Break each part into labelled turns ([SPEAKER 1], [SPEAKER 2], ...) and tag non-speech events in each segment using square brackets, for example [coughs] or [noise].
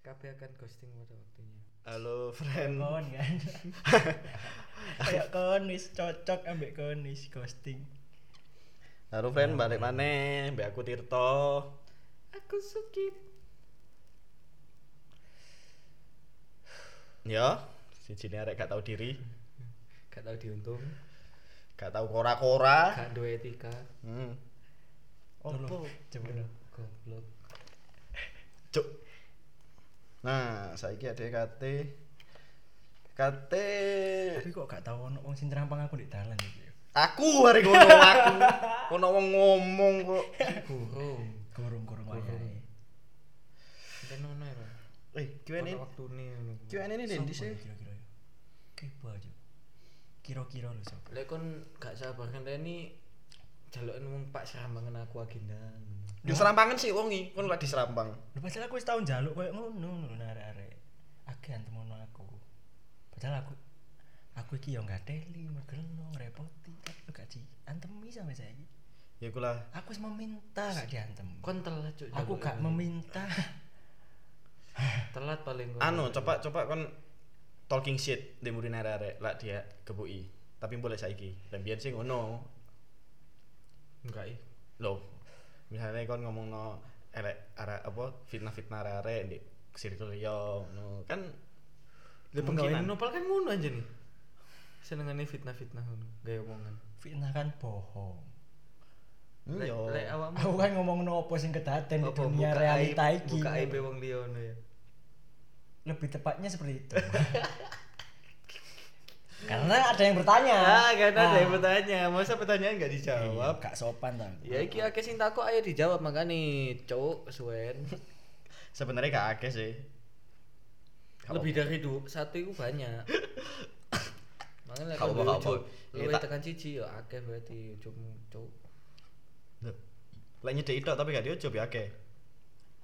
[SPEAKER 1] KB akan ghosting pada waktunya
[SPEAKER 2] Halo friend.
[SPEAKER 3] kon
[SPEAKER 1] [laughs]
[SPEAKER 3] kan kayak kon wis cocok ambek kon wis ghosting
[SPEAKER 2] Halo friend balik maneh mbak aku Tirto.
[SPEAKER 1] aku sakit
[SPEAKER 2] Ya, siji arek gak tahu diri,
[SPEAKER 1] gak tau diuntung
[SPEAKER 2] gak tahu kora-kora.
[SPEAKER 1] gak duwe etika
[SPEAKER 2] Hmm.
[SPEAKER 3] Tolong,
[SPEAKER 2] Opo?
[SPEAKER 3] coba dong
[SPEAKER 1] goblok
[SPEAKER 2] Cuk. Nah, saiki ada KT. KT
[SPEAKER 3] tapi kok gak tau ono wong sing nerampang aku di dalan iki
[SPEAKER 2] aku hari ngono aku. Ono wong ngomong kok.
[SPEAKER 1] burung
[SPEAKER 3] gorong-gorong wayahe
[SPEAKER 1] dan ono ya Pak. Ono
[SPEAKER 2] Eh, QN
[SPEAKER 1] waktune ngono
[SPEAKER 2] QN ini ndi sih?
[SPEAKER 3] kira-kira ya kipo aja kira-kira lho sob
[SPEAKER 1] lek kon gak sabar kan ini jalukin wong Pak Serambangan aku agenda ngono.
[SPEAKER 2] Yo serampangan sih wongi, kon lagi serampang.
[SPEAKER 3] lho padahal aku wis tau njaluk koyo ngono lho nek arek-arek agehan temono aku padahal aku aku iki yo gak teli mergelno ngrepoti tapi yo gak diantemi sampe saiki
[SPEAKER 2] Ya kulah.
[SPEAKER 3] aku wis meminta gak diantem
[SPEAKER 1] kon telat cuk
[SPEAKER 3] aku
[SPEAKER 1] jalukin.
[SPEAKER 3] gak meminta
[SPEAKER 1] telat paling kon.
[SPEAKER 2] Anu, coba coba kon talking shit di murid arek lak dia kebui. Tapi boleh saiki. Dan biyen sih ngono.
[SPEAKER 1] enggak iya. ih
[SPEAKER 2] Loh. Misalnya kon ngomong no elek arek apa fitnah-fitnah arek di circle yo ngono. Kan
[SPEAKER 1] Lah penggawean
[SPEAKER 2] kemungkinan.
[SPEAKER 1] nopal kan ngono aja nih. Senengane fitnah-fitnah ngono, gaya omongan.
[SPEAKER 3] fitnah kan bohong
[SPEAKER 2] Hmm,
[SPEAKER 1] Lek
[SPEAKER 2] yo.
[SPEAKER 1] lek awakmu
[SPEAKER 3] aku kan ngomong nopo sing kedaten
[SPEAKER 1] apa,
[SPEAKER 3] di Iya. dunia
[SPEAKER 1] buka
[SPEAKER 3] realita
[SPEAKER 1] aib-
[SPEAKER 3] iki
[SPEAKER 1] Buka aib wong liya ngono ya.
[SPEAKER 3] lebih tepatnya seperti itu [laughs] karena ada yang bertanya
[SPEAKER 1] Ah, gak ada
[SPEAKER 3] Ah, Iya,
[SPEAKER 1] yang bertanya. Masa pertanyaan gak dijawab?
[SPEAKER 3] gak sopan tau
[SPEAKER 1] Ya iki akeh sing takok ayo dijawab makane, cuk, suwen.
[SPEAKER 2] Sebenarnya gak akeh sih.
[SPEAKER 1] [laughs] Lebih dari du, satu itu [laughs] banyak. Makanya lek
[SPEAKER 2] Gak apa-apa, gak
[SPEAKER 1] lucu,
[SPEAKER 2] apa-apa. Ya,
[SPEAKER 1] lu
[SPEAKER 2] tak-
[SPEAKER 1] tekan cici ya akeh berarti ujungmu, cuk.
[SPEAKER 2] Loh. Lek nyedeki tok tapi gak diojob ya akeh.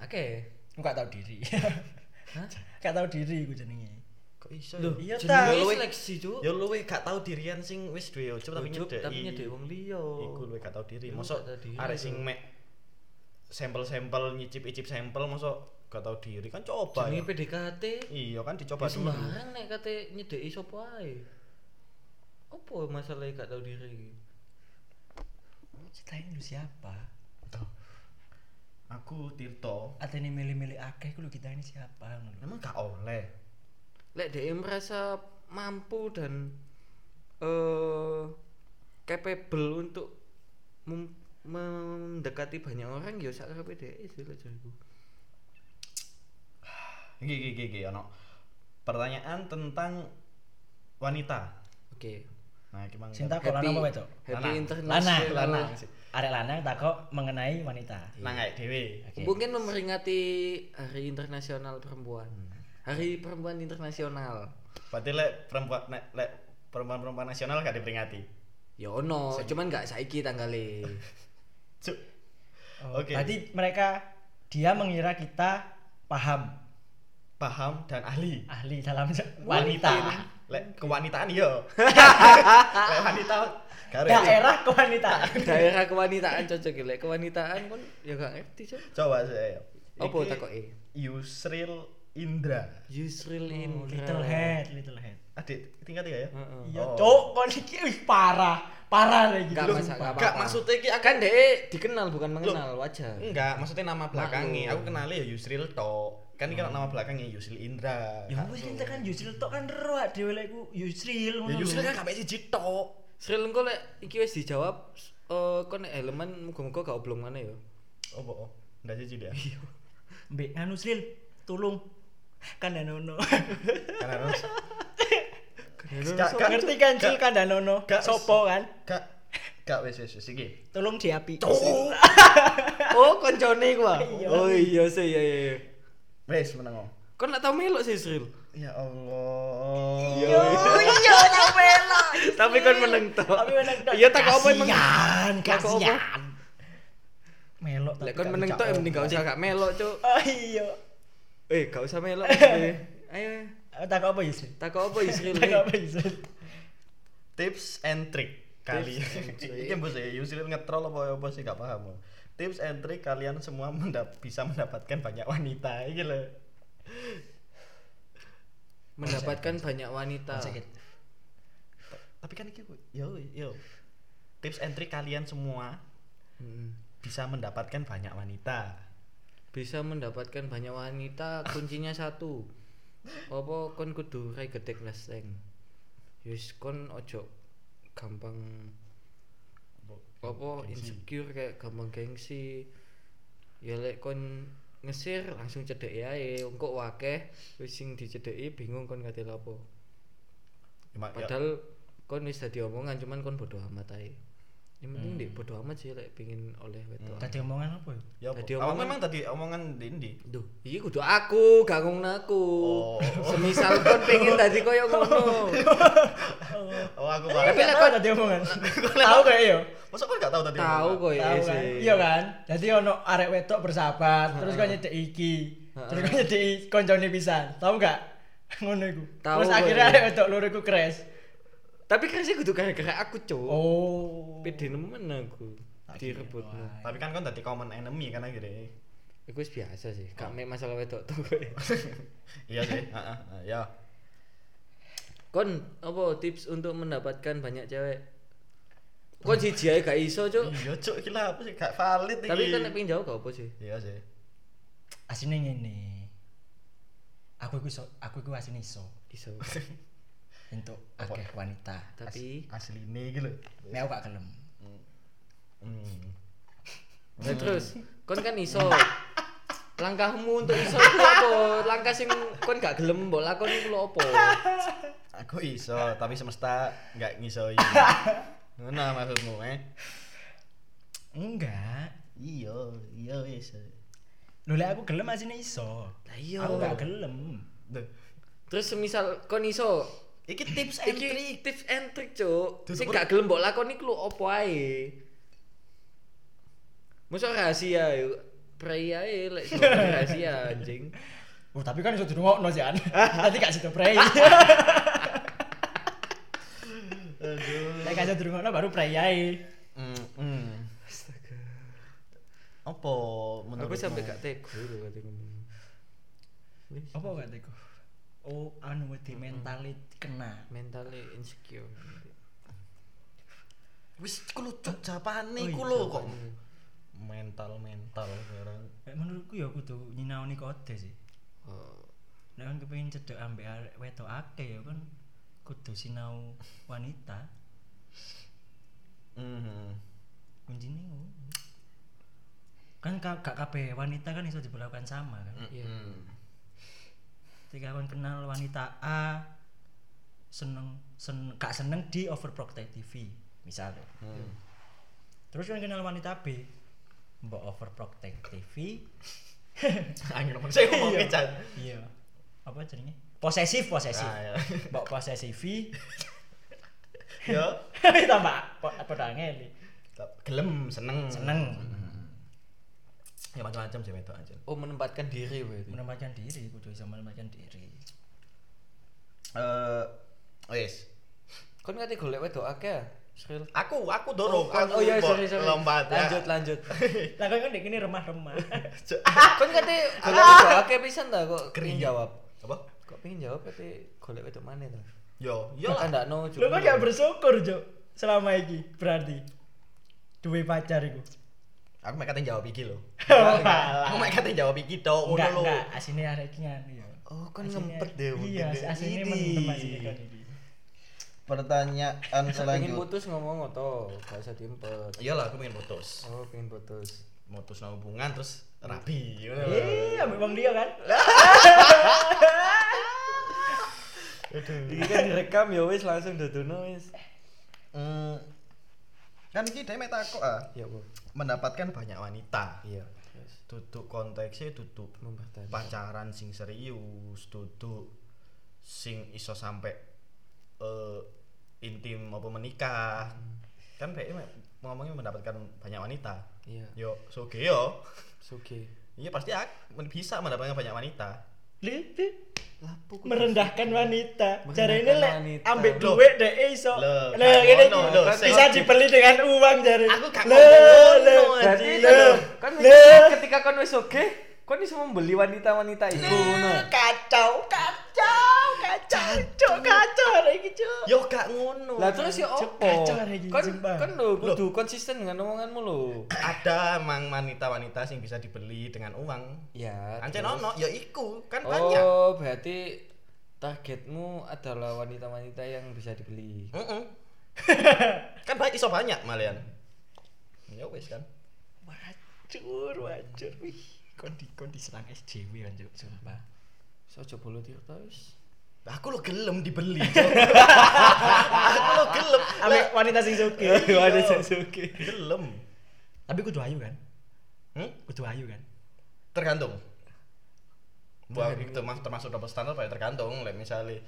[SPEAKER 1] Akeh.
[SPEAKER 3] aku gak tau diri [laughs]
[SPEAKER 1] Hah?
[SPEAKER 3] gak tau diri gue jenenge
[SPEAKER 2] Kok iso?
[SPEAKER 1] Loh,
[SPEAKER 3] iya ta.
[SPEAKER 1] Jenenge
[SPEAKER 2] Lu-
[SPEAKER 1] seleksi, cuk.
[SPEAKER 2] Yo luwe gak tau dirian sing wis duwe ojob tapi
[SPEAKER 1] Ujub,
[SPEAKER 2] nyedeki.
[SPEAKER 1] Tapi nyedek wong liya.
[SPEAKER 2] Iku luwe gak tau diri.
[SPEAKER 1] Lu gak
[SPEAKER 2] Mosok
[SPEAKER 1] tau diri,
[SPEAKER 2] arek sing
[SPEAKER 1] Cuk.
[SPEAKER 2] mek sampel-sampel nyicip-icip sampel mosok gak tau diri kan coba.
[SPEAKER 1] Jenenge
[SPEAKER 2] Ya.
[SPEAKER 1] PDKT.
[SPEAKER 2] Iya kan dicoba
[SPEAKER 1] Ya
[SPEAKER 2] dulu.
[SPEAKER 1] sembarang nek kate nyedeki sapa ae. Apa masalahnya gak tau diri iki?
[SPEAKER 3] ceritain lu siapa
[SPEAKER 2] Aku Tirto.
[SPEAKER 3] atau ini milih-milih akeh ku lu kita ini siapa ngono lho.
[SPEAKER 2] Emang gak oleh.
[SPEAKER 1] Lek dhek merasa mampu dan eh capable untuk mem- mendekati banyak orang ya sak karepe dhek sih lek jariku.
[SPEAKER 2] Iki iki iki, iki ono. Pertanyaan tentang wanita.
[SPEAKER 1] Oke.
[SPEAKER 2] Nah, iki mang.
[SPEAKER 3] Sing takut lanang apa wedok
[SPEAKER 1] Happy
[SPEAKER 2] Lanang.
[SPEAKER 3] lanang
[SPEAKER 1] international.
[SPEAKER 3] lanang arek lanang takok mengenai wanita
[SPEAKER 2] Nang ae dhewe.
[SPEAKER 3] Oke.
[SPEAKER 1] Mungkin memperingati Hari Internasional Perempuan. Hari Perempuan Internasional.
[SPEAKER 2] Berarti lek perempuan nek lek perempuan-perempuan nasional gak diperingati.
[SPEAKER 1] Ya ono, cuman gak saiki e. tanggale.
[SPEAKER 2] Cuk.
[SPEAKER 3] Oh,
[SPEAKER 2] Oke.
[SPEAKER 3] berarti mereka dia mengira kita paham
[SPEAKER 2] Paham dan ahli.
[SPEAKER 3] ahli dalam se- wanita
[SPEAKER 2] Lek kewanitaan yo. lek wanita gak ngerti.
[SPEAKER 3] daerah kewanitaan
[SPEAKER 1] [laughs] Daerah kewanitaan cocok ya, lek kewanitaan kon ya gak ngerti, Cok.
[SPEAKER 2] Coba saya.
[SPEAKER 1] Apa
[SPEAKER 2] Iki
[SPEAKER 1] takoke?
[SPEAKER 2] Yusril Indra.
[SPEAKER 1] Yusril Indra.
[SPEAKER 3] little head little head
[SPEAKER 2] Adik tingkat tiga ya?
[SPEAKER 1] Heeh.
[SPEAKER 3] iya
[SPEAKER 2] Oh.
[SPEAKER 3] cok kon iki wih, parah parah lagi
[SPEAKER 1] Gak
[SPEAKER 3] Loh,
[SPEAKER 1] masak, gak
[SPEAKER 2] Gak
[SPEAKER 1] apa-apa.
[SPEAKER 2] maksudnya iki akan
[SPEAKER 1] Kan dhek dikenal bukan mengenal wajar.
[SPEAKER 2] enggak, maksudnya nama
[SPEAKER 1] Maklum.
[SPEAKER 2] belakangnya. Aku kenalnya ya Yusril tok. Kan iki nama belakangnya Yusril Indra.
[SPEAKER 3] ya wis kita kan Yusril tok kan ero dhewe lek ku Yusril
[SPEAKER 2] Ya
[SPEAKER 3] ngono
[SPEAKER 2] Yusril
[SPEAKER 3] lho.
[SPEAKER 2] kan gak mesti tok.
[SPEAKER 1] Sril engko lek iki wis dijawab eh kon nek elemen muga-muga gak oblong mana ya.
[SPEAKER 2] Opo? Oh, Ndak siji dia.
[SPEAKER 3] mbek anu Sril tolong kandanono
[SPEAKER 2] Karena Kan harus
[SPEAKER 3] [laughs]
[SPEAKER 1] Gak
[SPEAKER 2] Gak-
[SPEAKER 3] ngerti kan Sril
[SPEAKER 2] gak-
[SPEAKER 3] kandanono
[SPEAKER 2] gak-
[SPEAKER 3] sopo kan
[SPEAKER 2] gak gak wis wis wis iki.
[SPEAKER 3] tolong diapi
[SPEAKER 2] Cuk.
[SPEAKER 1] Oh, koncone gua.
[SPEAKER 3] Iya.
[SPEAKER 1] Oh iya sih iya iya.
[SPEAKER 2] Wis menengo.
[SPEAKER 1] Kon nek tau melok sih Sril.
[SPEAKER 2] Ya Allah.
[SPEAKER 3] Yo yo tak melok.
[SPEAKER 1] Tapi kon meneng tok.
[SPEAKER 3] Tapi meneng tok.
[SPEAKER 1] Iya tak apa emang.
[SPEAKER 3] Kasian,
[SPEAKER 1] Tak apa?
[SPEAKER 3] kasian. Melok tapi
[SPEAKER 1] Lek kon
[SPEAKER 3] gak
[SPEAKER 1] meneng tok ya
[SPEAKER 3] dijawab.
[SPEAKER 1] mending gak usah gak melok,
[SPEAKER 3] [laughs]
[SPEAKER 1] Cuk.
[SPEAKER 3] Oh iya.
[SPEAKER 1] Eh, gak usah melok. eh. Ayo.
[SPEAKER 3] Eh, Tak apa Yusri?
[SPEAKER 1] Takok apa Yusril?
[SPEAKER 3] Tak apa Yusri?
[SPEAKER 2] [laughs] tips and trick kali
[SPEAKER 1] Tips and trick.
[SPEAKER 2] ini bos ya Yusril ngetrol apa apa sih gak paham Bos. tips and trick kalian semua mendap bisa mendapatkan banyak wanita ini loh
[SPEAKER 1] mendapatkan banyak wanita
[SPEAKER 3] sakit
[SPEAKER 2] tapi kan iki yo yo tips and trick kalian semua
[SPEAKER 1] Mm.
[SPEAKER 2] bisa mendapatkan banyak wanita
[SPEAKER 1] bisa mendapatkan banyak wanita kuncinya satu apa kon kudu rai gedek leseng yus kon ojo gampang apa insecure kayak gampang gengsi ya lek kon ngesir langsung cedek ya engkok wakeh wis sing dicedeki bingung kon kate lapo
[SPEAKER 2] Cuma, ya,
[SPEAKER 1] padahal kon wis dadi omongan cuman kon bodoh amat ae yang penting dek bodoh amat sih lek pingin oleh wedok
[SPEAKER 3] tadi omongan apa
[SPEAKER 2] ya
[SPEAKER 3] ya
[SPEAKER 2] apa?
[SPEAKER 1] tadi
[SPEAKER 2] Awak
[SPEAKER 1] omongan-
[SPEAKER 2] memang tadi omongan Dindi
[SPEAKER 1] Duh, iki kudu aku, gak ngono aku.
[SPEAKER 2] Oh.
[SPEAKER 1] [laughs] Semisal kon pengen dadi koyo ngono.
[SPEAKER 2] oh aku malah
[SPEAKER 3] tapi
[SPEAKER 1] lah,
[SPEAKER 3] kok
[SPEAKER 1] kok-
[SPEAKER 3] tadi omongan tahu kayak yo
[SPEAKER 2] masa kau nggak tahu tadi
[SPEAKER 1] Tahu
[SPEAKER 2] omongan?
[SPEAKER 1] kok ya
[SPEAKER 3] tahu kan
[SPEAKER 1] sih.
[SPEAKER 3] iya kan jadi ono arek wedok bersahabat terus kau nyedek iki terus kau nyedek koncone pisan tahu gak [laughs] ngono iku
[SPEAKER 1] Tahu
[SPEAKER 3] terus
[SPEAKER 1] gue.
[SPEAKER 3] akhirnya arek wedok loro iku crash
[SPEAKER 1] Tapi kerasnya kudu gara-gara aku, Cuk.
[SPEAKER 3] oh
[SPEAKER 1] Pede nemen aku
[SPEAKER 3] Lagi
[SPEAKER 1] direbutmu.
[SPEAKER 2] tapi kan kau tadi common enemy kan akhirnya
[SPEAKER 1] Iku wis biasa sih, gak mek masalah wedok tuh kowe. [laughs]
[SPEAKER 2] iya sih ah, ah, ah, ya
[SPEAKER 1] Kon apa tips untuk mendapatkan banyak cewek? Kon siji ae gak iso, Cuk.
[SPEAKER 2] iya cuk gila apa sih gak valid
[SPEAKER 1] Tapi
[SPEAKER 2] iki.
[SPEAKER 1] kan nek pengen jauh gak apa sih?
[SPEAKER 2] iya sih
[SPEAKER 3] asine ngene aku iku iso aku iku asine iso
[SPEAKER 1] Iso.
[SPEAKER 3] untuk akeh wanita
[SPEAKER 1] Tapi
[SPEAKER 2] asli ini gitu
[SPEAKER 3] nek aku gak gelem
[SPEAKER 2] hmm.
[SPEAKER 1] Nah, terus kon kan
[SPEAKER 2] [laughs]
[SPEAKER 1] iso. Langkahmu untuk iso itu apa? Langkah sing kon gak gelem mbok lakoni iku lho apa?
[SPEAKER 2] aku iso tapi semesta nggak
[SPEAKER 1] [laughs]
[SPEAKER 2] ngisoi nah maksudmu eh
[SPEAKER 3] enggak
[SPEAKER 2] iya iya iso
[SPEAKER 3] lho lek aku gelem asine iso
[SPEAKER 1] Lah iya.
[SPEAKER 3] aku gak gelem
[SPEAKER 2] Duh.
[SPEAKER 1] Terus semisal kon iso
[SPEAKER 2] Iki tips and trick.
[SPEAKER 1] iki tips and trick, Cuk.
[SPEAKER 2] Duh,
[SPEAKER 1] Sing
[SPEAKER 2] sepur-
[SPEAKER 1] gak gelem mbok lakoni ku lho opo ae. Mosok rahasia yuk. Prei ae lek jauh dari
[SPEAKER 2] [laughs]
[SPEAKER 1] rahasia anjing.
[SPEAKER 3] Oh, tapi kan iso dirungokno sih an. Nanti gak sido pray. [laughs]
[SPEAKER 2] Aduh.
[SPEAKER 3] Lek gak sido dirungokno baru pray ae.
[SPEAKER 2] Mm, mm. Apa menurutmu?
[SPEAKER 1] Aku sampe gak tega lho kate ngono. Wis,
[SPEAKER 3] Apa gak teku? Oh, anu wedi mentality kena.
[SPEAKER 1] mentally insecure.
[SPEAKER 2] Wis kulo cuk japane
[SPEAKER 3] Oh, iya,
[SPEAKER 2] iku lho kok. Mental-mental sekarang.
[SPEAKER 3] Lek menurutku ya kudu nyinaoni kode sih.
[SPEAKER 1] Oh,
[SPEAKER 3] Nek kan kepengin cedek ambek arek wedok akeh ya kan kudu sinau wanita.
[SPEAKER 2] Mhm.
[SPEAKER 3] Kuncine ngono. Kan ka- gak kabeh wanita kan iso diperlakukan sama kan.
[SPEAKER 1] iya.
[SPEAKER 2] Mm-hmm.
[SPEAKER 3] Ketika kan kenal wanita A seneng sen gak seneng di overprotective misalnya.
[SPEAKER 2] Hmm.
[SPEAKER 3] Terus kan kenal wanita B mbok overprotective. [laughs]
[SPEAKER 2] Angin ngomong saya ngomong pisan.
[SPEAKER 3] iya. Apa jenenge? Posesif, posesif.
[SPEAKER 2] Ah, iya.
[SPEAKER 3] Mbok [laughs] posesif.
[SPEAKER 2] Yo.
[SPEAKER 3] Tambah padha ngeli.
[SPEAKER 2] Gelem seneng.
[SPEAKER 3] Seneng
[SPEAKER 2] Ya macam-macam sih wedok aja.
[SPEAKER 1] Oh, menempatkan diri berarti.
[SPEAKER 3] menempatkan diri, kudu bisa menempatkan diri.
[SPEAKER 2] Eh wis.
[SPEAKER 1] Kon kate golek wedok akeh. Sril.
[SPEAKER 2] Aku aku dorong.
[SPEAKER 1] kon- oh
[SPEAKER 2] aku
[SPEAKER 1] iya
[SPEAKER 2] mbok
[SPEAKER 1] sorry sorry.
[SPEAKER 2] Lompat. ya.
[SPEAKER 1] Lanjut lanjut. Ah,
[SPEAKER 3] Lah kok ndek kene remah-remah.
[SPEAKER 2] Cuk.
[SPEAKER 1] Kon kate golek wedok akeh pisan ta kok
[SPEAKER 2] Kering.
[SPEAKER 1] kering jawab.
[SPEAKER 2] Apa?
[SPEAKER 1] Kok pengen jawab berarti golek wedok mana tuh?
[SPEAKER 2] Yo, yo
[SPEAKER 1] Yo
[SPEAKER 2] lah.
[SPEAKER 1] kan ndak no
[SPEAKER 3] Lu kok gak bersyukur, Jok? Selama iki berarti duwe pacar iku.
[SPEAKER 2] Aku mek kate jawab iki lho.
[SPEAKER 3] Walah.
[SPEAKER 2] Aku mek kate jawab iki tok
[SPEAKER 3] Enggak,
[SPEAKER 2] ngono Oh, lho.
[SPEAKER 3] enggak, asine arek iki nganu ya.
[SPEAKER 1] Oh kan
[SPEAKER 3] Asine-
[SPEAKER 1] ngempet deh mungkin.
[SPEAKER 3] Iya,
[SPEAKER 1] deh.
[SPEAKER 3] asine
[SPEAKER 2] Ini.
[SPEAKER 3] mendem asine kan iki.
[SPEAKER 2] Pertanyaan
[SPEAKER 1] Pengen
[SPEAKER 2] selanjutnya.
[SPEAKER 1] putus ngomong atau gak usah diempet.
[SPEAKER 2] Iyalah aku pengen putus.
[SPEAKER 1] Oh pengen putus.
[SPEAKER 2] Mutus no hubungan terus rapi. gitu lho.
[SPEAKER 3] Iya, ambek wong dia kan.
[SPEAKER 1] Ini kan direkam ya wis langsung dodono wis.
[SPEAKER 2] Hmm. Kan iki dhewe mek takok ah,
[SPEAKER 1] Ya bu.
[SPEAKER 2] mendapatkan banyak wanita.
[SPEAKER 1] Iya.
[SPEAKER 2] Duduk konteksnya duduk
[SPEAKER 1] Mempertahankan.
[SPEAKER 2] pacaran sing serius, duduk sing iso sampe eh intim apa menikah. Kan dhek ngomongnya mendapatkan banyak wanita.
[SPEAKER 1] Iya.
[SPEAKER 2] Yo, soge yo.
[SPEAKER 1] Suki.
[SPEAKER 2] Iya pasti ak- bisa mendapatkan banyak wanita.
[SPEAKER 3] Lih,
[SPEAKER 1] Lapu.
[SPEAKER 3] merendahkan wanita.
[SPEAKER 1] Merendahkan
[SPEAKER 3] Cara ini lek
[SPEAKER 1] wanita.
[SPEAKER 3] ambek
[SPEAKER 2] Loh.
[SPEAKER 3] duit deh iso.
[SPEAKER 2] Loh,
[SPEAKER 3] Lho,
[SPEAKER 2] gak
[SPEAKER 3] ini
[SPEAKER 2] ngono, loh.
[SPEAKER 3] bisa
[SPEAKER 2] Saya-
[SPEAKER 3] dibeli dengan uang jare.
[SPEAKER 2] Aku gak
[SPEAKER 3] Lho,
[SPEAKER 2] ngomong
[SPEAKER 3] lho,
[SPEAKER 2] ngono,
[SPEAKER 3] lho,
[SPEAKER 1] Jadi
[SPEAKER 3] lho,
[SPEAKER 1] kan
[SPEAKER 3] lho.
[SPEAKER 1] ketika kon wis oke Kok bisa membeli wanita-wanita itu? ngono?
[SPEAKER 2] kacau kacau kacau cok kacau lagi cok yo gak ngono
[SPEAKER 1] Lah terus ya
[SPEAKER 3] Cuk,
[SPEAKER 1] opo?
[SPEAKER 3] kacau lagi,
[SPEAKER 1] Kon
[SPEAKER 3] sumpah.
[SPEAKER 1] kon lho
[SPEAKER 2] Loh.
[SPEAKER 1] kudu konsisten dengan omonganmu lho.
[SPEAKER 2] ada mang wanita-wanita sing bisa dibeli dengan uang
[SPEAKER 1] Ya.
[SPEAKER 2] Ancen
[SPEAKER 1] terus.
[SPEAKER 2] ono ya iku kan banyak
[SPEAKER 1] Oh, berarti targetmu adalah wanita-wanita yang bisa dibeli.
[SPEAKER 2] Mm-mm. [laughs] kan banyak iso banyak malian ya wes kan
[SPEAKER 3] Wacur, wacur. Wih, kondi kondi serang SJW kan Cuk, sumpah.
[SPEAKER 1] Sojo bolo tirta wis.
[SPEAKER 2] aku lo gelem dibeli
[SPEAKER 1] [laughs]
[SPEAKER 2] Cok. aku lo gelem
[SPEAKER 3] Ame wanita sing
[SPEAKER 1] [laughs]
[SPEAKER 3] suki.
[SPEAKER 2] [laughs] Wanita sing
[SPEAKER 3] suki.
[SPEAKER 2] gelem
[SPEAKER 3] Tapi kudu ayu kan?
[SPEAKER 2] hmm?
[SPEAKER 3] Kudu ayu kan?
[SPEAKER 2] tergantung Wah, itu mas termasuk double standar pak ya, tergantung like misalnya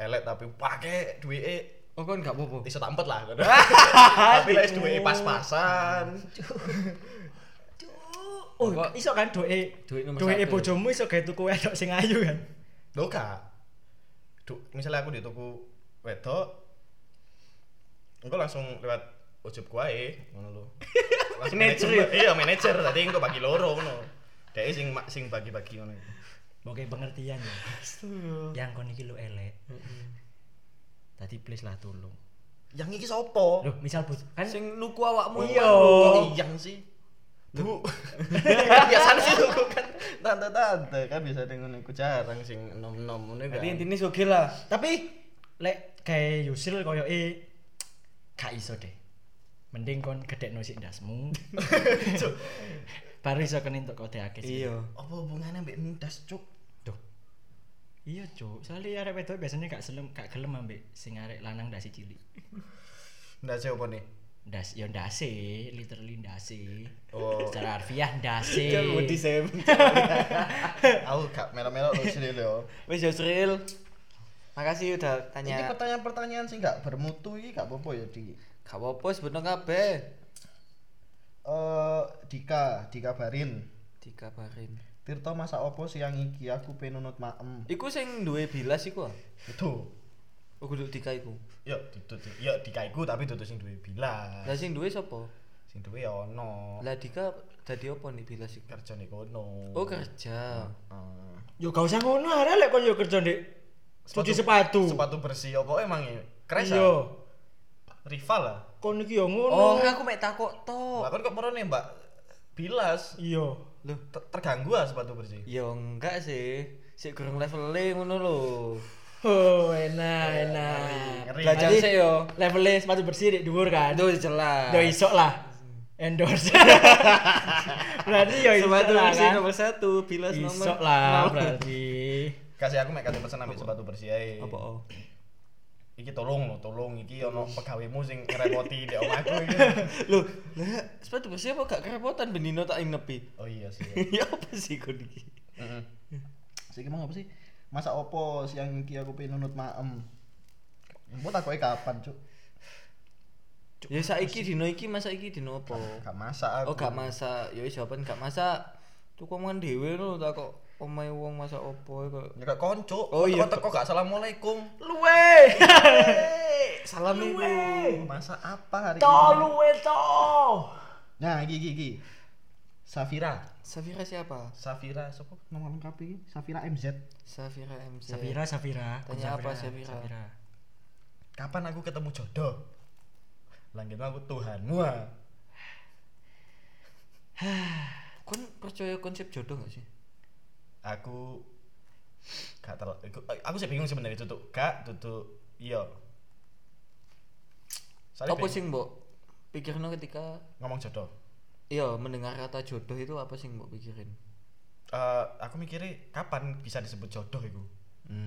[SPEAKER 2] elek tapi pakai duit
[SPEAKER 1] Oh, kon gak apa-apa.
[SPEAKER 2] bisa tampet [laughs] lah tapi les duit pas-pasan
[SPEAKER 3] Oh,
[SPEAKER 1] Kok-
[SPEAKER 3] iso kan doe
[SPEAKER 1] Doe nomor
[SPEAKER 3] doe
[SPEAKER 1] satu.
[SPEAKER 3] bojomu iso gawe tuku wedok sing ayu kan?
[SPEAKER 2] lo kak Duh, misalnya aku di toko wedok engko langsung lewat ujub kuae ngono [laughs] lo langsung
[SPEAKER 1] Manajer ya?
[SPEAKER 2] manajer iya manajer tadi engko bagi loro ngono Dek sing ma- sing bagi-bagi ngono iku.
[SPEAKER 3] Oke pengertian ya.
[SPEAKER 1] Iya.
[SPEAKER 3] Yang kon iki lu elek. Tadi please lah tolong.
[SPEAKER 2] yang iki sopo
[SPEAKER 3] Loh, misal bos kan
[SPEAKER 1] Sing nuku awakmu.
[SPEAKER 3] Iya.
[SPEAKER 2] kok iyang sih bu [laughs] biasanya sih tuku kan tante-tante kan bisa dengan aku jarang sing nom-nom ngono kan
[SPEAKER 1] Berarti intinya sugih lah.
[SPEAKER 3] tapi lek kayak Yusil koyo e gak iso deh. Mending kon gedekno sik ndasmu.
[SPEAKER 2] Cuk,
[SPEAKER 3] Baru iso kon entuk kode akeh sih.
[SPEAKER 1] Iya.
[SPEAKER 2] apa hubungannya mbek ndas cuk
[SPEAKER 3] Duh. Iya, Cuk. Soalnya arek wedok biasanya gak selem, gak gelem ambek sing arek lanang ndasi cilik.
[SPEAKER 2] ndas apa
[SPEAKER 1] [laughs]
[SPEAKER 2] nih
[SPEAKER 3] Ndas, ya ndase, literally ndase.
[SPEAKER 2] Oh.
[SPEAKER 3] Secara harfiah ndase.
[SPEAKER 1] Kan Sam.
[SPEAKER 2] aku gak melo-melo lu sini lho
[SPEAKER 1] [laughs] Wis Yusril. Makasih udah
[SPEAKER 2] Ini
[SPEAKER 1] tanya.
[SPEAKER 2] pertanyaan-pertanyaan sih nggak bermutu ini nggak apa-apa ya di
[SPEAKER 1] Gak apa-apa sebenernya kabeh.
[SPEAKER 2] eh Dika dikabarin
[SPEAKER 1] Dikabarin.
[SPEAKER 2] Tirta masa opo siang iki aku penunut maem
[SPEAKER 1] Iku sing duwe bilas iku. ah.
[SPEAKER 2] itu
[SPEAKER 1] Oh kudu Dika iku.
[SPEAKER 2] yo itu yo Dika iku tapi tutu sing duwe bilas
[SPEAKER 1] Lah sing duwe sapa?
[SPEAKER 2] sing duwe ya ono
[SPEAKER 1] Lah Dika dadi apa nih bilas iku?
[SPEAKER 2] kerja nih kono
[SPEAKER 1] Oh kerja.
[SPEAKER 2] Eh,
[SPEAKER 3] Yo gak usah ngono arek lek kon yo kerja ndek cuci sepatu.
[SPEAKER 2] sepatu bersih apa emang ya kres
[SPEAKER 3] Iya.
[SPEAKER 2] ya rival lah
[SPEAKER 3] Kon iki yo
[SPEAKER 1] Oh,
[SPEAKER 3] ngono.
[SPEAKER 1] aku mek takok tok.
[SPEAKER 2] mbak kan kok moro nih mbak bilas
[SPEAKER 3] Iya.
[SPEAKER 1] Loh,
[SPEAKER 2] Ter- terganggu lah sepatu bersih
[SPEAKER 1] ya enggak sih. Sik kurang level ngono lho.
[SPEAKER 3] Oh, enak,
[SPEAKER 1] Eh,
[SPEAKER 3] enak.
[SPEAKER 2] Ngeri.
[SPEAKER 1] Belajar
[SPEAKER 3] Berarti
[SPEAKER 1] sik yo.
[SPEAKER 3] Levelnya sepatu bersih dek dhuwur kan.
[SPEAKER 1] Aduh jelas.
[SPEAKER 3] Yo iso lah.
[SPEAKER 1] [laughs]
[SPEAKER 3] Endorse. berarti yo iso
[SPEAKER 1] Sepatu
[SPEAKER 3] lah
[SPEAKER 1] bersih
[SPEAKER 3] kan.
[SPEAKER 1] nomor satu, bilas nomor.
[SPEAKER 3] Iso lah
[SPEAKER 1] nol.
[SPEAKER 3] berarti.
[SPEAKER 2] kasih aku mek kate pesen ambil sepatu bersih ae
[SPEAKER 1] Apa oh?
[SPEAKER 2] iki tolong lo tolong iki ono pegawaimu sing [laughs] ngerepoti di omahku iki
[SPEAKER 1] Loh, lah sepatu bersih apa gak kerepotan benino tak nepi. [laughs]
[SPEAKER 2] oh iya sih
[SPEAKER 1] ya apa sih kon iki?
[SPEAKER 2] heeh sik mau apa sih masa opo siang iki aku pengen nunut maem Mbok takoke kapan, Cuk?
[SPEAKER 1] Ya saiki dino iki masa iki dino apa?
[SPEAKER 2] Gak masak
[SPEAKER 1] Oh
[SPEAKER 2] aku.
[SPEAKER 1] gak masak. Ya wis jawaban gak masak. Tuku omongan dhewe lho tak kok omahe wong masak opo e kok.
[SPEAKER 2] Ya gak konco.
[SPEAKER 1] Oh iya.
[SPEAKER 2] Teko gak assalamualaikum.
[SPEAKER 3] [laughs] Luwe.
[SPEAKER 1] Salam
[SPEAKER 3] Luwe.
[SPEAKER 2] Masak apa hari
[SPEAKER 3] To luwe to.
[SPEAKER 2] Nah, iki iki iki. Safira.
[SPEAKER 1] Safira siapa?
[SPEAKER 2] Safira sapa nama lengkap iki? Safira MZ.
[SPEAKER 1] Safira MC.
[SPEAKER 3] Safira, Safira.
[SPEAKER 1] Tanya apa Safira?
[SPEAKER 2] Kapan aku ketemu jodoh? Langgeng aku Tuhanmu. ah.
[SPEAKER 1] Kon percaya konsep jodoh gak sih?
[SPEAKER 2] Aku gak terlalu aku sih bingung sebenarnya tutup gak tutup iya. Soalnya
[SPEAKER 1] Apa
[SPEAKER 2] bingung.
[SPEAKER 1] sing mbok pikirno ketika
[SPEAKER 2] ngomong jodoh.
[SPEAKER 1] iya mendengar kata jodoh itu apa sing mbok pikirin?
[SPEAKER 2] Eh, aku mikirnya kapan bisa disebut jodoh itu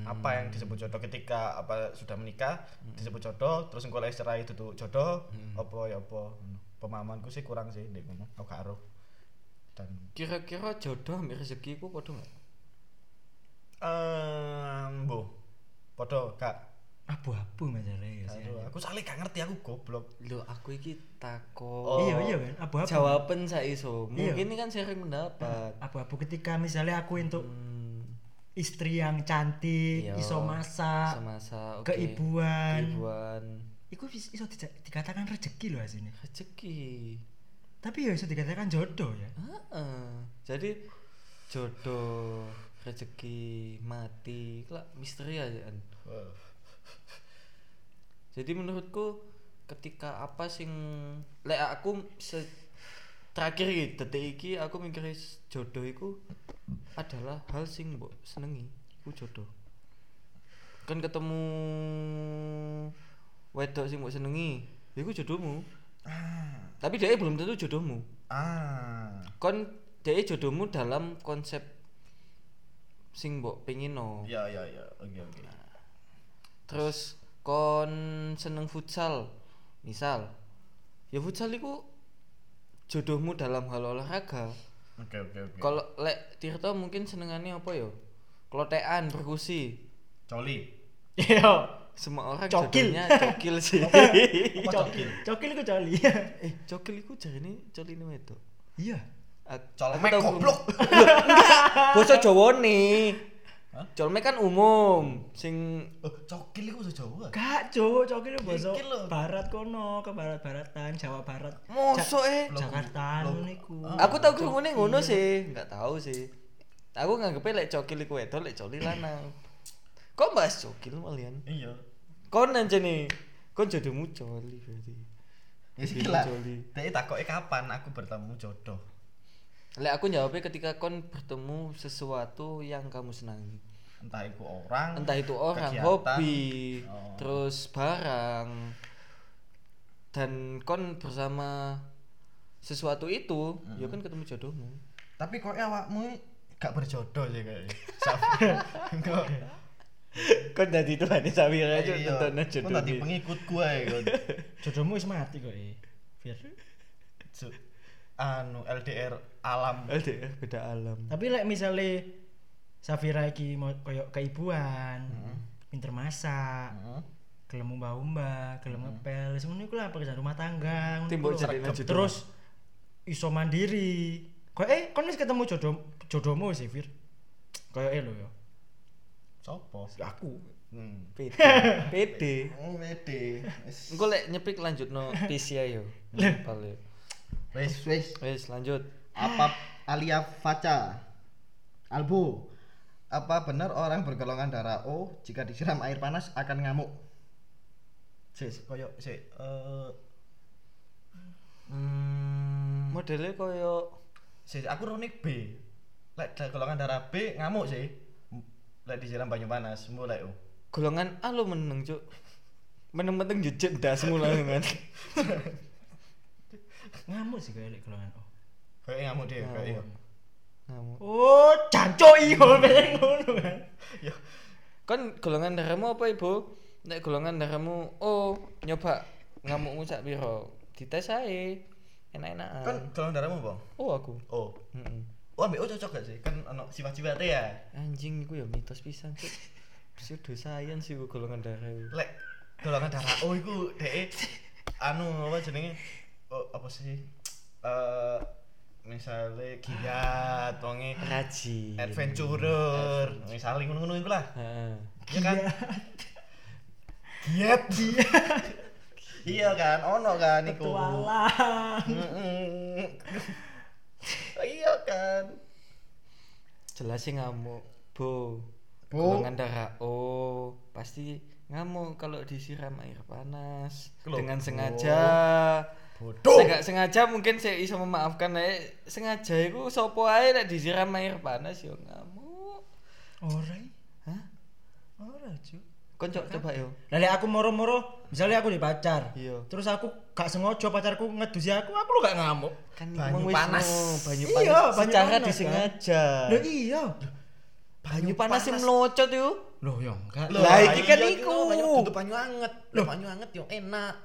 [SPEAKER 2] apa yang disebut jodoh ketika apa sudah menikah disebut jodoh terus engko lek cerai itu tuh jodoh apa ya apa pemahamanku sih kurang sih ndek ngono aku gak aruh. dan
[SPEAKER 1] Kira-kira jodoh ambek rezeki iku padha gak?
[SPEAKER 2] em mbo podo gak
[SPEAKER 3] Abu-abu masalahnya ya sih.
[SPEAKER 2] aruh. aku saling gak ngerti aku goblok
[SPEAKER 1] Lho aku iki
[SPEAKER 2] Oh.
[SPEAKER 1] takon.
[SPEAKER 3] Iya iya kan abu-abu.
[SPEAKER 1] Jawaban saiso.
[SPEAKER 3] Iya.
[SPEAKER 1] Mungkin ini kan sering mendapat.
[SPEAKER 3] Abu-abu ketika misalnya aku untuk
[SPEAKER 1] Hmm,
[SPEAKER 3] istri yang cantik,
[SPEAKER 1] Iya.
[SPEAKER 3] iso masak,
[SPEAKER 1] sama sa
[SPEAKER 3] keibuan.
[SPEAKER 1] Keibuan.
[SPEAKER 3] Iku bis- iso dija- dikatakan rezeki loh sini.
[SPEAKER 1] Rezeki.
[SPEAKER 3] Tapi ya iso dikatakan jodoh ya.
[SPEAKER 1] Heeh. Jadi jodoh rezeki mati lah misteri aja kan
[SPEAKER 2] Wah.
[SPEAKER 1] jadi menurutku ketika apa sing lek aku se terakhir iki, detik iki aku mikir jodoh iku adalah hal sing mbok senengi ku jodoh kan ketemu wedok sing mbok senengi ya iku jodohmu tapi dia belum tentu jodohmu
[SPEAKER 2] ah
[SPEAKER 1] kon dia jodohmu dalam konsep sing mbok pengin no.
[SPEAKER 2] ya ya ya oke oke
[SPEAKER 1] terus kon seneng futsal misal ya futsal itu jodohmu dalam hal olahraga
[SPEAKER 2] oke oke oke
[SPEAKER 1] kalau lek Tirta mungkin senengannya apa yo klotean perkusi
[SPEAKER 2] coli
[SPEAKER 3] Iya.
[SPEAKER 1] semua orang
[SPEAKER 2] [laughs]
[SPEAKER 3] Cokil.
[SPEAKER 1] jodohnya cokil sih
[SPEAKER 2] Apa
[SPEAKER 3] Cokil. Cokil iku coli.
[SPEAKER 1] eh cokil itu jari ini coli ini itu
[SPEAKER 3] Iya.
[SPEAKER 2] colmek goblok
[SPEAKER 1] bahasa Jawa nih
[SPEAKER 2] Hah?
[SPEAKER 1] colmek kan umum sing
[SPEAKER 2] oh, cokil itu bahasa Jawa
[SPEAKER 3] Gak, cowok cokil iku basa
[SPEAKER 2] Iki lho.
[SPEAKER 3] barat kono, ke barat-baratan, Jawa Barat.
[SPEAKER 1] mosok eh
[SPEAKER 2] Logo-
[SPEAKER 3] Jakarta
[SPEAKER 2] logo-
[SPEAKER 3] ngono iku. Iya.
[SPEAKER 1] aku tau kerungune ngono sih nggak tahu sih aku nganggepnya lek cokil iku wedok lek coli lanang kok bahas cokil malian
[SPEAKER 2] iya
[SPEAKER 1] kon aja nih kon jodohmu coli berarti
[SPEAKER 2] ya sih
[SPEAKER 1] Jodohmu
[SPEAKER 2] lah
[SPEAKER 1] coli.
[SPEAKER 2] tapi takoknya kapan aku bertemu jodoh
[SPEAKER 1] lek aku jawabnya ketika kon bertemu sesuatu yang kamu senangi
[SPEAKER 2] entah itu orang
[SPEAKER 1] entah itu orang
[SPEAKER 2] kegiatan.
[SPEAKER 1] hobi
[SPEAKER 2] Oh.
[SPEAKER 1] terus barang dan kon bersama sesuatu itu ya kan ketemu jodohmu
[SPEAKER 2] tapi kok awakmu gak berjodoh sih kayaknya Saf- Enggak.
[SPEAKER 1] kon dari itu ada sawir aja
[SPEAKER 2] Iya.
[SPEAKER 1] tentang
[SPEAKER 2] Kok tadi pengikut gue kan
[SPEAKER 3] Jodohmu wis mati kok e. Fir.
[SPEAKER 2] Su- anu LDR
[SPEAKER 1] [laughs]
[SPEAKER 2] alam
[SPEAKER 1] LDR beda [laughs] alam
[SPEAKER 3] Tapi lek misale Safira iki mau koyo keibuan,
[SPEAKER 1] Hmm.
[SPEAKER 3] pinter masak,
[SPEAKER 2] Hmm.
[SPEAKER 3] gelem umba-umba, gelem ngepel, wis ngono iku lah pekerjaan rumah tangga, ngono
[SPEAKER 1] Timbul
[SPEAKER 3] iku lho.
[SPEAKER 1] Hmm. jadi
[SPEAKER 3] Sergap.
[SPEAKER 1] jodoh.
[SPEAKER 3] terus iso mandiri. Koyo eh kon wis ketemu jodoh jodohmu sih, Fir. Koyo eh lho yo.
[SPEAKER 2] sopo
[SPEAKER 3] Aku.
[SPEAKER 2] hmm.
[SPEAKER 1] [laughs] PD PD
[SPEAKER 2] Oh, wede. Wis.
[SPEAKER 1] engko lek nyepik lanjut no PCI yo Ngapal yo.
[SPEAKER 2] Wis wis.
[SPEAKER 1] wes lanjut
[SPEAKER 2] Apa alia faca? Albu. Apa benar orang bergolongan darah O jika disiram air panas akan ngamuk? Sis, koyo si eh hmm,
[SPEAKER 1] modelnya koyo
[SPEAKER 2] sis aku runik B. Lek da- golongan darah B ngamuk sih. M- Lek disiram banyu panas oh. mulai O.
[SPEAKER 1] golongan A lo meneng cuk meneng meneng jejet das [laughs] mulai kan
[SPEAKER 3] Ngamuk sih koyo lek golongan oh.
[SPEAKER 2] Kayak ngamuk dia, kayak iya.
[SPEAKER 1] kamu
[SPEAKER 3] Oh, janco iyo
[SPEAKER 1] Hmm.
[SPEAKER 3] pengen ngono kan.
[SPEAKER 2] [laughs] Ya,
[SPEAKER 1] kan golongan darahmu apa ibu nek golongan darahmu oh nyoba ngamukmu sak piro dites ae enak-enakan
[SPEAKER 2] kan golongan darahmu, Bang.
[SPEAKER 1] oh aku
[SPEAKER 2] Oh.
[SPEAKER 1] Mm-mm.
[SPEAKER 2] Oh, ambek O cocok gak sih? Kan ono sifat-sifatnya ya.
[SPEAKER 1] anjing iku ya mitos pisan [laughs] cuk pseudo science sih golongan darah iku.
[SPEAKER 2] lek golongan darah O iku dhek anu apa jenenge oh, apa sih eh misalnya giat wonge
[SPEAKER 1] rajin
[SPEAKER 2] adventurer misalnya ngono-ngono iku lah
[SPEAKER 1] Heeh.
[SPEAKER 2] ya kan giat iya kan ono kan iku
[SPEAKER 3] Petualang.
[SPEAKER 2] Mm-mm. iya kan
[SPEAKER 1] jelas sih ngamuk bo
[SPEAKER 2] Bo.
[SPEAKER 1] golongan darah oh pasti ngamuk kalau disiram air panas
[SPEAKER 2] Loh,
[SPEAKER 1] dengan
[SPEAKER 2] bo.
[SPEAKER 1] sengaja
[SPEAKER 2] bodoh
[SPEAKER 1] saya nggak sengaja mungkin saya bisa memaafkan eh, sengaja itu sopo ae nek disiram air panas yo ngamuk
[SPEAKER 3] Ora.
[SPEAKER 1] hah
[SPEAKER 3] Ora, Cuk.
[SPEAKER 1] kon co- coba yo
[SPEAKER 3] Lah lek aku moro-moro, misalnya aku di pacar.
[SPEAKER 1] Iya.
[SPEAKER 3] Terus aku gak sengaja pacarku ngedusi aku, aku lo gak ngamuk.
[SPEAKER 1] kan emang
[SPEAKER 2] Banyu
[SPEAKER 1] wis
[SPEAKER 2] panas.
[SPEAKER 1] no, banyu
[SPEAKER 3] Iya,
[SPEAKER 1] panas
[SPEAKER 3] banyu
[SPEAKER 1] secara
[SPEAKER 3] panas, kan?
[SPEAKER 1] disengaja
[SPEAKER 3] Lah iya.
[SPEAKER 1] banyu panas sih melocot yuk
[SPEAKER 3] Loh, ya enggak.
[SPEAKER 1] Lah, iki kan
[SPEAKER 2] iya,
[SPEAKER 1] iku.
[SPEAKER 2] banyu tutup banyu anget Lah, banyu anget yo enak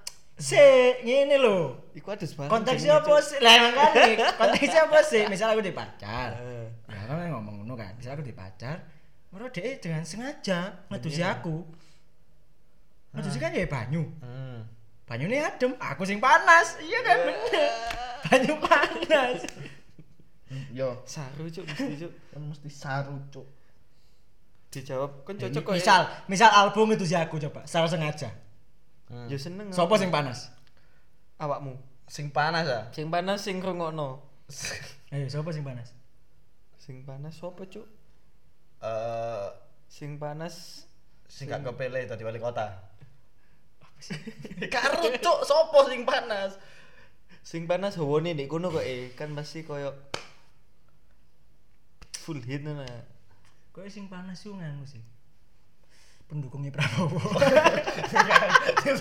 [SPEAKER 3] Se, ngene lho.
[SPEAKER 1] Iku ada sebarang
[SPEAKER 3] Konteksnya
[SPEAKER 1] jenenge,
[SPEAKER 3] apa sih? Lah emang kan nih, konteksnya apa sih? Misal aku di pacar. Ya kan aku ngomong ngono kan. Misal aku di pacar, moro dhek dengan sengaja ngedusi aku. Ngedusi kan ya banyu.
[SPEAKER 2] hmm.
[SPEAKER 3] Banyune adem, aku sing panas. Iya kan bener. [laughs] Banyu panas.
[SPEAKER 2] yo
[SPEAKER 1] Cuk. saru cuk mesti cuk
[SPEAKER 2] kan mesti saru cuk
[SPEAKER 1] dijawab kon cocok
[SPEAKER 3] Cocok
[SPEAKER 1] kok ya."
[SPEAKER 3] ya. misal, misal album ngedusi aku coba, secara sengaja.
[SPEAKER 1] yo seneng ah.
[SPEAKER 3] Sopo sing panas?
[SPEAKER 1] awakmu
[SPEAKER 2] sing panas ya
[SPEAKER 1] sing panas sing rungokno
[SPEAKER 3] Ayo, sopo sing panas?
[SPEAKER 1] Sing panas sapa, Cuk?
[SPEAKER 2] Eh,
[SPEAKER 1] Sing panas
[SPEAKER 2] sing gak kepele tadi wali kota. Karo cuk sopo sing panas.
[SPEAKER 1] sing panas hawane ndek kono kok eh kan pasti koyo full hit ngono. ya.
[SPEAKER 3] Kok sing panas yo nganu sih. Pendukungnya Prabowo. [laughs]
[SPEAKER 2] Terus.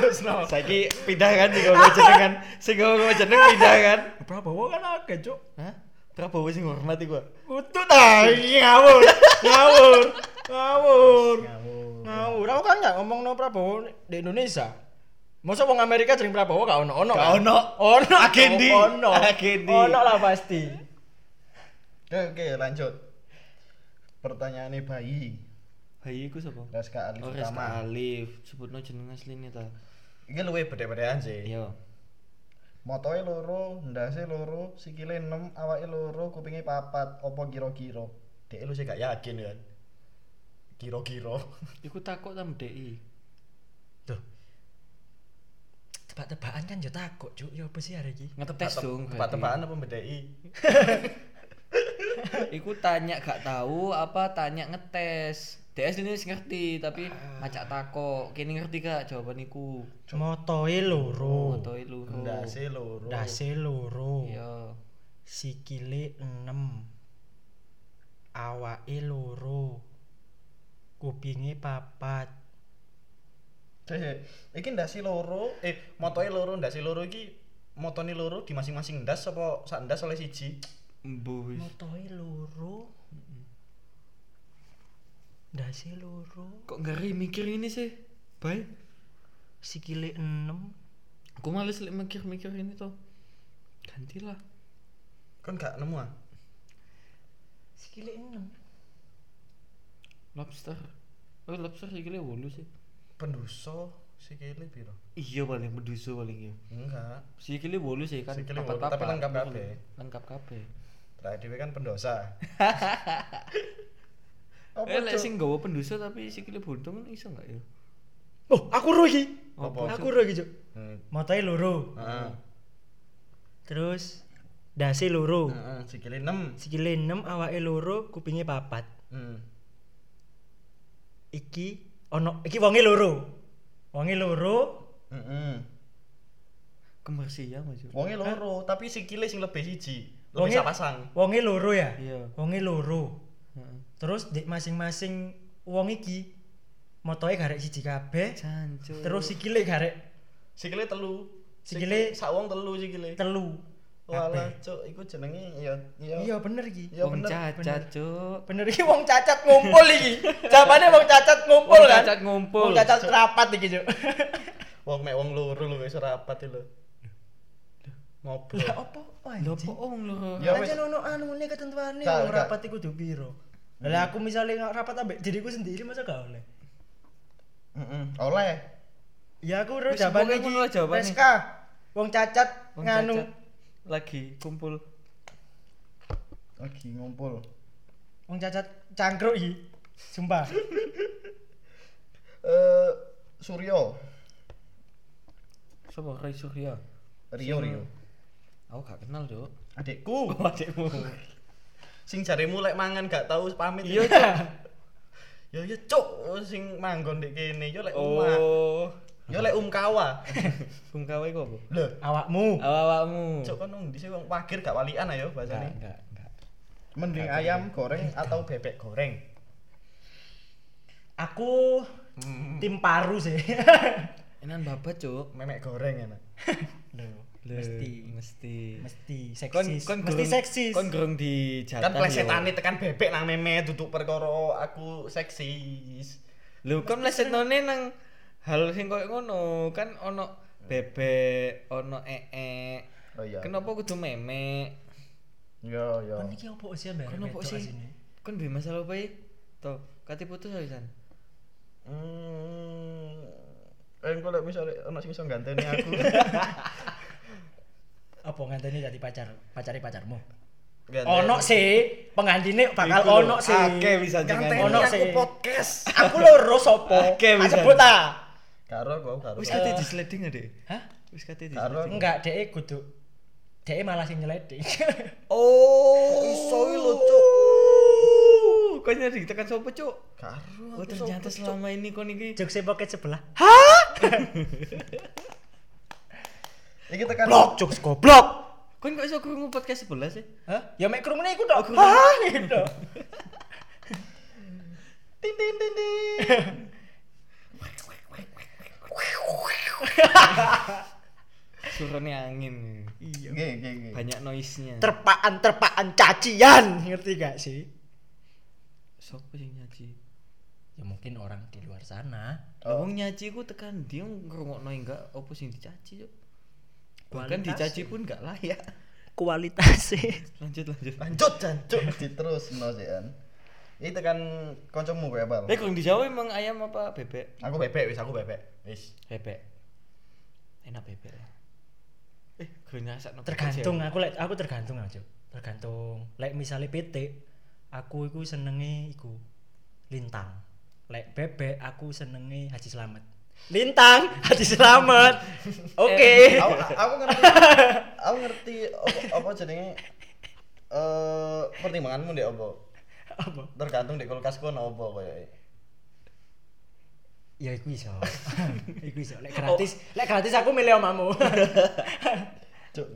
[SPEAKER 2] Terus no.
[SPEAKER 1] Saiki pindah kan sing ngomong jenengan, sing ngomong jeneng pindah kan.
[SPEAKER 3] Prabowo kan agak, Cuk.
[SPEAKER 1] Hah? Prabowo sing hormati gua.
[SPEAKER 3] Utuh ta, iki ngawur, ngawur, ngawur, ngawur. Aku kan nggak ngomong no Prabowo di Indonesia. Masa wong Amerika sering Prabowo gak ono ono.
[SPEAKER 2] Gak ono.
[SPEAKER 3] Ono.
[SPEAKER 2] Agendi.
[SPEAKER 3] Ono.
[SPEAKER 2] Agendi.
[SPEAKER 3] Ono lah pasti.
[SPEAKER 2] Oke, oke, lanjut. Pertanyaannya bayi.
[SPEAKER 1] Bayi iku sapa?
[SPEAKER 2] Reska Alif
[SPEAKER 1] Oh, Resta
[SPEAKER 2] Utama.
[SPEAKER 1] Alif, sebutno jeneng asline ta.
[SPEAKER 2] Iki luwe bedhe-bedhean sih.
[SPEAKER 1] Iya.
[SPEAKER 2] Motoe loro, ndase loro, sikile 6, awake loro, kupinge papat. Apa kira-kira? Dek lu sih gak yakin kan. Kira-kira.
[SPEAKER 1] Iku takok ta MDI.
[SPEAKER 3] Tuh. Tebak-tebakan kan yo takut, Cuk. Yo apa sih hari iki?
[SPEAKER 1] Ngetes dong.
[SPEAKER 2] Tebak-tebakan apa bedhei?
[SPEAKER 1] berarti. Iku tanya gak tahu apa tanya ngetes. DS ini ngerti tapi
[SPEAKER 2] Ah.
[SPEAKER 1] macak takok. Kini ngerti gak jawaban iku?
[SPEAKER 3] Motoe
[SPEAKER 2] Oh,
[SPEAKER 3] loro.
[SPEAKER 1] Ngotoi lu.
[SPEAKER 2] Ndase loro.
[SPEAKER 3] Dase loro.
[SPEAKER 1] Iya.
[SPEAKER 3] sikile 6 awake loro kupinge papat
[SPEAKER 2] Dek, Iki ndase loro, eh motoe loro, ndase loro iki motone loro di masing-masing ndas apa sak ndas oleh siji?
[SPEAKER 1] Mbuh. wis.
[SPEAKER 3] motoe loro dase loro
[SPEAKER 1] Kok ngeri mikir ini sih? Baik.
[SPEAKER 3] sikile 6
[SPEAKER 1] Aku males lek mikir-mikir ini toh. Gantilah.
[SPEAKER 2] Kan gak nemu ah.
[SPEAKER 3] sikile 6
[SPEAKER 1] Lobster. Oh, lobster sikile 8 sih.
[SPEAKER 2] Penduso sikile piro?
[SPEAKER 1] Iya paling medusa paling ya.
[SPEAKER 2] Enggak.
[SPEAKER 1] Sikile 8 sih kan.
[SPEAKER 2] Sikile wolu,
[SPEAKER 1] papat-papat.
[SPEAKER 2] tapi lengkap kabeh.
[SPEAKER 1] Lengkap kabeh.
[SPEAKER 2] Terakhir dhewe kan
[SPEAKER 1] [laughs]
[SPEAKER 2] pendosa. Apa
[SPEAKER 1] Eh, lek
[SPEAKER 2] Cuk?
[SPEAKER 1] sing gawa pendusa tapi sikile buntung kan iso enggak ya?
[SPEAKER 3] oh aku ro iki
[SPEAKER 1] Apa?
[SPEAKER 3] aku ro iki Cuk.
[SPEAKER 2] Hmm. Ah.
[SPEAKER 3] motoe loro
[SPEAKER 2] Heeh.
[SPEAKER 3] terus dase loro
[SPEAKER 2] Heeh, sikile 6.
[SPEAKER 3] sikile 6 awake loro kupinge papat
[SPEAKER 2] Hmm.
[SPEAKER 3] iki ono iki wonge loro wonge loro
[SPEAKER 2] Heeh.
[SPEAKER 1] Kembar siang aja.
[SPEAKER 2] Wonge loro, tapi sikile sing lebih siji. Lebih
[SPEAKER 3] Eh. Wonge-
[SPEAKER 2] sapasang.
[SPEAKER 3] wonge loro ya
[SPEAKER 1] Iya.
[SPEAKER 3] wonge loro
[SPEAKER 1] Heeh.
[SPEAKER 3] terus di masing-masing wong iki motoe garek siji kabeh
[SPEAKER 1] Jancuk.
[SPEAKER 3] terus sikile garek
[SPEAKER 2] Sikile telu.
[SPEAKER 3] Sikile-
[SPEAKER 2] sak wong telu sikile.
[SPEAKER 3] telu
[SPEAKER 2] Walah, cuk, iku jenenge ya ya.
[SPEAKER 3] iya bener iki
[SPEAKER 2] Ya
[SPEAKER 1] wong
[SPEAKER 2] bener.
[SPEAKER 1] cacat, Cuk.
[SPEAKER 3] bener iki wong cacat ngumpul iki jamane wong cacat ngumpul
[SPEAKER 1] Wong
[SPEAKER 3] kan
[SPEAKER 1] cacat ngumpul.
[SPEAKER 3] wong cacat rapat iki Cuk.
[SPEAKER 2] Wong mek wong loro lho wis rapat lho. Ngobrol.
[SPEAKER 3] [laughs] lah oh, opo
[SPEAKER 1] Lho,
[SPEAKER 3] anjing?
[SPEAKER 1] kok wong lho.
[SPEAKER 2] Ya
[SPEAKER 3] Ya
[SPEAKER 2] wis.
[SPEAKER 3] wis ono anune ketentuane
[SPEAKER 2] Gak,
[SPEAKER 3] wong
[SPEAKER 2] gak.
[SPEAKER 3] rapat iku kudu piro. Lah aku misale nggak rapat ambek diriku sendiri masa gak oleh.
[SPEAKER 2] Heeh. Oleh.
[SPEAKER 3] Ya aku udah
[SPEAKER 1] Wis,
[SPEAKER 3] jawaban
[SPEAKER 1] pokoknya
[SPEAKER 3] iki.
[SPEAKER 1] ngono lah jawabannya.
[SPEAKER 3] Reska. Wong cacat
[SPEAKER 1] Wong
[SPEAKER 3] nganu.
[SPEAKER 1] cacat lagi kumpul.
[SPEAKER 2] Lagi ngumpul.
[SPEAKER 3] Wong cacat cangkruk iki. Sumpah.
[SPEAKER 1] [laughs]
[SPEAKER 2] Eh Suryo.
[SPEAKER 1] Sapa Rai Surya?
[SPEAKER 2] Rio Rio.
[SPEAKER 1] Aku gak kenal, Cuk. Oh,
[SPEAKER 2] Adikku
[SPEAKER 1] adikmu.
[SPEAKER 2] sing jaremu lek mangan gak tau pamit.
[SPEAKER 1] Iya,
[SPEAKER 2] ini.
[SPEAKER 1] Cuk.
[SPEAKER 2] Ya ya cuk sing manggon ndek kene ya lek omah.
[SPEAKER 1] Oh.
[SPEAKER 2] Ya lek umkawa.
[SPEAKER 1] Bung Kawa iku apa?
[SPEAKER 2] Lho,
[SPEAKER 3] Awakmu.
[SPEAKER 1] Awakmu.
[SPEAKER 2] cuk kan nang ndi sih wong wagir gak walian ayo
[SPEAKER 1] Enggak,
[SPEAKER 2] bahasane.
[SPEAKER 1] enggak, enggak.
[SPEAKER 2] Mending ayam goreng atau bebek goreng.
[SPEAKER 3] Aku
[SPEAKER 2] Hmm.
[SPEAKER 3] tim paru sih. [laughs]
[SPEAKER 1] Enan babat, Cuk.
[SPEAKER 2] Memek goreng enak.
[SPEAKER 3] Loh,
[SPEAKER 1] Lho,
[SPEAKER 3] mesti
[SPEAKER 1] mesti.
[SPEAKER 3] mesti
[SPEAKER 1] Kon
[SPEAKER 3] seksis.
[SPEAKER 1] kon
[SPEAKER 3] mesti
[SPEAKER 1] gerung-
[SPEAKER 3] seksis.
[SPEAKER 1] Kon gerung di jatah.
[SPEAKER 2] kan plesetane tekan bebek nang meme duduk perkara aku seksis
[SPEAKER 1] Lho, kon plesetane nang hal sing koyo ngono, kan ono bebek, ono ee.
[SPEAKER 2] oh iya
[SPEAKER 1] Kenapa kudu meme?
[SPEAKER 2] iya iya
[SPEAKER 3] Kon iki opo sih mbak?
[SPEAKER 1] Kon opo sih? Kon duwe masalah apa ya? Toh, kate putus awisan.
[SPEAKER 2] hmm engko lek misale ono sing iso ganteni aku
[SPEAKER 3] Apa ngantene dadi pacar? Pacare pacarmu.
[SPEAKER 2] Ganteni.
[SPEAKER 3] Ono sih, pengantine bakal
[SPEAKER 1] Iku lho,
[SPEAKER 3] ono sih.
[SPEAKER 1] akeh bisa
[SPEAKER 2] ganteni
[SPEAKER 1] jenengan.
[SPEAKER 3] Ono
[SPEAKER 2] aku
[SPEAKER 3] sih.
[SPEAKER 2] podcast
[SPEAKER 3] Aku loro sopo?
[SPEAKER 1] Akeh
[SPEAKER 3] Tak
[SPEAKER 1] bisa.
[SPEAKER 3] Sebut ah. ta.
[SPEAKER 2] karo aku aku karo
[SPEAKER 1] Wis kate disleding adek.
[SPEAKER 3] Hah?
[SPEAKER 1] Wis kate
[SPEAKER 2] Ya.
[SPEAKER 1] disleding.
[SPEAKER 2] karo aku. [laughs]
[SPEAKER 3] Enggak, dhek kudu dhek malah sing nyeledek.
[SPEAKER 1] Oh.
[SPEAKER 2] iso lho
[SPEAKER 3] [laughs]
[SPEAKER 2] cuk
[SPEAKER 1] Kau nyari tekan sopo cuk?
[SPEAKER 2] karo
[SPEAKER 1] Oh ternyata selama ini kau niki.
[SPEAKER 3] Jokse e pocket sebelah.
[SPEAKER 2] iki tekan
[SPEAKER 3] Blok jokes goblok.
[SPEAKER 1] Kau kok iso krungu podcast sebelah sih?
[SPEAKER 3] Hah? Ya mek krungune iku tok. Hah gitu.
[SPEAKER 2] [laughs] tin tin tin tin
[SPEAKER 1] Surone angin.
[SPEAKER 3] [laughs] Iya.
[SPEAKER 2] nggih nggih nggih
[SPEAKER 1] Banyak noise-nya.
[SPEAKER 3] Terpaan terpaan cacian, ngerti gak sih?
[SPEAKER 1] Sopo sing nyaji?
[SPEAKER 3] Ya mungkin orang di luar sana.
[SPEAKER 2] Oh.
[SPEAKER 1] Lah wong nyaji ku tekan dia ngrungokno enggak opo sing dicaci cuk. Bahkan
[SPEAKER 3] Kualitas
[SPEAKER 1] dicaci pun enggak layak. [laughs]
[SPEAKER 3] Kualitasnya
[SPEAKER 1] Lanjut lanjut.
[SPEAKER 2] lanjut jancuk diterusno sih kan iki tekan kancamu kowe apa
[SPEAKER 1] Eh kurang dijawab emang ayam apa bebek?
[SPEAKER 2] aku bebek wis aku bebek wis
[SPEAKER 1] Bebek. Enak bebek lah. Eh, gue nyasar no
[SPEAKER 3] tergantung aku lek aku tergantung aja. Tergantung. Lek misalnya PT aku iku senenge iku lintang. Lek bebek aku senenge Haji Slamet. Lintang, Haji Slamet. Oke.
[SPEAKER 1] Eh.
[SPEAKER 2] Eh,
[SPEAKER 3] [laughs]
[SPEAKER 2] aku, aku ngerti
[SPEAKER 1] [laughs]
[SPEAKER 2] aku ngerti apa, apa jenenge eh pertimbanganmu ndek apa
[SPEAKER 3] Apa?
[SPEAKER 2] tergantung ndek kulkas ku ono apa koyoke
[SPEAKER 3] Ya iku iso. iku iso. Lek gratis, lek gratis aku milih omamu.
[SPEAKER 2] cuk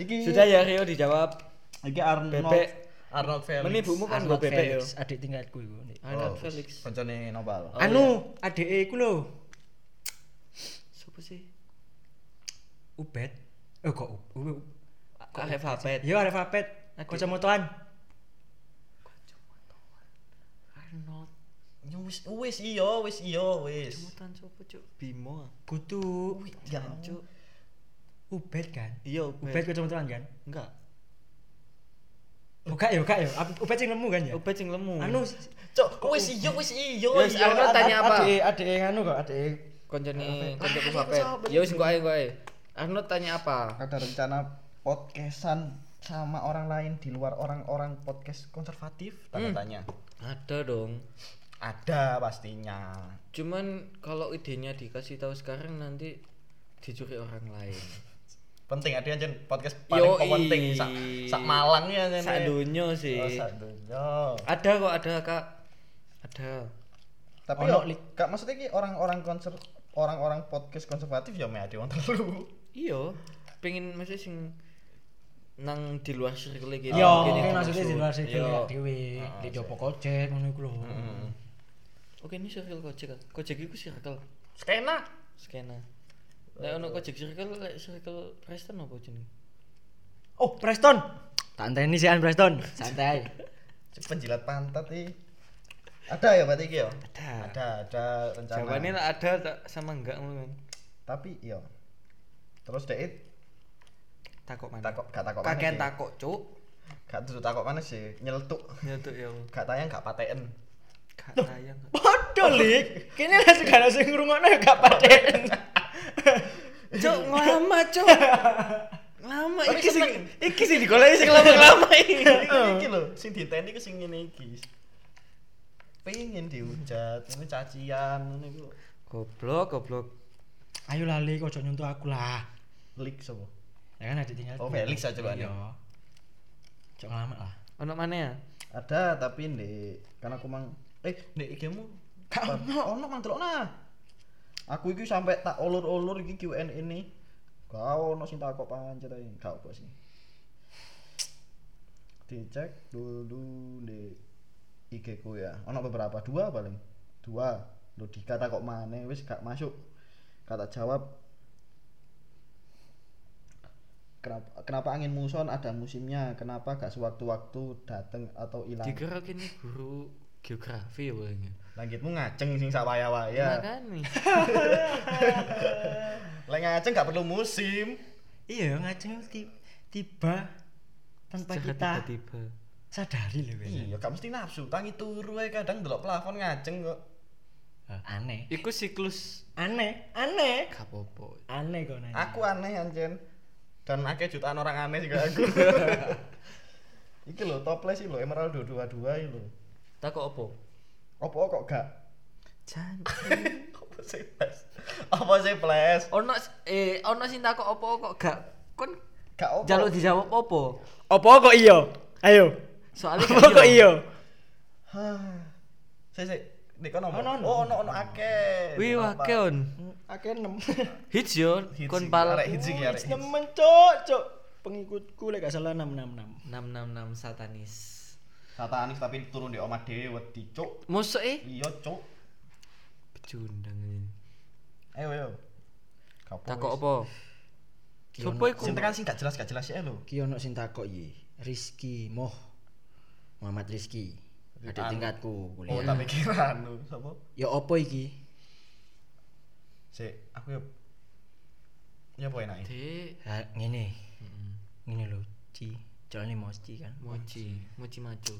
[SPEAKER 2] iki
[SPEAKER 1] Sudah ya Rio dijawab.
[SPEAKER 2] iki Arnold
[SPEAKER 1] Bebek.
[SPEAKER 2] Arnold Felix
[SPEAKER 1] Menibumu kan gue
[SPEAKER 3] Arnold
[SPEAKER 1] bebek yo.
[SPEAKER 3] Felix, adik tingkatku iku. Nek.
[SPEAKER 1] Arnold Ah, Felix.
[SPEAKER 2] Pencane nopal.
[SPEAKER 1] Oh,
[SPEAKER 3] anu, adike iku lho,
[SPEAKER 1] Sopo sih?
[SPEAKER 3] Ubed. Eh kok Ub- Ub-
[SPEAKER 1] Arif Hapet.
[SPEAKER 3] Ya Arif Apet,
[SPEAKER 1] Adik.
[SPEAKER 3] kocomotoan.
[SPEAKER 1] Arnold.
[SPEAKER 2] Ya wis wis iya wis iya wis. Ya
[SPEAKER 1] Cemutan sopo cuk? Bimo. ah.
[SPEAKER 3] Kudu
[SPEAKER 1] Jangan cuk.
[SPEAKER 3] Ubed kan.
[SPEAKER 1] Iya,
[SPEAKER 3] Ubed
[SPEAKER 1] Ubed.
[SPEAKER 3] kocomotoan kan.
[SPEAKER 1] Enggak.
[SPEAKER 3] Oh gak yo, gak yo. Ab- Ubed sing nemu kan ya.
[SPEAKER 1] Ubed sing lemu.
[SPEAKER 3] Anu
[SPEAKER 2] Cuk wis iya wis iya.
[SPEAKER 1] Wes,
[SPEAKER 2] iya.
[SPEAKER 1] Arnold tanya apa?
[SPEAKER 3] Adike adike anu kok adike.
[SPEAKER 1] koncone koncoku Fapet. Ya wis gua ae gua ae. Arnold tanya apa?
[SPEAKER 2] Ada rencana podcastan sama orang lain di luar orang-orang podcast konservatif? Tanda tanya.
[SPEAKER 1] Ada dong.
[SPEAKER 2] Ada pastinya.
[SPEAKER 1] Cuman kalau idenya dikasih tahu sekarang nanti dicuri orang lain.
[SPEAKER 2] Penting ada yang podcast paling
[SPEAKER 1] Yoi.
[SPEAKER 2] penting sak sak Malang ya Jen.
[SPEAKER 1] Sak dunyo sih.
[SPEAKER 2] Oh, sak dunya.
[SPEAKER 1] Ada kok ada Kak. Ada.
[SPEAKER 2] Tapi
[SPEAKER 3] Ono,
[SPEAKER 2] yo, gak maksudnya ki orang-orang konser orang-orang podcast konservatif ya me ada wong telu.
[SPEAKER 1] Iya, pengen maksudnya sing nang di luar circle gitu.
[SPEAKER 3] Yo,
[SPEAKER 1] Gini dimaksud.
[SPEAKER 3] mungkin Iya, maksudnya di luar sirkel
[SPEAKER 1] Yo. Ah,
[SPEAKER 3] ya dhewe, di jopo kocek ngono iku lho.
[SPEAKER 2] Hmm.
[SPEAKER 1] Oke, ini circle Kojek. Kak. Kojek iku circle
[SPEAKER 2] Skena.
[SPEAKER 1] skena. Nek ono Kojek circle, lek circle Preston apa jenenge?
[SPEAKER 3] Oh, Preston. Tak anteni sih Preston. [laughs] Santai.
[SPEAKER 2] penjilat pantat iki. Ada ya berarti iki ya?
[SPEAKER 1] Ada.
[SPEAKER 2] Ada, ada rencana.
[SPEAKER 1] Jawabannya lah ada tak- sama enggak ngono kan.
[SPEAKER 2] Tapi iya. Terus dek
[SPEAKER 1] Takok mana?
[SPEAKER 2] takok gak takok
[SPEAKER 1] Kakek
[SPEAKER 2] maneh sih.
[SPEAKER 1] takok, Cuk.
[SPEAKER 2] Gak terus takok mana sih? Nyeltuk.
[SPEAKER 1] Ya tuh ya.
[SPEAKER 2] Gak tayang gak [laughs] paten.
[SPEAKER 1] Gak
[SPEAKER 3] [laughs]
[SPEAKER 1] tayang.
[SPEAKER 3] Waduh, Lik. Kene nek segala sing ngrungokno ya gak [laughs] paten.
[SPEAKER 1] Cuk, lama, Cuk. Lama iki sing iki sing digoleki sing lama-lama iki.
[SPEAKER 2] Iki lho, sing diteni ku sing ngene iki. Pengen dihujat, ini cacian ngene iku.
[SPEAKER 1] Goblok, goblok.
[SPEAKER 3] Ayo lah, Lik, ojo nyuntuh aku lah.
[SPEAKER 2] Lik sapa?
[SPEAKER 3] Ya kan adik tinggal.
[SPEAKER 2] Oh, Felix aja coba
[SPEAKER 3] Iya. Cok ngelamat lah.
[SPEAKER 1] Ono mana ya?
[SPEAKER 2] Nah. Ada tapi ndek kan aku mang eh ndek igmu
[SPEAKER 3] Gak
[SPEAKER 2] ono ono mang delokna. Aku iki sampe tak ulur-ulur iki QN ini. Kau ono sing takok pancet ae, gak apa sih. Dicek dulu ndek IG ku ya. Ono beberapa dua paling. Dua. Lu dikata kok maneh wis gak masuk. Kata jawab Kenapa, kenapa angin muson ada musimnya? Kenapa gak sewaktu-waktu dateng atau hilang?
[SPEAKER 1] Dikira kene guru geografi ya wong.
[SPEAKER 2] Langitmu ngaceng sing sak
[SPEAKER 1] Iya.
[SPEAKER 2] waya-waya.
[SPEAKER 1] Makane. [laughs]
[SPEAKER 2] Lek ngaceng gak perlu musim.
[SPEAKER 3] Iya, ngajeng ti- tiba tanpa
[SPEAKER 1] Secara
[SPEAKER 3] kita
[SPEAKER 1] tiba-tiba.
[SPEAKER 3] sadari lho wes.
[SPEAKER 2] Iya, gak mesti nafsu, tangi turu ae kadang delok plafon ngaceng kok.
[SPEAKER 3] Eh, Aneh.
[SPEAKER 1] Iku siklus
[SPEAKER 3] Aneh, aneh.
[SPEAKER 1] gak apa-apa.
[SPEAKER 3] Aneh kok nanya.
[SPEAKER 2] Aku aneh anjen. Dan akeh jutaan orang aneh juga aku. iki lho toples iki lho Emerald 222 iki lho.
[SPEAKER 1] Takok apa?
[SPEAKER 2] Opo kok gak?
[SPEAKER 1] Jan.
[SPEAKER 2] Opo sih ples? Opo sih ples?
[SPEAKER 1] Ono eh ono sing takok apa kok gak kon
[SPEAKER 2] Gak opo.
[SPEAKER 1] jaluk dijawab apa?
[SPEAKER 3] Opo kok iya? Ayo.
[SPEAKER 1] Soalnya
[SPEAKER 3] Apa kok iya?
[SPEAKER 2] Hah. Saya saya nek kono apa?
[SPEAKER 3] Ono, ono.
[SPEAKER 2] Oh, ono ono akeh.
[SPEAKER 1] Wih
[SPEAKER 2] Ono,
[SPEAKER 1] wah
[SPEAKER 2] Pak.
[SPEAKER 1] keon.
[SPEAKER 3] Akeh [laughs] 6.
[SPEAKER 1] Hits yo
[SPEAKER 2] Hits
[SPEAKER 1] kon
[SPEAKER 2] iki,
[SPEAKER 1] pal
[SPEAKER 2] arek hits iki arek hits.
[SPEAKER 3] Nemen cok, cok. Pengikutku lek gak salah 666.
[SPEAKER 1] 666 satanis.
[SPEAKER 2] Kata Anis tapi turun di omah dhewe wedi cuk.
[SPEAKER 1] Mosok e
[SPEAKER 2] Iya cuk.
[SPEAKER 1] pecundang ini.
[SPEAKER 2] Ayo ayo. Kapo
[SPEAKER 1] Takok
[SPEAKER 2] wis?
[SPEAKER 1] apa? Sopo iku?
[SPEAKER 2] Sing tekan sing gak jelas gak jelas ya lho.
[SPEAKER 3] Ki ono sing takok iki, Rizki Moh. Muhammad Rizki. Adik tingkatku
[SPEAKER 2] Oh,
[SPEAKER 3] kuliah.
[SPEAKER 2] tak pikiran lho. Sopo?
[SPEAKER 3] Ya opo iki?
[SPEAKER 2] Sik, aku yo. Ya apa enake?
[SPEAKER 1] Dek,
[SPEAKER 3] Ha ngene. Ngene lho, Ci. Jalan mau Ci kan.
[SPEAKER 1] mochi, mochi maco.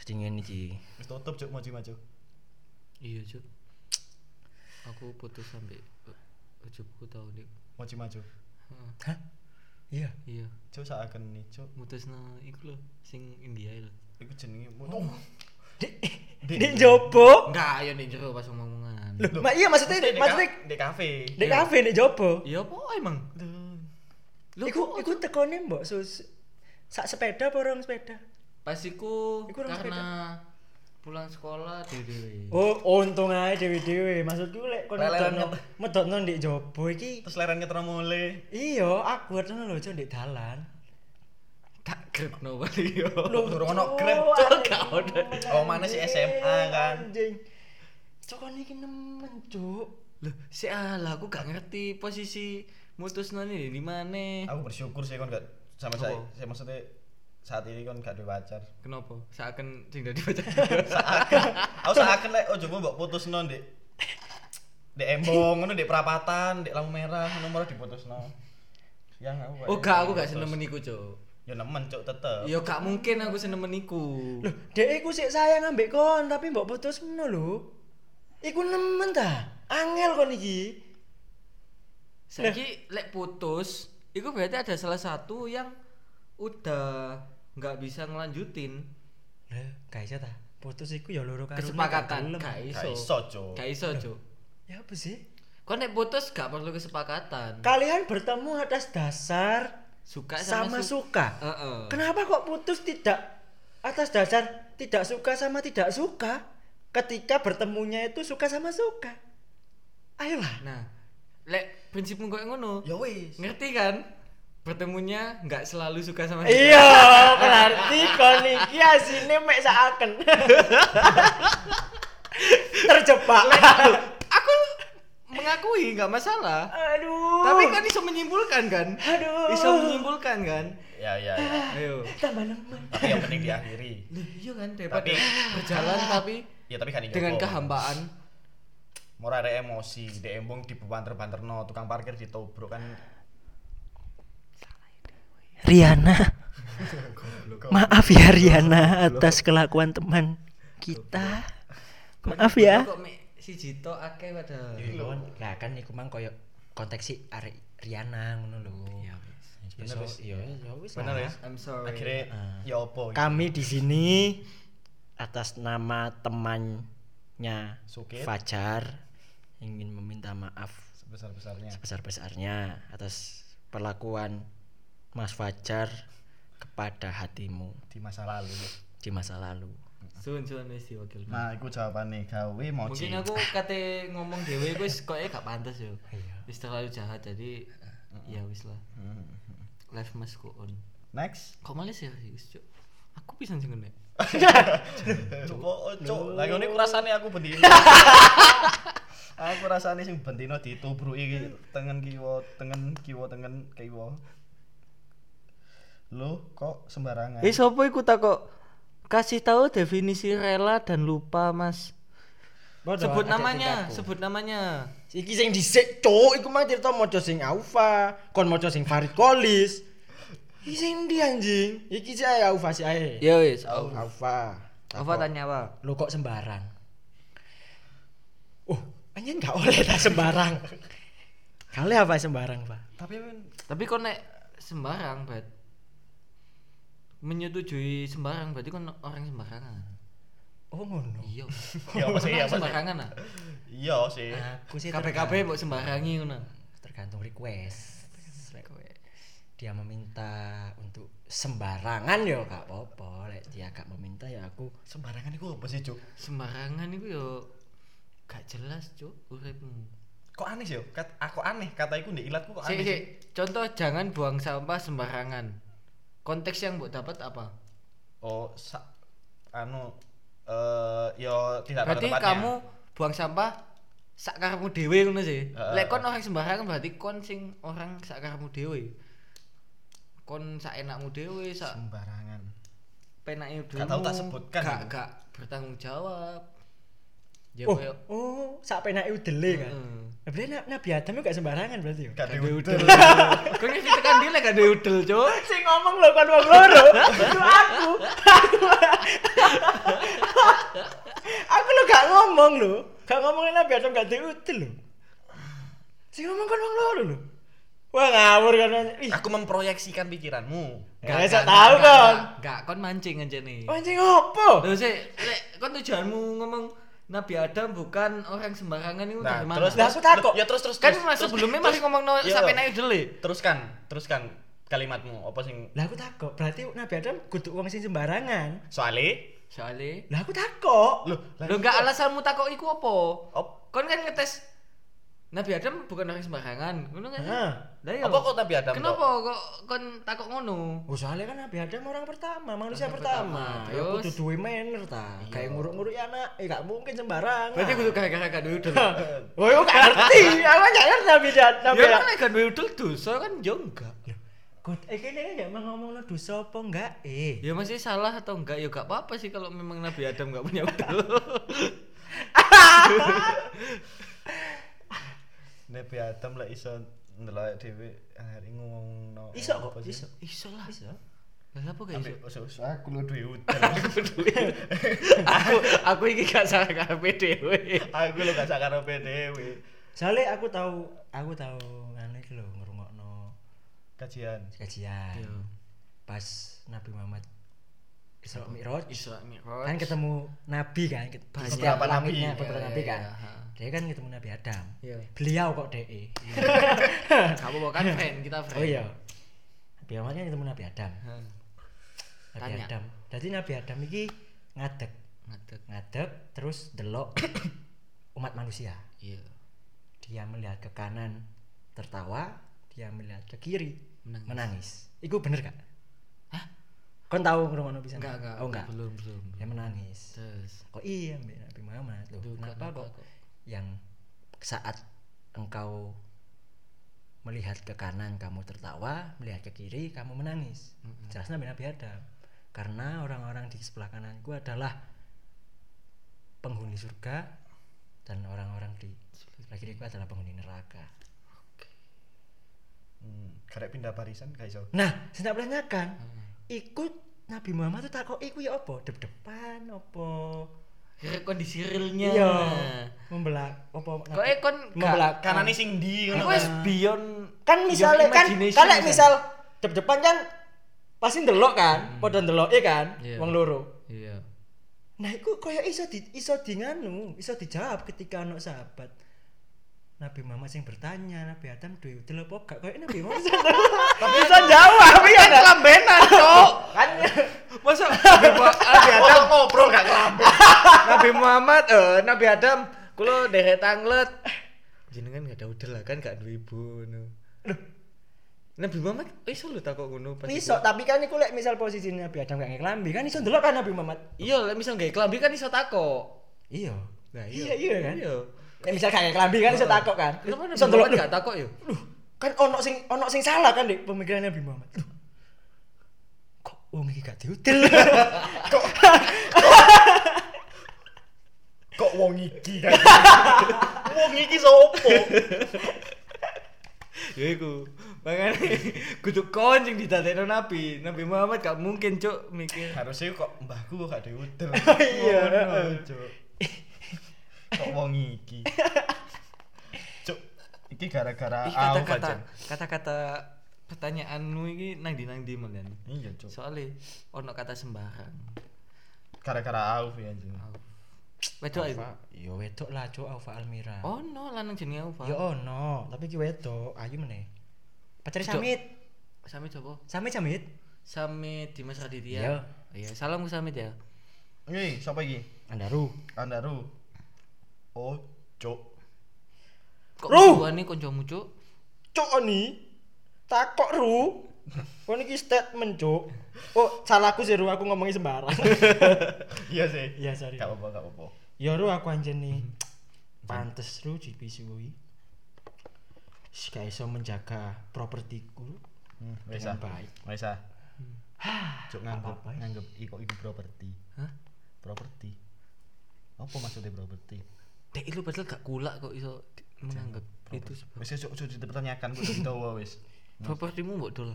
[SPEAKER 3] Jadi ngene Ci.
[SPEAKER 2] Wis tutup cuk moji maju.
[SPEAKER 1] Iya, Cuk. Aku putus sampe ujubku tau nih.
[SPEAKER 2] Moji maju.
[SPEAKER 1] Heeh,
[SPEAKER 3] Hah? Iya.
[SPEAKER 1] Iya,
[SPEAKER 2] Cuk saken ni cuk.
[SPEAKER 1] mutusna iku lho sing India e lho.
[SPEAKER 2] Iku jenenge. Oh.
[SPEAKER 3] Dek jopo.
[SPEAKER 1] Enggak, ayo nih jero pas ngomong-ngomongan.
[SPEAKER 3] Loh, ma iya maksudnya
[SPEAKER 2] Maksudnya di
[SPEAKER 3] maksudnya
[SPEAKER 2] ka- di kafe.
[SPEAKER 3] dek kafe dek jopo.
[SPEAKER 1] Iya apa emang? Lho,
[SPEAKER 3] Iku
[SPEAKER 1] kok-
[SPEAKER 3] iku tekone mbok sus sak sepeda apa orang sepeda?
[SPEAKER 1] pas iku
[SPEAKER 3] Iku orang
[SPEAKER 1] karena pulang sekolah dhewe.
[SPEAKER 3] Oh, untung ae dewe-dewe. Maksudku lek kon
[SPEAKER 2] Leleran
[SPEAKER 3] medokno
[SPEAKER 2] nget-
[SPEAKER 3] medokno ndek jopo iki
[SPEAKER 2] Terus leren ketemu mule.
[SPEAKER 3] iya aku ngono lho cok ndek dalan.
[SPEAKER 1] Tak grebno wae yo.
[SPEAKER 3] Lho,
[SPEAKER 2] durung ono
[SPEAKER 3] Cok,
[SPEAKER 2] Grab,
[SPEAKER 1] Cok,
[SPEAKER 3] anjing.
[SPEAKER 1] gak ono.
[SPEAKER 2] Oh, mana sih SMA kan?
[SPEAKER 3] Anjing. Cok kon iki nemen, Cuk.
[SPEAKER 1] Loh, si alah aku gak ngerti posisi mutusna nih di mana.
[SPEAKER 2] Aku bersyukur sih kon gak sama saya.
[SPEAKER 1] Apa?
[SPEAKER 2] Saya maksudnya saat ini kon gak ada pacar.
[SPEAKER 1] Kenapa? Seakan sing dadi pacar.
[SPEAKER 3] [laughs]
[SPEAKER 2] Aku saken lek ojo mbok putusno, Dik. Dek embong ngono dek perapatan, dek lampu merah, nomor diputusno. Yang aku
[SPEAKER 1] Oh, gak aku gak seneng meniku, Cuk.
[SPEAKER 2] Ya nemen cuk tetep.
[SPEAKER 1] Ya gak mungkin aku seneng meniku.
[SPEAKER 3] Loh, dhek iku sik sayang ambek kon tapi mbok putus ngono lho. Iku nemen ta? Angel kon iki.
[SPEAKER 1] Saiki lek putus, itu berarti ada salah satu yang udah nggak bisa ngelanjutin
[SPEAKER 3] Lah, gak iso ta? Putus iku ya loro karo
[SPEAKER 1] kesepakatan gak
[SPEAKER 2] Gak
[SPEAKER 1] iso.
[SPEAKER 2] iso, Cuk.
[SPEAKER 1] Gak iso, Cuk.
[SPEAKER 3] Ya apa sih?
[SPEAKER 1] Kok nek putus gak perlu kesepakatan.
[SPEAKER 3] Kalian bertemu atas dasar
[SPEAKER 1] Suka sama,
[SPEAKER 3] sama,
[SPEAKER 1] su- Oh.
[SPEAKER 3] suka.
[SPEAKER 1] Heeh.
[SPEAKER 3] Kenapa kok putus tidak atas dasar tidak suka sama tidak suka? Ketika bertemunya itu suka sama suka. Ayolah.
[SPEAKER 1] Nah, lek prinsipmu kok ngono.
[SPEAKER 2] Ya wis.
[SPEAKER 1] Ngerti kan? Bertemunya nggak selalu suka sama
[SPEAKER 3] Iya, berarti kon iki asine mek
[SPEAKER 1] [laughs]
[SPEAKER 3] saken. Terjebak.
[SPEAKER 1] Aku mengakui nggak masalah.
[SPEAKER 3] Aduh.
[SPEAKER 1] Tapi kan iso menyimpulkan kan?
[SPEAKER 3] aduh.
[SPEAKER 1] Iso menyimpulkan kan?
[SPEAKER 2] Ya ya ya.
[SPEAKER 1] Ayo.
[SPEAKER 3] tambah nemen.
[SPEAKER 2] Tapi yang penting diakhiri.
[SPEAKER 1] Loh, iya kan daripada
[SPEAKER 2] Tapi-
[SPEAKER 1] berjalan tapi
[SPEAKER 2] Ya tapi kan
[SPEAKER 1] dengan kehampaan.
[SPEAKER 2] Mora ada emosi, dek embong dibanter-banterno, tukang parkir ditobrok kan.
[SPEAKER 3] Riana. Maaf ya Riana atas kelakuan teman kita. Maaf ya.
[SPEAKER 1] Kok mek si Jito akeh pada.
[SPEAKER 2] Iya.
[SPEAKER 3] Lah kan iku mang koyo konteks si arek Riana ngono lho.
[SPEAKER 1] Iya,
[SPEAKER 3] Ya, so- ya, ya wis
[SPEAKER 2] Bener
[SPEAKER 3] lah.
[SPEAKER 2] wis.
[SPEAKER 1] I'm sorry.
[SPEAKER 2] Akhirnya ya opo.
[SPEAKER 3] Kami di sini atas nama temannya
[SPEAKER 2] Sukit.
[SPEAKER 3] Fajar ingin meminta maaf
[SPEAKER 2] sebesar-besarnya.
[SPEAKER 3] sebesar-besarnya atas perlakuan Mas Fajar kepada hatimu
[SPEAKER 2] di masa lalu.
[SPEAKER 3] di masa lalu.
[SPEAKER 1] Suwun suwun wis diwakil.
[SPEAKER 2] Nah, iku jawabane gawe mau
[SPEAKER 1] Mungkin aku kate ngomong dhewe iku wis koke gak pantas yo. Wis terlalu jahat jadi ya wis lah. Life must go on.
[SPEAKER 2] Hmm. Next.
[SPEAKER 1] Kok malah serius, Cuk? Aku pisan sing ngene.
[SPEAKER 2] Coba ojo. Lah ngene rasane aku bendino. [laughs] aku rasane sing bendino ditubruki tengen kiwa, tengen kiwa, tengen kiwa. Lu kok sembarangan?
[SPEAKER 1] Eh sopo iku tak kok kasih tahu definisi rela dan lupa, Mas. sebut namanya, sebut namanya.
[SPEAKER 3] Iki sing dhisik, Cuk, iku mah cerita maca sing Aufa, kon maca sing Farid Kolis. Iki sing ndi anjing? Iki sih ae Aufa sih ae.
[SPEAKER 1] Ya wis.
[SPEAKER 3] Iya. Aufa.
[SPEAKER 1] Apa tanya apa?
[SPEAKER 3] Lo kok sembarang? Oh, anjing gak oleh tak sembarang. Kali apa sembarang, Pak?
[SPEAKER 2] Tapi men
[SPEAKER 1] Tapi kok nek sembarang, Bet. Menyetujui sembarang berarti kan orang sembarangan.
[SPEAKER 3] Oh, ngono.
[SPEAKER 1] Iya.
[SPEAKER 2] [laughs] ya apa
[SPEAKER 1] Orang
[SPEAKER 2] sih? Ya apa sih?
[SPEAKER 1] sembarangan ah.
[SPEAKER 2] Iya sih.
[SPEAKER 3] Aku sih
[SPEAKER 1] KPKB mbok sembarangi ngono.
[SPEAKER 3] tergantung request. dia meminta untuk sembarangan yo gak apa-apa lek dia gak meminta ya aku
[SPEAKER 2] Sembarangan iku apa sih, Cuk?
[SPEAKER 1] sembarangan itu yo gak jelas cuk uripmu
[SPEAKER 2] Kok aneh sih, yo? Kat, aku aneh, kata iku ndek ilatku kok
[SPEAKER 1] Sik,
[SPEAKER 2] aneh.
[SPEAKER 1] sik.
[SPEAKER 2] sih.
[SPEAKER 1] contoh jangan buang sampah sembarangan konteks yang mbok dapat apa
[SPEAKER 2] Oh, sa- anu eh yo tidak pada
[SPEAKER 1] berarti
[SPEAKER 2] tempatnya.
[SPEAKER 1] kamu buang sampah sakarmu dewe ngono sih
[SPEAKER 2] Heeh.
[SPEAKER 1] lek kon orang sembarangan berarti kon sing orang sakarmu dewe kon sak enakmu dewe sak
[SPEAKER 2] sembarangan.
[SPEAKER 1] penake dhewe
[SPEAKER 2] Gak tau tak sebutkan
[SPEAKER 1] gak
[SPEAKER 2] itu.
[SPEAKER 1] gak bertanggung jawab ya
[SPEAKER 3] oh,
[SPEAKER 1] koyo
[SPEAKER 3] oh sak penake
[SPEAKER 2] iya
[SPEAKER 3] udele kan
[SPEAKER 1] Heeh.
[SPEAKER 3] Nah, berarti na- Nabi Adam itu gak sembarangan berarti yo.
[SPEAKER 2] Gak
[SPEAKER 1] Gak
[SPEAKER 2] ada
[SPEAKER 1] ada
[SPEAKER 2] udel.
[SPEAKER 1] udel. [laughs] Kon iki tekan dia lek gak ada udel, Cuk.
[SPEAKER 3] Sing ngomong lho kon wong loro, itu aku. Aku. [laughs] aku lo gak ngomong lo, gak ngomongin Nabi Adam gak diutil lo. Sing ngomong kon wong loro lo. Wah ngawur kan. Ih,
[SPEAKER 2] Aku memproyeksikan pikiranmu.
[SPEAKER 3] gak bisa tahu kan.
[SPEAKER 1] Gak kon mancing aja nih.
[SPEAKER 2] Oh, iya.
[SPEAKER 3] Mancing opo?
[SPEAKER 1] Lho sik, lek kon tujuanmu ngomong Nabi Adam bukan orang sembarangan itu
[SPEAKER 2] Nah,
[SPEAKER 1] dari mana?
[SPEAKER 2] terus,
[SPEAKER 3] Lah,
[SPEAKER 2] terus
[SPEAKER 3] aku takut.
[SPEAKER 2] Ya terus terus.
[SPEAKER 1] kan
[SPEAKER 2] terus,
[SPEAKER 1] masa
[SPEAKER 2] terus,
[SPEAKER 1] sebelumnya
[SPEAKER 2] terus.
[SPEAKER 1] masih ngomong no
[SPEAKER 2] Iya.
[SPEAKER 1] sampai naik dulu.
[SPEAKER 2] Teruskan, teruskan kalimatmu. Apa sing
[SPEAKER 3] Lah aku takut, berarti Nabi Adam kudu wong sing sembarangan.
[SPEAKER 2] soale?
[SPEAKER 1] Soalnya,
[SPEAKER 3] Lah aku takut.
[SPEAKER 2] Loh, lah iya.
[SPEAKER 1] lo nggak alasanmu takut iku apa?
[SPEAKER 2] op,
[SPEAKER 1] Kon kan ngetes Nabi Adam bukan orang sembarangan, ngono kan?
[SPEAKER 3] Heeh.
[SPEAKER 1] Lah iya.
[SPEAKER 2] apa kok Nabi Adam kok?
[SPEAKER 1] Kenapa kok kon takut ngono?
[SPEAKER 3] Oh, soalnya kan Nabi Adam orang pertama, manusia
[SPEAKER 1] Orang
[SPEAKER 3] pertama.
[SPEAKER 1] pertama,
[SPEAKER 3] Ya
[SPEAKER 1] terus?
[SPEAKER 3] kudu duwe manner ta. Kayak nguruk-nguruk ya anak, eh gak mungkin sembarangan.
[SPEAKER 1] Berarti kudu gara-gara gak [laughs] duwe udel.
[SPEAKER 3] Oh, aku gak ngerti. Aku gak ngerti Nabi Adam. Nabi
[SPEAKER 1] Ya
[SPEAKER 3] Adam.
[SPEAKER 1] kan lek gak duwe udel dosa kan yo enggak.
[SPEAKER 3] Kut, eh kene kan gak mau ngomong lo dosa apa enggak? Eh,
[SPEAKER 1] Ya masih salah atau enggak ya enggak apa-apa sih kalau memang Nabi Adam enggak punya [laughs] udel.
[SPEAKER 2] Nabi Adam lah iso ndelok dhewe hari ngomong no.
[SPEAKER 3] iso kok, iso.
[SPEAKER 1] Iso lah.
[SPEAKER 3] Iso.
[SPEAKER 1] Lah apa gak iso?
[SPEAKER 2] Iso aku lu duwe
[SPEAKER 1] [laughs]
[SPEAKER 2] udel.
[SPEAKER 1] aku aku iki gak salah kabeh dhewe.
[SPEAKER 2] aku lu gak sakar opo dhewe.
[SPEAKER 3] Soalnya aku tahu, aku tahu anu iki lho ngrungokno
[SPEAKER 2] Kajian.
[SPEAKER 3] kajian.
[SPEAKER 1] Iya.
[SPEAKER 3] Pas Nabi Muhammad Isra Mi'raj
[SPEAKER 1] Isra Mi'raj.
[SPEAKER 3] kan ketemu nabi kan ket-
[SPEAKER 1] Banyak
[SPEAKER 3] setiap
[SPEAKER 2] Beberapa
[SPEAKER 3] langitnya,
[SPEAKER 2] nabi.
[SPEAKER 3] beberapa
[SPEAKER 1] Iya,
[SPEAKER 3] nabi
[SPEAKER 1] iya,
[SPEAKER 3] kan
[SPEAKER 1] iya, ha.
[SPEAKER 3] dia kan ketemu nabi Adam
[SPEAKER 1] [laughs] Iya.
[SPEAKER 3] beliau kok de
[SPEAKER 1] Kamu bukan kan friend, kita friend.
[SPEAKER 3] oh iya Nabi Muhammad kan ketemu nabi Adam
[SPEAKER 1] Hah,
[SPEAKER 3] Nabi
[SPEAKER 1] Tanya.
[SPEAKER 3] Adam. Jadi Nabi Adam iki ngadeg,
[SPEAKER 1] Ngadeg.
[SPEAKER 3] ngadeg terus
[SPEAKER 1] [coughs]
[SPEAKER 3] delok umat manusia.
[SPEAKER 1] Iya.
[SPEAKER 3] Dia melihat ke kanan tertawa, dia melihat ke kiri
[SPEAKER 1] Menangis.
[SPEAKER 3] menangis. Iku bener gak? Hah? Kon tahu ngrungokno bisa?
[SPEAKER 1] Enggak, enggak.
[SPEAKER 3] Oh enggak.
[SPEAKER 1] Belum, belum.
[SPEAKER 3] Dia menangis.
[SPEAKER 1] Terus.
[SPEAKER 3] Kok iya Mbak Nabi Muhammad loh.
[SPEAKER 1] Duh,
[SPEAKER 3] Kenapa
[SPEAKER 1] kenapa
[SPEAKER 3] kok
[SPEAKER 1] kok?
[SPEAKER 3] yang saat engkau melihat ke kanan kamu tertawa, melihat ke kiri kamu menangis. Jelas Nabi Nabi Adam. Karena orang-orang di sebelah kananku adalah penghuni surga dan orang-orang di sebelah kiriku adalah penghuni neraka.
[SPEAKER 2] Hmm, karek pindah barisan gak iso.
[SPEAKER 3] Nah, saya kan ikut Nabi Muhammad itu takut iku ya apa? Dep-depan apa?
[SPEAKER 1] Kira kondisi realnya.
[SPEAKER 3] Iya. Membelak apa?
[SPEAKER 1] Kok eh kon
[SPEAKER 3] membelak
[SPEAKER 2] Kanane sing ndi
[SPEAKER 1] Iku
[SPEAKER 2] ngono.
[SPEAKER 1] wis beyond
[SPEAKER 3] kan misalnya
[SPEAKER 1] beyond
[SPEAKER 3] kan
[SPEAKER 1] Iya, imagination,
[SPEAKER 3] kalau misal dep depan kan pasti ndelok kan padha ndelok e kan
[SPEAKER 1] Hmm. Iya.
[SPEAKER 3] wong loro
[SPEAKER 1] Iya.
[SPEAKER 3] nah iku koyo iso di iso di nganu iso dijawab ketika ono sahabat Nabi Muhammad sing bertanya Nabi Adam duwe udel apa gak koyo Nabi Muhammad sing
[SPEAKER 1] [laughs]
[SPEAKER 3] tapi iso jawab iya kan
[SPEAKER 1] Kelambenan,
[SPEAKER 3] [laughs]
[SPEAKER 1] Cok.
[SPEAKER 3] kan
[SPEAKER 1] Masa [laughs] Nabi Adam
[SPEAKER 2] Oh, ngobrol gak kelambe.
[SPEAKER 1] Nabi Muhammad eh Nabi Adam kulo deret tanglet. Jenengan gak ada udel lah kan gak duwe ibu ngono. Nabi Muhammad iso lho takok ngono pas
[SPEAKER 3] iso tapi kan iku lek misal posisi Nabi Adam gak ngeklambi kan iso ndelok kan Nabi Muhammad
[SPEAKER 1] Iya, lek misal gawe klambi kan iso takok.
[SPEAKER 3] iya
[SPEAKER 1] Nah,
[SPEAKER 3] iya iya kan
[SPEAKER 1] Iya.
[SPEAKER 3] Lek misal gak ngeklambi kan iso takok kan
[SPEAKER 1] Kenapa Nabi
[SPEAKER 3] iso ndelok
[SPEAKER 1] Muhammad gak takok yo?
[SPEAKER 3] Duh, kan ono sing ono sing salah kan dek pemikiran Nabi Muhammad. Duh. Kok wong iki gak diutil? Kok
[SPEAKER 2] Kok wong iki kan? wong iki sopo?
[SPEAKER 1] Ya iku. Makane [laughs] kudu kon sing didadekno Nabi. Nabi Muhammad gak mungkin, Cuk, mikir.
[SPEAKER 2] Harusnya kok mbahku kok gak ada udel.
[SPEAKER 3] [laughs] Iya.
[SPEAKER 2] Ngono, Cuk. Kok wong iki. Cuk, iki gara-gara
[SPEAKER 1] Ih,
[SPEAKER 2] aku aja.
[SPEAKER 1] kata-kata kata-kata pertanyaanmu iki nang di nang di malian.
[SPEAKER 2] Iya, Cuk.
[SPEAKER 1] Soale ono kata sembarang.
[SPEAKER 2] Gara-gara aku ya, Cuk.
[SPEAKER 1] Wedok iku.
[SPEAKER 3] [laughs]
[SPEAKER 1] Oh,
[SPEAKER 3] yo wedok lah cuk Alfa Almira.
[SPEAKER 1] Ono lanang jenenge Aufa.
[SPEAKER 3] Yo ono, tapi iki wedok, ayu meneh. Pacare
[SPEAKER 1] Cuk.
[SPEAKER 3] Samit.
[SPEAKER 1] Samit sapa?
[SPEAKER 3] Samit Samit.
[SPEAKER 1] Samit Dimas Raditya.
[SPEAKER 3] Iya.
[SPEAKER 1] Iya, salam ke Samit ya.
[SPEAKER 2] Ini siapa iki?
[SPEAKER 3] Andaru.
[SPEAKER 2] Andaru. Oh, cok.
[SPEAKER 1] Kok
[SPEAKER 3] Ruh!
[SPEAKER 1] buane kancamu, Cuk?
[SPEAKER 3] Cuk oni. Takok ru. Kon iki statement, Cuk. Oh, salahku sih ru aku ngomongi [laughs] sembarang.
[SPEAKER 2] [laughs] Iya sih.
[SPEAKER 3] Iya, sorry.
[SPEAKER 2] Gak apa-apa, gak apa-apa.
[SPEAKER 3] ya ru aku anjen nih. Pantes ru dipisuhi. Wis gak iso menjaga propertiku
[SPEAKER 2] Bisa.
[SPEAKER 3] dengan baik.
[SPEAKER 2] Bisa. Cok nganggep
[SPEAKER 3] Hmm. apa-apa.
[SPEAKER 2] nganggep iko iku properti.
[SPEAKER 1] Hah?
[SPEAKER 2] Properti. Apa maksudnya properti?
[SPEAKER 1] Dek lu padahal gak kulak kok iso di- menganggap itu sebab
[SPEAKER 2] Wis cok cok dipertanyakan kok ditawa wis.
[SPEAKER 1] propertimu mbok dol.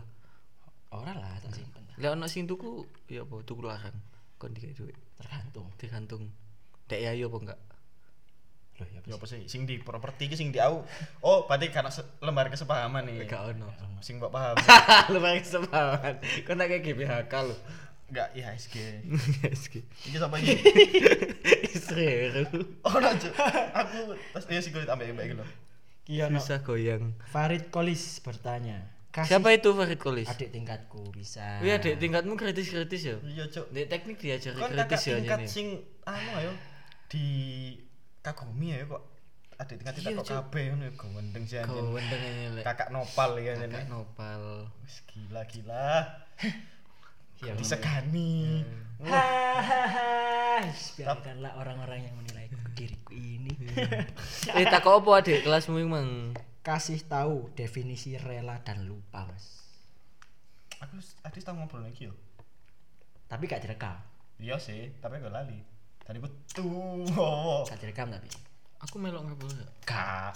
[SPEAKER 3] Ora lah, tak simpen.
[SPEAKER 1] Lah ono sing tuku ya apa tuku larang kon dikek duit
[SPEAKER 3] Tergantung.
[SPEAKER 1] digantung. Dek ya yo apa enggak?
[SPEAKER 3] Loh, ya
[SPEAKER 2] Ya apa sih? Sing di properti iki sing di au. Oh, berarti karena se- lembar kesepahaman nih.
[SPEAKER 3] Iya.
[SPEAKER 1] Gak ono.
[SPEAKER 2] Sing mbok paham.
[SPEAKER 1] [laughs] lu pakai semangat. Kon tak kayak GBHK lu.
[SPEAKER 2] Enggak IHSG.
[SPEAKER 1] Yes, ki.
[SPEAKER 2] Iki sapa iki?
[SPEAKER 3] [laughs]
[SPEAKER 1] [laughs] Seru.
[SPEAKER 2] Oh, no, Cuk. Aku tas iya sing kulit ambek ambek iki lho.
[SPEAKER 3] Iya, no.
[SPEAKER 1] Susah goyang.
[SPEAKER 3] Farid Kolis bertanya. Kasih
[SPEAKER 1] Siapa itu Farid Kolis?
[SPEAKER 3] adik tingkatku bisa.
[SPEAKER 1] Iya, dek tingkatmu kritis-kritis ya.
[SPEAKER 2] Iya, Cuk.
[SPEAKER 1] Dek teknik diajari
[SPEAKER 2] Kon kakak
[SPEAKER 1] kritis ya
[SPEAKER 2] tingkat
[SPEAKER 1] ini.
[SPEAKER 2] sing anu ayo di kagumi ayo kok adik tingkat
[SPEAKER 1] Iya,
[SPEAKER 2] tingkat kok
[SPEAKER 1] Cuk.
[SPEAKER 2] kabeh ngono ya gawendeng sih anjen.
[SPEAKER 1] Kau wendengnya lek.
[SPEAKER 2] Kakak nopal ya anjen.
[SPEAKER 1] Kakak nopal.
[SPEAKER 2] Wis gila gila.
[SPEAKER 1] Ya,
[SPEAKER 2] Disegani.
[SPEAKER 1] Iya.
[SPEAKER 3] Hahaha. Biarkanlah orang-orang yang menilai diriku ini.
[SPEAKER 1] Eh tak kok apa adik kelasmu emang?
[SPEAKER 3] Kasih tahu definisi rela dan lupa, Mas.
[SPEAKER 2] Aku s- adik tau ngobrol lagi yo.
[SPEAKER 3] Tapi gak direkam.
[SPEAKER 2] Iya sih, tapi gue lali. Tadi Oh, gue [laughs] tuh.
[SPEAKER 3] Gak direkam tapi.
[SPEAKER 1] Aku melok ngobrol ya.
[SPEAKER 2] Kak.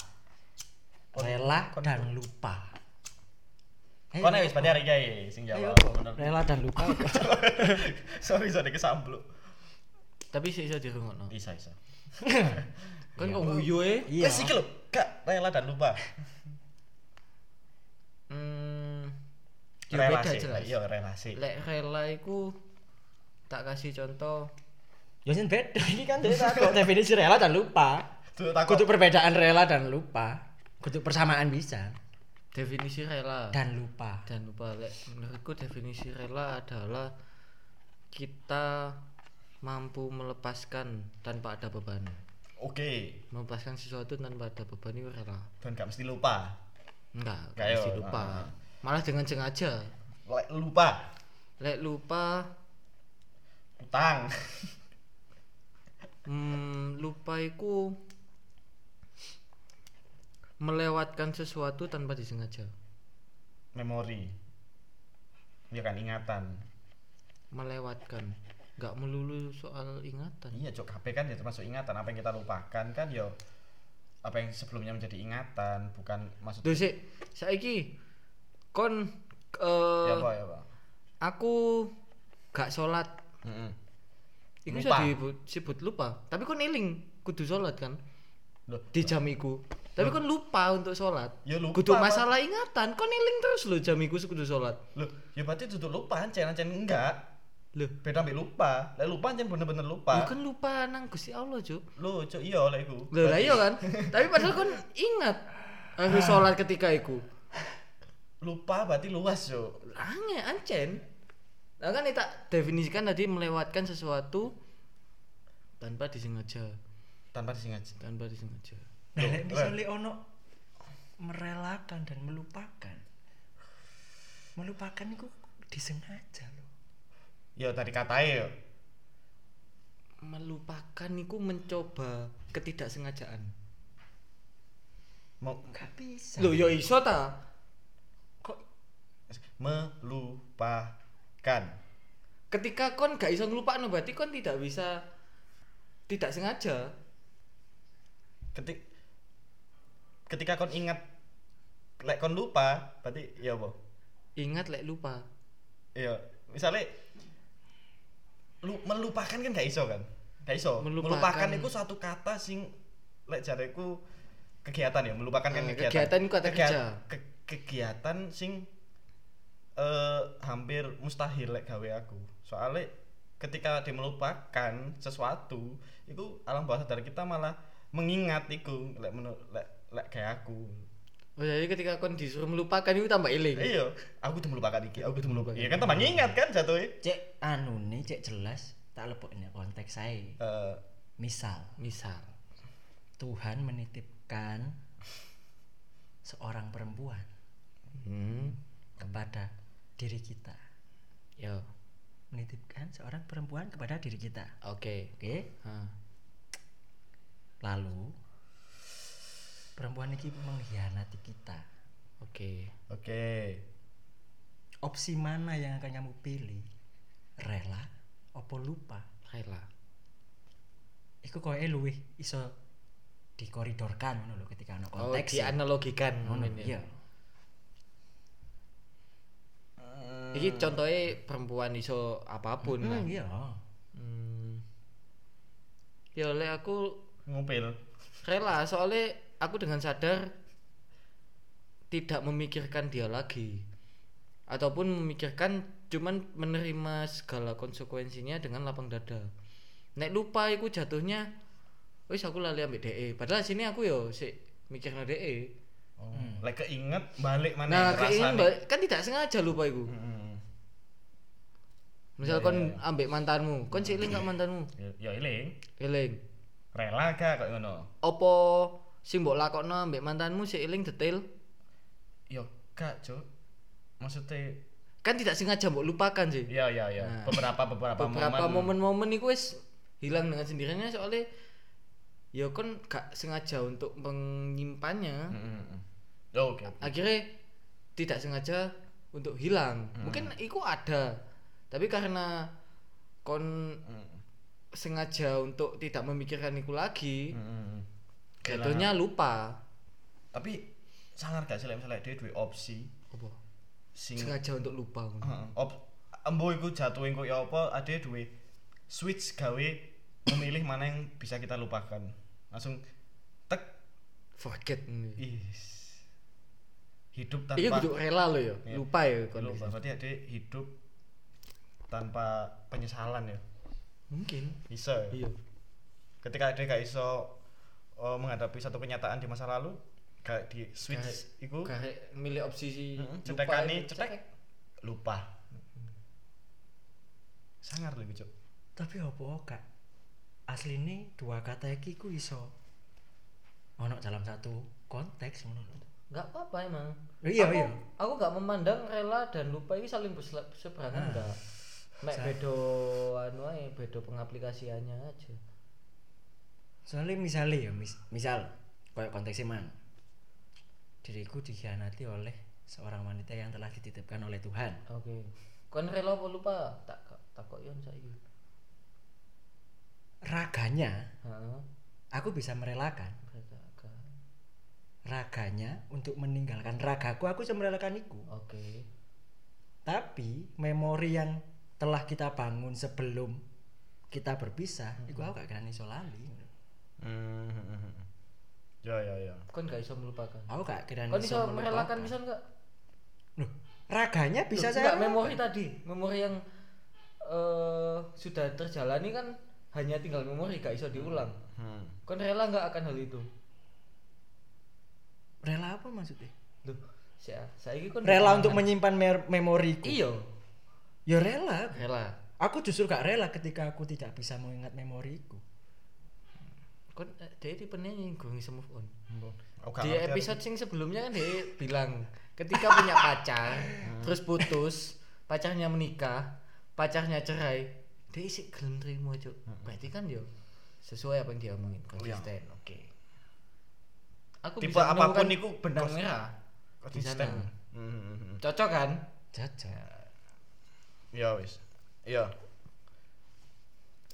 [SPEAKER 3] Rela dan Eh, lupa. Ayo,
[SPEAKER 2] Kau wis pada hari gay sing
[SPEAKER 3] ayo.
[SPEAKER 2] jawab. Bener.
[SPEAKER 3] Rela dan lupa.
[SPEAKER 2] [laughs]
[SPEAKER 1] [laughs]
[SPEAKER 2] Sorry sorry kesambluk.
[SPEAKER 1] Tapi sih iso dirungokno.
[SPEAKER 2] Isa isa.
[SPEAKER 1] Kan kok guyu e?
[SPEAKER 3] Iya.
[SPEAKER 2] Wes iki lho, Kak rela dan lupa.
[SPEAKER 1] Hmm. Ya beda
[SPEAKER 2] Relasi.
[SPEAKER 1] jelas.
[SPEAKER 2] Iya relasi.
[SPEAKER 1] Lek rela iku tak kasih contoh
[SPEAKER 3] Ya sing beda ini kan
[SPEAKER 1] Iya,
[SPEAKER 3] dia takut definisi rela dan lupa.
[SPEAKER 2] Tuh takut.
[SPEAKER 3] Kutu perbedaan rela dan lupa. Kutu persamaan bisa
[SPEAKER 1] definisi rela.
[SPEAKER 3] dan lupa.
[SPEAKER 1] dan lupa lek menurutku definisi rela adalah kita mampu melepaskan tanpa ada beban
[SPEAKER 2] Oke.
[SPEAKER 1] melepaskan sesuatu tanpa ada beban itu rela
[SPEAKER 2] Dan gak mesti lupa.
[SPEAKER 1] enggak
[SPEAKER 2] Nggak,
[SPEAKER 1] pasti
[SPEAKER 2] yo.
[SPEAKER 1] lupa
[SPEAKER 2] Ah.
[SPEAKER 1] malah dengan sengaja
[SPEAKER 2] Lek lupa
[SPEAKER 1] lek lupa
[SPEAKER 2] utang.
[SPEAKER 1] hmm, lupa iku melewatkan sesuatu tanpa disengaja
[SPEAKER 2] Memori. Ya kan ingatan.
[SPEAKER 1] melewatkan enggak melulu soal ingatan
[SPEAKER 2] Iya, Cok, HP kan ya termasuk ingatan. Apa yang kita lupakan kan ya apa yang sebelumnya menjadi ingatan, bukan maksud
[SPEAKER 1] Duh sik saiki kon eh,
[SPEAKER 2] ya apa ya, Pak.
[SPEAKER 1] aku gak sholat
[SPEAKER 2] Heeh.
[SPEAKER 1] Iku bisa
[SPEAKER 2] Lupa.
[SPEAKER 1] disebut lupa tapi kon eling kudu sholat kan
[SPEAKER 2] Loh,
[SPEAKER 1] di jam iku tapi kon lupa untuk sholat
[SPEAKER 2] Ya lupa,
[SPEAKER 1] kudu
[SPEAKER 2] Pak.
[SPEAKER 1] masalah ingatan kon eling terus lo jam iku kudu sholat
[SPEAKER 2] loh, ya berarti duduk lupa, ancen ancen enggak.
[SPEAKER 1] Loh.
[SPEAKER 2] Beda ambil lupa. Lek lupa ancen bener-bener
[SPEAKER 1] Lu
[SPEAKER 2] lupa.
[SPEAKER 1] kan lupa nang Gusti Allah cuk
[SPEAKER 2] Loh, Cok, iya lek iku.
[SPEAKER 1] Loh, lah iya kan tapi padahal kon ingat
[SPEAKER 2] Ah.
[SPEAKER 1] harus sholat ketika iku
[SPEAKER 2] Lupa berarti luas, Cok.
[SPEAKER 1] aneh ancen nah kan ini tak definisikan tadi melewatkan sesuatu tanpa disengaja
[SPEAKER 2] Tanpa disengaja.
[SPEAKER 1] tanpa disengaja
[SPEAKER 2] Loh,
[SPEAKER 3] Nah, lek
[SPEAKER 2] lek.
[SPEAKER 3] misalnya ono merelakan dan melupakan. Melupakan itu disengaja loh.
[SPEAKER 2] Ya tadi katanya ya.
[SPEAKER 1] melupakan iku mencoba ketidaksengajaan
[SPEAKER 2] Mau
[SPEAKER 3] Gak bisa.
[SPEAKER 1] Loh ya iso ta?
[SPEAKER 3] kok
[SPEAKER 2] melupakan.
[SPEAKER 1] Ketika kon gak iso nglupakno berarti kon tidak bisa tidak sengaja.
[SPEAKER 2] ketik ketika kon ingat lek kon lupa berarti ya apa
[SPEAKER 1] Ingat lek lupa.
[SPEAKER 2] ya misalnya lu, melupakan kan gak iso kan gak iso
[SPEAKER 1] Melupakan.
[SPEAKER 2] melupakan, itu suatu kata sing lek jareku kegiatan ya melupakan kan
[SPEAKER 1] Eh,
[SPEAKER 2] kegiatan
[SPEAKER 1] kegiatan iku kata
[SPEAKER 2] Kegia-
[SPEAKER 1] kerja.
[SPEAKER 2] ke- kegiatan sing eh hampir mustahil lek gawe aku soalnya ketika dia melupakan sesuatu itu alam bawah sadar kita malah mengingat iku lek menurut lek lek kayak aku
[SPEAKER 1] Oh, jadi ketika kon disuruh melupakan itu tambah eling.
[SPEAKER 2] Iya, aku tuh melupakan iki, aku tuh melupakan. Iya kan tambah ngingat kan jatuhnya.
[SPEAKER 3] Cek anu nih, cek jelas. Tak leboknya konteks saya.
[SPEAKER 2] Eh,
[SPEAKER 3] Misal,
[SPEAKER 1] Misal.
[SPEAKER 3] Tuhan menitipkan seorang perempuan
[SPEAKER 1] Hmm.
[SPEAKER 3] kepada diri kita.
[SPEAKER 1] Yo.
[SPEAKER 3] Menitipkan seorang perempuan kepada diri kita.
[SPEAKER 1] Oke.
[SPEAKER 3] Oke.
[SPEAKER 1] Hah.
[SPEAKER 3] Lalu perempuan ini mengkhianati kita.
[SPEAKER 1] Oke.
[SPEAKER 2] Oke.
[SPEAKER 3] Opsi mana yang akan kamu pilih? Rela opo lupa?
[SPEAKER 1] Rela.
[SPEAKER 3] Iku koyo luwih iso dikoridorkan ngono lho ketika ono
[SPEAKER 1] Oh,
[SPEAKER 3] konteks. ya.
[SPEAKER 1] dianalogikan
[SPEAKER 3] Ngono,
[SPEAKER 1] ngono ya.
[SPEAKER 3] Iya.
[SPEAKER 1] Iki contohnya perempuan iso apapun lah.
[SPEAKER 3] Hmm, iya.
[SPEAKER 1] Hmm. Ya oleh aku
[SPEAKER 2] Ngupil.
[SPEAKER 1] rela soalnya aku dengan sadar tidak memikirkan dia lagi ataupun memikirkan cuman menerima segala konsekuensinya dengan lapang dada. Nek lupa iku jatuhnya wis aku lali ambek DE. Padahal sini aku yo sik mikirno DE.
[SPEAKER 2] Oh, lek keinget balik
[SPEAKER 1] Nah,
[SPEAKER 2] mana
[SPEAKER 1] keinginan
[SPEAKER 2] rasane. Hmm.
[SPEAKER 1] ba- kan tidak sengaja lupa iku.
[SPEAKER 2] Heeh.
[SPEAKER 1] Misal kon ambek mantanmu, kon sik eling gak mantanmu?
[SPEAKER 2] Ya eling,
[SPEAKER 1] Eling.
[SPEAKER 2] rela gak kok ngono.
[SPEAKER 1] Opo sing mbok lakokno ambek mantanmu sik eling detail?
[SPEAKER 2] Ya gak, Cuk. Maksudnya
[SPEAKER 1] Kan tidak sengaja mbok lupakan sih.
[SPEAKER 2] ya ya ya,
[SPEAKER 1] Nah.
[SPEAKER 2] beberapa beberapa,
[SPEAKER 1] beberapa momen-momen itu wis hilang dengan sendirinya soalnya ya kon gak sengaja untuk menyimpannya
[SPEAKER 2] Heeh, heeh. Oh, Oke. oke.
[SPEAKER 1] akhirnya tidak sengaja untuk hilang
[SPEAKER 2] Hmm.
[SPEAKER 1] mungkin itu ada tapi karena kon
[SPEAKER 2] Heeh,
[SPEAKER 1] sengaja untuk tidak memikirkan itu lagi
[SPEAKER 2] heeh.
[SPEAKER 1] jatuhnya lupa
[SPEAKER 2] hmm. Tapi sangar gak sih lek misalnya dia duwe opsi
[SPEAKER 1] apa
[SPEAKER 2] sing Ah.
[SPEAKER 1] sengaja untuk lupa
[SPEAKER 2] Heeh. Op, embo iku jatuhin kok ya apa ade duwe switch gawe memilih mana yang bisa kita lupakan. Langsung tek
[SPEAKER 1] forget ini
[SPEAKER 2] is. Hidup
[SPEAKER 1] iya
[SPEAKER 2] tanpa
[SPEAKER 1] kudu rela lo ya
[SPEAKER 2] Iya.
[SPEAKER 1] lupa ya kon
[SPEAKER 2] lupa. Berarti ade hidup tanpa penyesalan ya.
[SPEAKER 1] mungkin
[SPEAKER 2] Bisa. Ya?
[SPEAKER 1] iya
[SPEAKER 2] Ketika ade gak iso eh, menghadapi satu kenyataan di masa lalu, gak di switch iku
[SPEAKER 1] karek milih opsi sih
[SPEAKER 2] Heeh,
[SPEAKER 1] lupa
[SPEAKER 2] cetekane
[SPEAKER 1] itu,
[SPEAKER 2] Hmm, cetek. lupa. Sangar lho iku, Cuk.
[SPEAKER 3] Tapi opo kak? Asline dua kata iki ku iso ono dalam satu konteks ngono lho.
[SPEAKER 1] nggak apa-apa emang
[SPEAKER 3] Iya,
[SPEAKER 1] aku,
[SPEAKER 3] iya.
[SPEAKER 1] aku nggak memandang rela dan lupa ini saling bersela-
[SPEAKER 3] Ah.
[SPEAKER 1] berseberangan enggak mek bedo anu ae bedo pengaplikasiannya aja
[SPEAKER 3] soalnya misalnya ya mis misal kayak konteksnya man diriku dikhianati oleh seorang wanita yang telah dititipkan oleh Tuhan
[SPEAKER 1] oke kon rela apa lupa tak takok yon saiki
[SPEAKER 3] raganya
[SPEAKER 1] heeh
[SPEAKER 3] aku bisa merelakan
[SPEAKER 1] mereka agak-
[SPEAKER 3] raganya untuk meninggalkan ragaku aku bisa merelakan iku
[SPEAKER 1] oke
[SPEAKER 3] tapi memori yang telah kita bangun sebelum kita berpisah
[SPEAKER 1] Hmm.
[SPEAKER 3] itu aku gak kena iso lali
[SPEAKER 2] Hmm. Ya ya ya.
[SPEAKER 1] kon gak bisa melupakan
[SPEAKER 3] aku gak kira
[SPEAKER 1] kon bisa merelakan bisa enggak
[SPEAKER 3] Loh, raganya bisa
[SPEAKER 1] Loh,
[SPEAKER 3] saya
[SPEAKER 1] enggak, memori tadi memori yang eh sudah terjalani kan hanya tinggal memori gak bisa diulang
[SPEAKER 2] Hmm.
[SPEAKER 1] kon rela nggak akan hal itu
[SPEAKER 3] rela apa maksudnya
[SPEAKER 1] Duh, saya saiki kon
[SPEAKER 3] rela untuk menyimpan mer- memoriku
[SPEAKER 1] iya
[SPEAKER 3] ya rela
[SPEAKER 1] rela
[SPEAKER 3] Aku justru gak rela ketika aku tidak bisa mengingat memoriku.
[SPEAKER 1] kon eh, dia tipe yang gue bisa move on
[SPEAKER 2] Aku Oh, gak
[SPEAKER 1] di
[SPEAKER 2] ngerti
[SPEAKER 1] episode sing sebelumnya kan dia bilang ketika punya pacar
[SPEAKER 2] [laughs]
[SPEAKER 1] terus putus pacarnya menikah pacarnya cerai dia isi gelem terima cuk
[SPEAKER 2] Hmm.
[SPEAKER 1] berarti kan yo sesuai apa yang dia omongin konsisten oke aku
[SPEAKER 2] Oh, iya. Tipe
[SPEAKER 1] bisa
[SPEAKER 2] apapun
[SPEAKER 1] menemukan
[SPEAKER 2] iku
[SPEAKER 1] benang
[SPEAKER 2] kons-
[SPEAKER 1] merah
[SPEAKER 2] aku.
[SPEAKER 1] di
[SPEAKER 2] Konsisten.
[SPEAKER 1] sana.
[SPEAKER 2] Hmm, hmm, hmm.
[SPEAKER 1] cocok kan
[SPEAKER 3] Jajak.
[SPEAKER 2] Ya wis. Ya.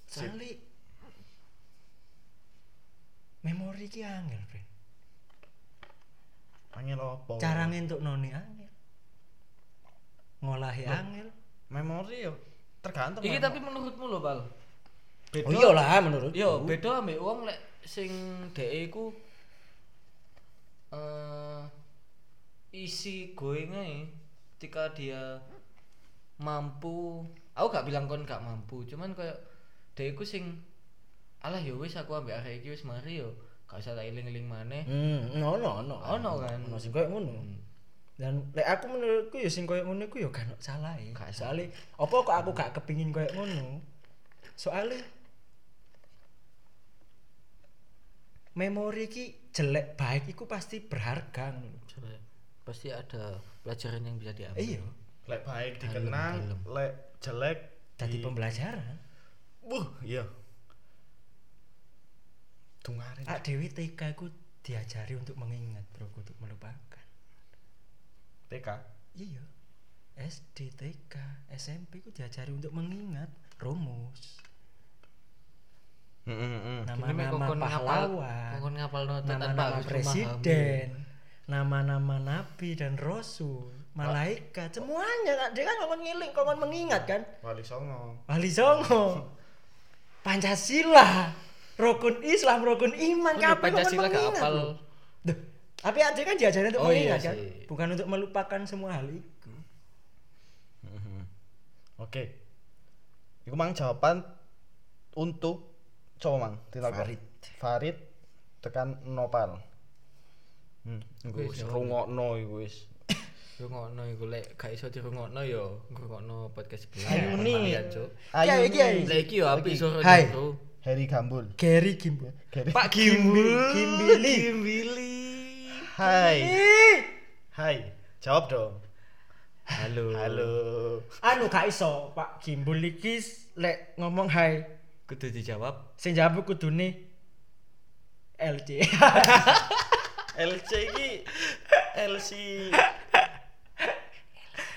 [SPEAKER 3] Soalnya memori ki angel, Bren.
[SPEAKER 2] Angel opo?
[SPEAKER 3] Cara ngentuk noni angel. Ngolahi angel.
[SPEAKER 2] memori yo tergantung.
[SPEAKER 1] ini
[SPEAKER 2] memori.
[SPEAKER 1] tapi menurutmu lo bal
[SPEAKER 3] Oh iyalah menurut.
[SPEAKER 1] Yo, beda ambek wong lek sing dhek iku eh isi going ae ketika dia mampu. Aku gak bilang kon gak mampu, cuman kayak dhek iku sing alah ya wis aku ambek arek iki wis mari yo gak usah tak iling-iling maneh.
[SPEAKER 3] Hmm, no no no.
[SPEAKER 1] Ono kan.
[SPEAKER 3] Ono sing koyo ngono. Dan lek aku menurutku ya sing koyo ngono iku ya gak ono salah e.
[SPEAKER 1] Gak
[SPEAKER 3] Soale apa kok aku gak kepingin koyo ngono? Soale memori ki jelek baik iku pasti berharga ngono. lho.
[SPEAKER 1] Coba, Pasti ada pelajaran yang bisa diambil.
[SPEAKER 3] Iya,
[SPEAKER 2] lek baik dikenang lek jelek
[SPEAKER 1] Iya.
[SPEAKER 3] dadi pembelajaran.
[SPEAKER 2] Wuh, iya. Tungarin.
[SPEAKER 1] Iya.
[SPEAKER 3] Ak Dewi TK ku diajari untuk mengingat, Bro, untuk melupakan.
[SPEAKER 2] TK.
[SPEAKER 3] Iya. SD, TK, SMP ku diajari untuk mengingat rumus.
[SPEAKER 2] Nah.
[SPEAKER 1] Gini mek
[SPEAKER 3] Nama-nama
[SPEAKER 1] kokon ngapal-
[SPEAKER 3] pahlawan,
[SPEAKER 1] kokon ngapalno tanpa
[SPEAKER 3] nama-nama
[SPEAKER 1] harus
[SPEAKER 3] presiden, nama-nama nabi dan rasul, malaikat, semuanya. Dia kan ngomong ngiling, ngomong mengingat kan.
[SPEAKER 2] Wali Songo.
[SPEAKER 3] Wali Songo, Pancasila, rukun Islam, rukun iman,
[SPEAKER 1] Kok
[SPEAKER 3] kabeh ngomong
[SPEAKER 1] Pancasila gak
[SPEAKER 3] mengingat,
[SPEAKER 1] hafal?
[SPEAKER 3] lho. Duh, tapi ada kan diajarin untuk
[SPEAKER 1] Oh iya
[SPEAKER 3] mengingat kan,
[SPEAKER 1] sih.
[SPEAKER 3] bukan untuk melupakan semua hal itu.
[SPEAKER 2] Oke. Iku mang jawaban untuk cowok mang. Tidak
[SPEAKER 3] Farid.
[SPEAKER 2] Farid tekan Nopal. Hmm, iku wis rungokno iku wis.
[SPEAKER 1] Rungokno iku lek gak iso dirungokno ya ngrungokno podcast sebelah.
[SPEAKER 2] Ayu
[SPEAKER 1] Aman
[SPEAKER 2] nih.
[SPEAKER 1] ya, Cuk.
[SPEAKER 3] Kiai, kiai.
[SPEAKER 1] Lek iki yo apik suara
[SPEAKER 3] Hai.
[SPEAKER 1] Cuk.
[SPEAKER 2] Heri Gambul.
[SPEAKER 3] Gary Gimbal.
[SPEAKER 2] Gary.
[SPEAKER 3] Pak Gimbal, Gimbili. Eh,
[SPEAKER 1] Gimbili.
[SPEAKER 2] Hai.
[SPEAKER 3] Ih,
[SPEAKER 2] Hai. Jawab dong.
[SPEAKER 1] Halo.
[SPEAKER 2] Halo.
[SPEAKER 3] Anu gak iso, Pak Gimbal iki s- lek ngomong hai,
[SPEAKER 1] Kudu dijawab.
[SPEAKER 3] sing jawab kudune [laughs] LC.
[SPEAKER 2] LC iki LC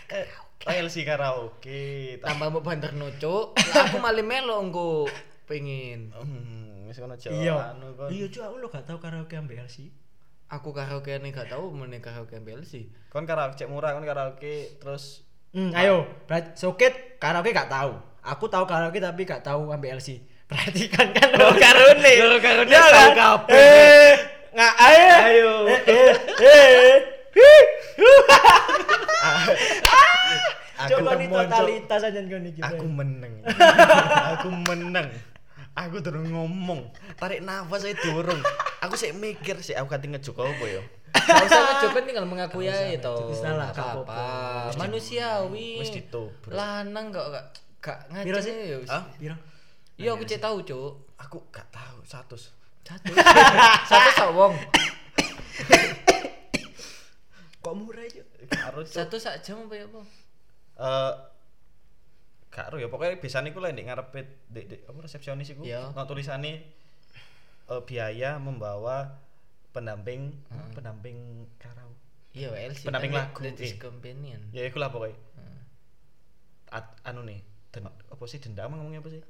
[SPEAKER 2] Eh, oh, LC karaoke. Tak-
[SPEAKER 1] Tambah mbok banterno, Cuk. Lah aku malah melo engko pengen.
[SPEAKER 2] Hmm, wis kono
[SPEAKER 3] Iya.
[SPEAKER 2] jawaban kon.
[SPEAKER 3] Iya, cuy, aku lo gak tau karaoke ambek LC.
[SPEAKER 1] Aku karaoke nih gak tau meneh karaoke BLC.
[SPEAKER 2] Kon karaoke cek murah, kon karaoke terus
[SPEAKER 3] Hmm, ayo, berarti Sokit karaoke gak tahu. Aku tahu karaoke tapi gak tahu ambil LC. Perhatikan kan lo karone. Lo karone
[SPEAKER 2] Ya
[SPEAKER 1] tahu
[SPEAKER 2] kan?
[SPEAKER 1] kabeh.
[SPEAKER 2] [laughs]
[SPEAKER 3] Eh, nggak ayo.
[SPEAKER 2] Ayo.
[SPEAKER 3] Eh, eh, eh. Hi, hu, ha, ha, ha.
[SPEAKER 2] Aku
[SPEAKER 3] Coba nih
[SPEAKER 2] temuan, Cok.
[SPEAKER 3] totalitas aja gini gitu.
[SPEAKER 2] aku meneng. aku meneng. Aku durung ngomong. Tarik nafas saya durung. Aku sik mikir sik aku kate ngejok apa ya.
[SPEAKER 1] Gak usah ngejoget tinggal mengakui aja itu.
[SPEAKER 3] Jadi salah,
[SPEAKER 1] Gak
[SPEAKER 3] gak
[SPEAKER 1] apa-apa.
[SPEAKER 3] apa-apa.
[SPEAKER 1] Manusiawi.
[SPEAKER 2] Wis ditobrak.
[SPEAKER 1] Lanang kok gak gak
[SPEAKER 3] Piro
[SPEAKER 1] ngaji
[SPEAKER 3] sih?
[SPEAKER 1] ya wis.
[SPEAKER 2] Hah?
[SPEAKER 3] Piro?
[SPEAKER 1] Iya aku cek tahu, Cuk.
[SPEAKER 2] Aku gak tahu 100.
[SPEAKER 1] Satu. Satu sak wong.
[SPEAKER 3] Kok murah aja?
[SPEAKER 2] Karo Cok.
[SPEAKER 1] Satu sak jam apa ya apa?
[SPEAKER 2] Eh Kak Ru ya pokoknya biasanya aku lah yang ngarepe di, di, apa resepsionis iku.
[SPEAKER 1] Iya.
[SPEAKER 2] Nah, tulisannya eh, biaya membawa pendamping pendamping karaoke.
[SPEAKER 1] Iya, LC.
[SPEAKER 2] Pendamping
[SPEAKER 1] Nanti
[SPEAKER 2] lagu,
[SPEAKER 1] Ladies
[SPEAKER 2] eh.
[SPEAKER 1] Companion.
[SPEAKER 2] Ya ikulah pokoknya. At- anu nih, den, apa sih dendam ngomongnya apa sih?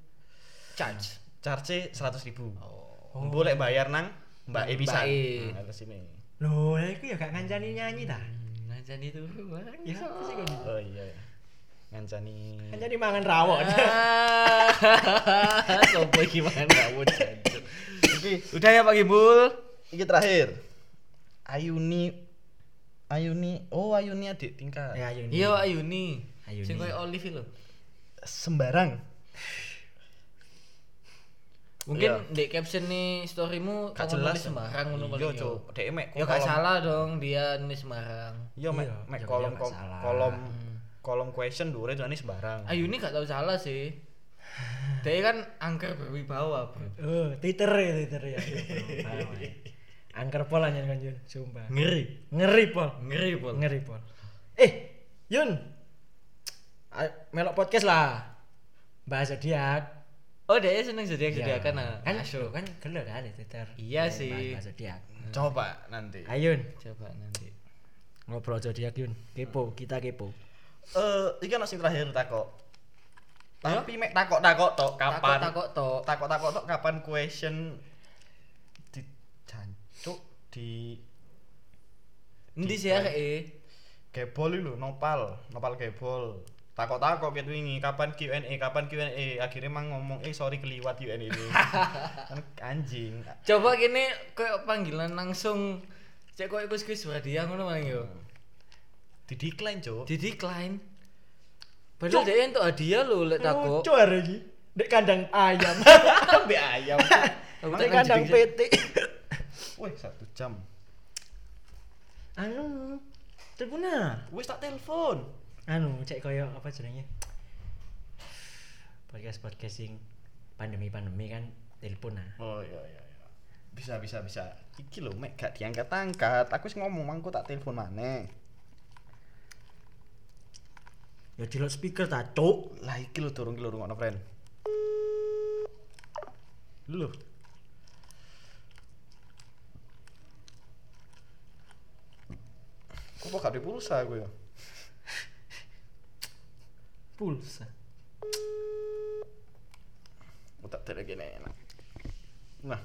[SPEAKER 1] Charge.
[SPEAKER 2] Charge seratus ribu.
[SPEAKER 1] Oh.
[SPEAKER 2] Boleh bayar nang Mbak E
[SPEAKER 1] Mbak
[SPEAKER 2] bisa.
[SPEAKER 1] E.
[SPEAKER 2] Nah, atas ini.
[SPEAKER 3] Loh, aku ya gak ngancani nyanyi dah.
[SPEAKER 1] Nah, jadi itu.
[SPEAKER 3] Ya, apa sih gini?
[SPEAKER 2] Oh iya. iya. Ngancani.
[SPEAKER 3] Ngancani Kan mangan rawon.
[SPEAKER 1] Ah. Sopo gimana kamu jancuk.
[SPEAKER 2] Iki udah ya Pak Gibul. Iki terakhir. Ayuni Ayuni, oh Ayuni adik tingkat.
[SPEAKER 3] Ya, ayo nih.
[SPEAKER 1] Iya, Ayuni.
[SPEAKER 3] Ayuni.
[SPEAKER 1] Sing koyo Olive lho.
[SPEAKER 2] Sembarang.
[SPEAKER 1] Mungkin di caption nih storymu kamu
[SPEAKER 2] Gak jelas
[SPEAKER 1] nulis Semarang ngono paling
[SPEAKER 2] Iya,
[SPEAKER 1] yo.
[SPEAKER 2] Cuk. Dek mek
[SPEAKER 1] Ya gak
[SPEAKER 2] kolom-
[SPEAKER 1] salah dong dia nulis Semarang.
[SPEAKER 2] Iya, mek
[SPEAKER 3] Iya,
[SPEAKER 2] mek
[SPEAKER 3] iya,
[SPEAKER 2] kolom
[SPEAKER 3] gak
[SPEAKER 2] kolom
[SPEAKER 3] salah.
[SPEAKER 2] kolom,
[SPEAKER 1] Hmm.
[SPEAKER 2] kolom question dure tuane sembarang.
[SPEAKER 1] Ayuni gak tau salah sih. Dia kan angker berwibawa, Bro.
[SPEAKER 3] Oh, Twitter ya, Twitter ya. Paham, ya. Angker pol aja kan Yun, sumpah.
[SPEAKER 1] Ngeri.
[SPEAKER 3] Ngeri pol.
[SPEAKER 1] Ngeri, Pol.
[SPEAKER 3] Ngeri pol. Eh, Yun. Ayo, Melok podcast lah. Bahas zodiak.
[SPEAKER 1] Oh, dia seneng zodiak-zodiakan
[SPEAKER 3] Ya.
[SPEAKER 1] ah.
[SPEAKER 3] Kan
[SPEAKER 1] Asyik.
[SPEAKER 3] kan gelo kan di Twitter.
[SPEAKER 1] Iya
[SPEAKER 3] Ayo,
[SPEAKER 1] sih.
[SPEAKER 3] bahas- Bahas zodiak.
[SPEAKER 2] Coba nanti. Eh
[SPEAKER 3] Ayun,
[SPEAKER 1] Coba nanti.
[SPEAKER 3] ngobrol zodiak Yun. Kepo, kita kepo.
[SPEAKER 2] Eh, iki ana sing terakhir takok. Tapi mek takok-takok tok kapan?
[SPEAKER 1] Iya. Takok-takok tok.
[SPEAKER 2] Takok-takok tok kapan question di jancuk di
[SPEAKER 1] Endi sih ya, eh?
[SPEAKER 2] Gebol iki lho, nopal, nopal gebol. Takok-takok ket wingi, kapan Q&A, kapan Q&A. Akhirnya mang ngomong, "Eh, sorry keliwat
[SPEAKER 1] [laughs]
[SPEAKER 2] Q&A ini." kan anjing.
[SPEAKER 1] Coba kene koyo panggilan langsung cek koyo kuis-kuis hadiah ngono paling yo.
[SPEAKER 3] Hmm.
[SPEAKER 2] Di decline, Cuk.
[SPEAKER 1] Di decline. Padahal dia entuk hadiah lho
[SPEAKER 3] Oh,
[SPEAKER 1] lek takok.
[SPEAKER 3] Lucu hari ini. Dek kandang ayam.
[SPEAKER 2] Ambek ayam.
[SPEAKER 1] Aku tak
[SPEAKER 3] Dek kandang
[SPEAKER 1] jadi-
[SPEAKER 3] PT.
[SPEAKER 2] Wih, satu jam.
[SPEAKER 3] Anu, tribuna.
[SPEAKER 2] Wis tak telepon.
[SPEAKER 3] Anu, cek koyo apa jenenge? Podcast podcast sing pandemi-pandemi kan telepon nah.
[SPEAKER 2] Oh iya iya iya. Bisa bisa bisa. Iki lho mek gak diangkat-angkat. Aku wis ngomong mangku tak telepon maneh.
[SPEAKER 3] Ya dilok speaker ta, Cuk.
[SPEAKER 2] Lah iki lho dorong iki lho rungokno friend. Lho. Kok gak ada pulsa aku ya?
[SPEAKER 3] Pulsa.
[SPEAKER 2] Oh, tak ada gini enak. Nah.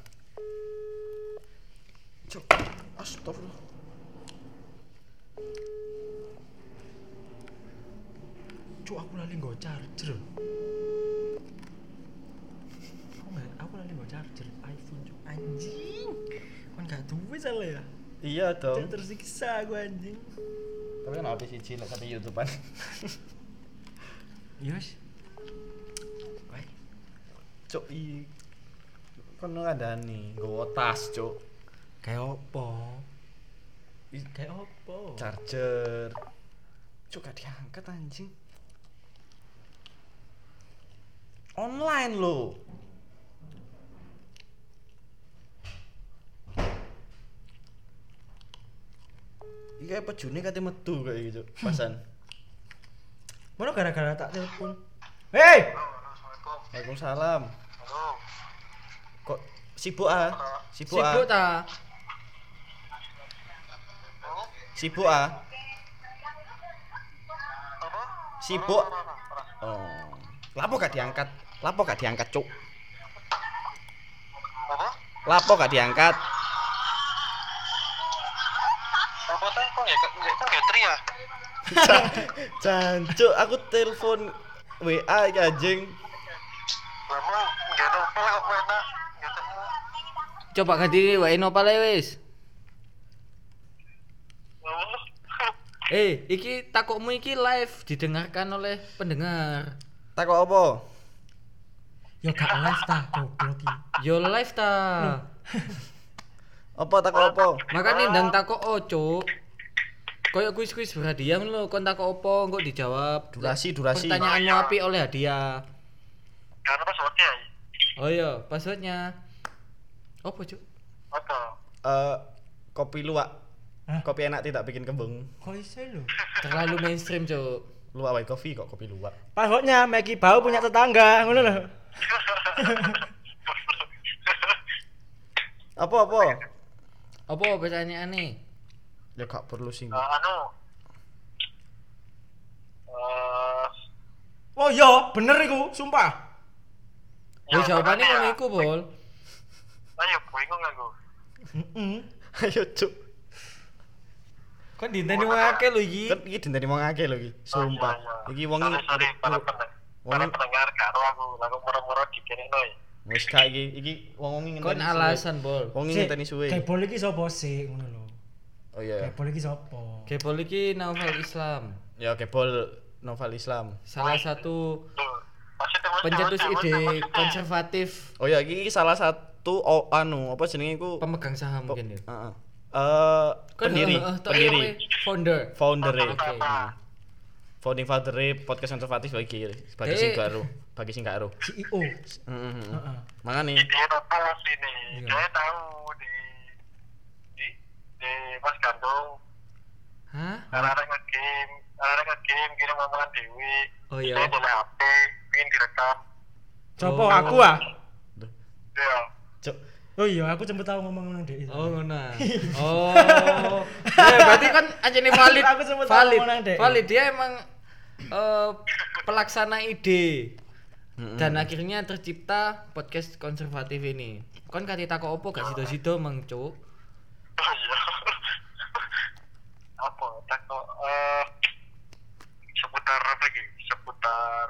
[SPEAKER 2] Cuk. Astagfirullah.
[SPEAKER 3] Cuk, aku lali nggo charger. Aku nggak- Aku lali nggo charger iPhone, Cuk. Anjing. Kon gak duwe salah ya.
[SPEAKER 2] Iya dong.
[SPEAKER 3] Cuk, tersiksa aku anjing.
[SPEAKER 2] Tapi kan habis siji lek kate YouTubean. [laughs]
[SPEAKER 3] Yus. Wah,
[SPEAKER 2] Cuk i. Kono ngandani nggowo tas, Cuk.
[SPEAKER 3] kayak opo?
[SPEAKER 2] Ih,
[SPEAKER 3] Kayak opo?
[SPEAKER 2] Charger. Cuk gak diangkat anjing. Online lo. Iki apa june kate metu kayak gitu, pasan.
[SPEAKER 3] Mana gara-gara tak telepon?
[SPEAKER 2] Hei,
[SPEAKER 4] Assalamualaikum.
[SPEAKER 2] Waalaikumsalam.
[SPEAKER 4] Halo.
[SPEAKER 2] Kok sibuk ah?
[SPEAKER 1] Sibuk
[SPEAKER 2] Sibuk ah?
[SPEAKER 1] ta?
[SPEAKER 4] Halo.
[SPEAKER 2] Sibuk ah?
[SPEAKER 4] Apa?
[SPEAKER 2] Sibuk.
[SPEAKER 4] Ora, ora, ora.
[SPEAKER 2] Oh. Lapo gak diangkat? Lapo gak diangkat, Cuk?
[SPEAKER 4] Apa?
[SPEAKER 2] Lapo gak diangkat?
[SPEAKER 4] Apa teh kok ya kok ya, kok ya tri ya?
[SPEAKER 2] Jancuk, aku telepon WA iki anjing.
[SPEAKER 4] Lama enggak ada apa kok enak. Enggak ada.
[SPEAKER 1] Coba ganti wae nopal ae wis.
[SPEAKER 4] Lama. [laughs]
[SPEAKER 1] Eh, iki takokmu iki live didengarkan oleh pendengar.
[SPEAKER 2] Takok apa?
[SPEAKER 3] Ya gak live ta, goblok iki.
[SPEAKER 1] Yo live ta.
[SPEAKER 2] Apa takok apa?
[SPEAKER 1] Makane ndang takok oco. Koyo kuis-kuis berhadiah ngono lho, kon takok opo engko dijawab.
[SPEAKER 2] Durasi, durasi.
[SPEAKER 1] Pertanyaanmu api oleh hadiah.
[SPEAKER 4] Karena pas waktu ya.
[SPEAKER 1] Oh iya, passwordnya. Opo, Cuk?
[SPEAKER 4] Apa?
[SPEAKER 2] Eh, kopi luwak.
[SPEAKER 3] Hah?
[SPEAKER 2] Kopi enak tidak bikin kembung.
[SPEAKER 3] Kok iso lho?
[SPEAKER 1] Terlalu mainstream, Cuk.
[SPEAKER 2] Luwak wae kopi kok kopi luwak.
[SPEAKER 3] Passwordnya Maggie Bau punya tetangga, ngono [laughs] lho.
[SPEAKER 2] Apa apa?
[SPEAKER 1] Apa pertanyaane?
[SPEAKER 2] Ya gak perlu sih.
[SPEAKER 4] Eh, anu. Eh,
[SPEAKER 3] Oh iya, bener iku, sumpah.
[SPEAKER 1] Ya jawabannya ngono iku, Bol.
[SPEAKER 4] Ayo, bingung aku.
[SPEAKER 3] Heeh.
[SPEAKER 2] [laughs] Ayo, Cuk.
[SPEAKER 1] Kon dinteni wong akeh lho iki.
[SPEAKER 2] Kan iki dinteni wong akeh lho iki. Sumpah. Iki wong
[SPEAKER 4] iki.
[SPEAKER 2] iki
[SPEAKER 4] Sorry, para pendengar. Para
[SPEAKER 2] wong-
[SPEAKER 4] pendengar karo aku, aku ya. murah-murah dikirim noy.
[SPEAKER 2] wis gak iki. Iki wong wong ngenteni.
[SPEAKER 1] Kon
[SPEAKER 2] suwe.
[SPEAKER 1] alasan, Bol.
[SPEAKER 2] Wong ngenteni suwe.
[SPEAKER 3] Kebol iki sapa sih ngono lho.
[SPEAKER 2] Oh iya.
[SPEAKER 3] Kebol iki sapa?
[SPEAKER 1] Gebol iki novel Islam.
[SPEAKER 2] Ya kebol novel Islam.
[SPEAKER 1] Salah satu
[SPEAKER 4] Tuh. Maksudnya, maksudnya,
[SPEAKER 1] pencetus
[SPEAKER 4] maksudnya,
[SPEAKER 1] ide
[SPEAKER 4] maksudnya.
[SPEAKER 1] konservatif
[SPEAKER 2] Oh ya, iki salah satu oh, anu apa jenenge iku?
[SPEAKER 1] pemegang saham
[SPEAKER 2] Pe-
[SPEAKER 1] mungkin ya.
[SPEAKER 2] Heeh. Eh pendiri,
[SPEAKER 1] eh, eh, tok
[SPEAKER 2] pendiri,
[SPEAKER 1] iya, kowe founder.
[SPEAKER 2] founder
[SPEAKER 1] Oke.
[SPEAKER 2] founding father podcast konservatif bagi bagi
[SPEAKER 1] Eh.
[SPEAKER 2] sing karo, bagi sing karo.
[SPEAKER 3] CEO.
[SPEAKER 2] Heeh.
[SPEAKER 3] E Heeh.
[SPEAKER 2] Mangane
[SPEAKER 4] dia tahu sini
[SPEAKER 3] Iya.
[SPEAKER 4] dia tahu di di di mas gandong
[SPEAKER 1] Hah?
[SPEAKER 4] ada game ada game kirim omongan dewi
[SPEAKER 1] Oh iya.
[SPEAKER 4] dia dari hp pingin direkam
[SPEAKER 3] Coba
[SPEAKER 1] Oh.
[SPEAKER 3] aku ah.
[SPEAKER 4] ya
[SPEAKER 2] Cuk.
[SPEAKER 3] Oh iya, aku cepet tau ngomong nang Dek.
[SPEAKER 1] Oh ngono.
[SPEAKER 3] [laughs]
[SPEAKER 1] ah. Oh. ya berarti kan anjene valid.
[SPEAKER 3] Aku sempet
[SPEAKER 1] valid.
[SPEAKER 3] ngomong nang Dek.
[SPEAKER 1] Valid dia emang eh, pelaksana ide.
[SPEAKER 2] Mm-mm.
[SPEAKER 1] Dan akhirnya tercipta podcast konservatif ini. Kon kate takok opo gak sido-sido mang cuk.
[SPEAKER 4] oh iya [laughs] apa tak kok eh, seputar apa gitu seputar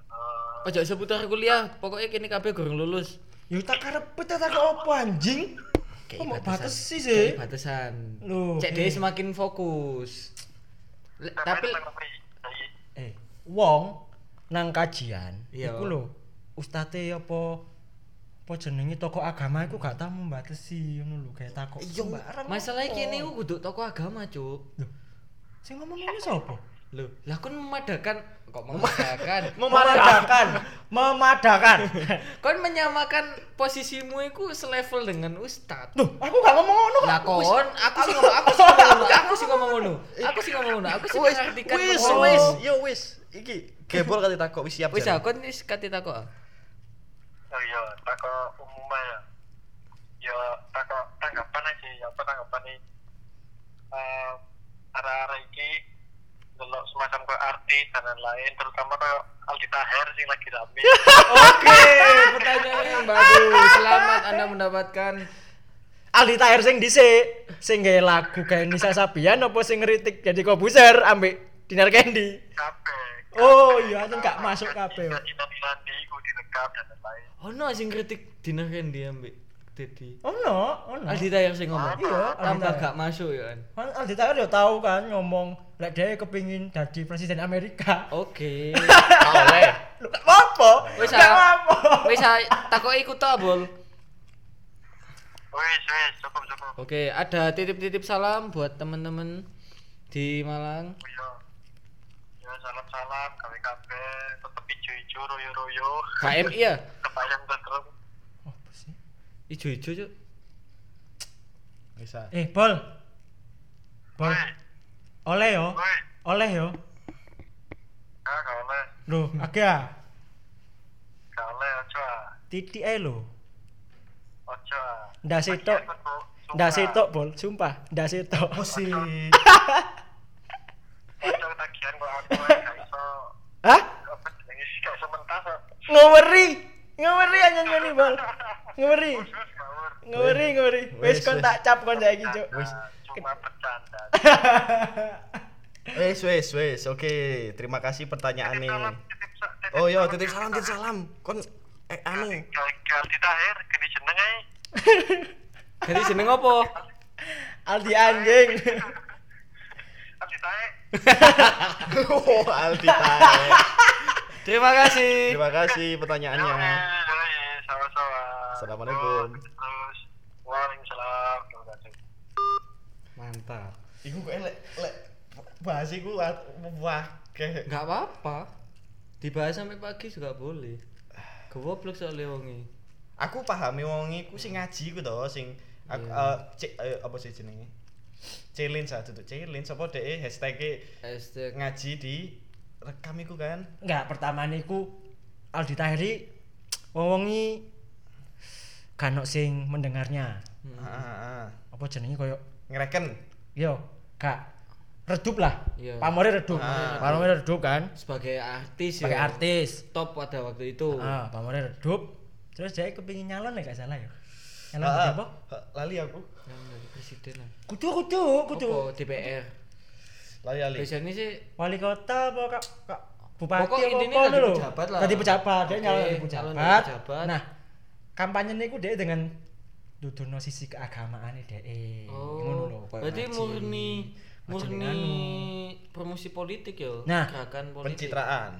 [SPEAKER 4] eh,
[SPEAKER 1] Ojo seputar kuliah, pokoknya kini kabeh gorong lulus.
[SPEAKER 3] Ya tak karep tak tak opo anjing? Kok mau batas sih sih?
[SPEAKER 1] Kayak batasan.
[SPEAKER 3] Loh,
[SPEAKER 1] Cek dia
[SPEAKER 3] eh.
[SPEAKER 1] semakin fokus. Le-
[SPEAKER 4] sampai
[SPEAKER 1] tapi
[SPEAKER 4] tentang apa ini? Jadi,
[SPEAKER 3] Eh, wong nang kajian
[SPEAKER 1] Iya.
[SPEAKER 3] iku lho ustate apa apa jenenge toko agama iku gak tau membatasi ngono lho kayak takok
[SPEAKER 2] Iya,
[SPEAKER 3] sembarang
[SPEAKER 1] Masalahnya
[SPEAKER 3] apa.
[SPEAKER 1] kini aku kudu toko agama, Cuk.
[SPEAKER 3] sing ngomong ngono sapa
[SPEAKER 1] Loh, lah kon memadakan kok
[SPEAKER 3] [laughs]
[SPEAKER 1] memadakan?
[SPEAKER 2] memadakan
[SPEAKER 1] [laughs]
[SPEAKER 3] memadakan
[SPEAKER 1] kon menyamakan posisimu iku selevel dengan
[SPEAKER 2] [laughs]
[SPEAKER 1] ustad.
[SPEAKER 3] Duh, aku gak ngomong ngono
[SPEAKER 1] Lah kon, aku sih ngomong, aku sih ngomong, ngono, aku sih ngomong
[SPEAKER 2] [laughs]
[SPEAKER 1] ngono. Aku sih ngomong ngono, aku sih
[SPEAKER 2] wis
[SPEAKER 1] mengartikan
[SPEAKER 2] wis
[SPEAKER 1] ngono.
[SPEAKER 2] wis Oh. yo wis iki gebol kali takok wis siap
[SPEAKER 1] Wis
[SPEAKER 2] jan.
[SPEAKER 1] ah, kon wis kate takok.
[SPEAKER 4] Oh iya, takok umumnya ya. Ya takok tanggapan aja, ya apa tanggapan nih? Eh arah-arah iki delok semacam ke artis dan lain-lain, terutama ke Aldi Taher sing lagi rame.
[SPEAKER 3] [laughs]
[SPEAKER 1] Oke, pertanyaan yang bagus. Selamat Anda mendapatkan
[SPEAKER 3] Aldi Taher sing dhisik sing gawe lagu kayak Nisa Sabian apa sing ngeritik jadi kobuser ambek Dinar Candy
[SPEAKER 4] Kabeh.
[SPEAKER 3] Oh iya, aku gak masuk kabeh.
[SPEAKER 4] Cina Nilandi ku direkam dan lain-lain.
[SPEAKER 1] ono sing kritik diner Randy ambek Dedi.
[SPEAKER 3] Oh no, oh no.
[SPEAKER 1] Aldi Taher sing ngomong.
[SPEAKER 3] Iya, Aldi
[SPEAKER 1] Tambah
[SPEAKER 3] Taher.
[SPEAKER 1] gak masuk ya kan.
[SPEAKER 3] Kan Aldi Taher ya tahu kan ngomong lek dia kepingin jadi presiden Amerika. [laughs]
[SPEAKER 2] [laughs]
[SPEAKER 1] Oke.
[SPEAKER 2] Gak Ah, oleh
[SPEAKER 3] Lu gak apa?
[SPEAKER 1] Wis
[SPEAKER 3] gak
[SPEAKER 1] ah.
[SPEAKER 3] apa.
[SPEAKER 1] Wis ah, takoki ku tok, Bol.
[SPEAKER 4] Wis, wis, cukup, cukup.
[SPEAKER 1] Oke, ada titip-titip salam buat temen-temen di Malang.
[SPEAKER 4] Iya. Ya salam-salam, kami kabeh tetep ijo-ijo, royo-royo,
[SPEAKER 1] KMI ya?
[SPEAKER 4] kebayang tentrem.
[SPEAKER 3] Apa sih?
[SPEAKER 1] Ijo-ijo, Cuk.
[SPEAKER 2] bisa
[SPEAKER 3] Eh, Bol. Bol.
[SPEAKER 4] Woi,
[SPEAKER 3] Oleh yo.
[SPEAKER 4] woi.
[SPEAKER 3] Oleh yo.
[SPEAKER 4] Ah, gak oleh.
[SPEAKER 3] Loh, akeh ah.
[SPEAKER 4] Gak oleh, ojo ah.
[SPEAKER 3] Titik ae lho.
[SPEAKER 4] Ojo ah.
[SPEAKER 3] Ndak sitok.
[SPEAKER 4] Bagian tentu, sumpah.
[SPEAKER 3] Ndak sitok, Bol. Sumpah, ndak sitok.
[SPEAKER 2] musik
[SPEAKER 4] Ojo tagihan kok aku eh, gak iso
[SPEAKER 3] Hah?
[SPEAKER 4] apa jenenge gak iso mentas. kok.
[SPEAKER 3] Ngeweri. Ngeweri anjing ini, Bol. Ngeweri.
[SPEAKER 4] Terus ngawur.
[SPEAKER 3] Ngeweri, ngeweri.
[SPEAKER 2] Wis,
[SPEAKER 3] Wis kon
[SPEAKER 2] wis.
[SPEAKER 3] tak cap kon saiki, Cuk. [laughs]
[SPEAKER 4] Ah, Cuma bercanda.
[SPEAKER 2] wis wis wis oke terima kasih pertanyaannya
[SPEAKER 4] Titip sa-
[SPEAKER 2] oh yo titip salam titip salam kon eh anu [laughs]
[SPEAKER 4] Kali- kali ditahir, gini jeneng eh. ae.
[SPEAKER 1] Jadi jeneng apa?
[SPEAKER 3] Aldi anjing.
[SPEAKER 4] Kali ditahir.
[SPEAKER 2] oh Aldi Taher.
[SPEAKER 1] Terima kasih.
[SPEAKER 2] terima kasih pertanyaannya
[SPEAKER 4] Yoi, yoi, sama-sama.
[SPEAKER 2] Assalamualaikum.
[SPEAKER 4] Terus. Waalaikumsalam. Terima kasih.
[SPEAKER 1] Mantap.
[SPEAKER 2] Iku kok lek lek bahas iku at- wah kayak
[SPEAKER 1] Enggak apa-apa. Dibahas sampai pagi juga boleh. Goblok soalnya wongi.
[SPEAKER 2] aku pahami wong iku sing ngaji iku to sing aku
[SPEAKER 1] Iya.
[SPEAKER 2] eh, ce- eh, apa sih jenenge? Challenge ah tutup challenge apa deh hashtag e,
[SPEAKER 1] Hashtag
[SPEAKER 2] ngaji di rekam iku kan.
[SPEAKER 3] Enggak, pertama niku Aldi Tahiri wongi kanok sing mendengarnya.
[SPEAKER 2] Heeh. heeh.
[SPEAKER 3] Apa jenenge koyo
[SPEAKER 2] Ngereken.
[SPEAKER 3] yo gak redup lah.
[SPEAKER 1] Iya.
[SPEAKER 3] Pamore redup.
[SPEAKER 2] Ah.
[SPEAKER 3] Pamore redup kan
[SPEAKER 1] sebagai artis ya.
[SPEAKER 3] sebagai artis.
[SPEAKER 1] Top pada waktu itu.
[SPEAKER 3] Ah, pamore redup. Terus dia kepingin nyalon ya gak salah ya. Nyalon
[SPEAKER 2] Heeh.
[SPEAKER 3] apa?
[SPEAKER 2] Heeh, Lali aku.
[SPEAKER 1] Yang dari presiden lah.
[SPEAKER 3] Kudu kudu kudu.
[SPEAKER 1] Apa DPR.
[SPEAKER 2] Lali lali.
[SPEAKER 1] Biasanya sih
[SPEAKER 3] Wali kota apa kak, kak bupati
[SPEAKER 1] Pokok
[SPEAKER 3] apa
[SPEAKER 1] intinya
[SPEAKER 3] apa
[SPEAKER 1] dadi
[SPEAKER 3] lho.
[SPEAKER 1] pejabat lah.
[SPEAKER 3] Dadi pejabat, dia
[SPEAKER 1] Oke,
[SPEAKER 3] nyalon dadi
[SPEAKER 1] nyalon dadi
[SPEAKER 3] pejabat.
[SPEAKER 1] pejabat.
[SPEAKER 3] Nah, kampanye niku dia dengan duduno sisi keagamaan dhek. Eh, ngono lho,
[SPEAKER 1] Oh,
[SPEAKER 3] koyo
[SPEAKER 1] berarti
[SPEAKER 3] ngaji.
[SPEAKER 1] murni
[SPEAKER 3] Ngaji
[SPEAKER 1] murni
[SPEAKER 3] dengan anu.
[SPEAKER 1] promosi politik ya,
[SPEAKER 3] Nah.
[SPEAKER 1] gerakan politik.
[SPEAKER 2] Pencitraan.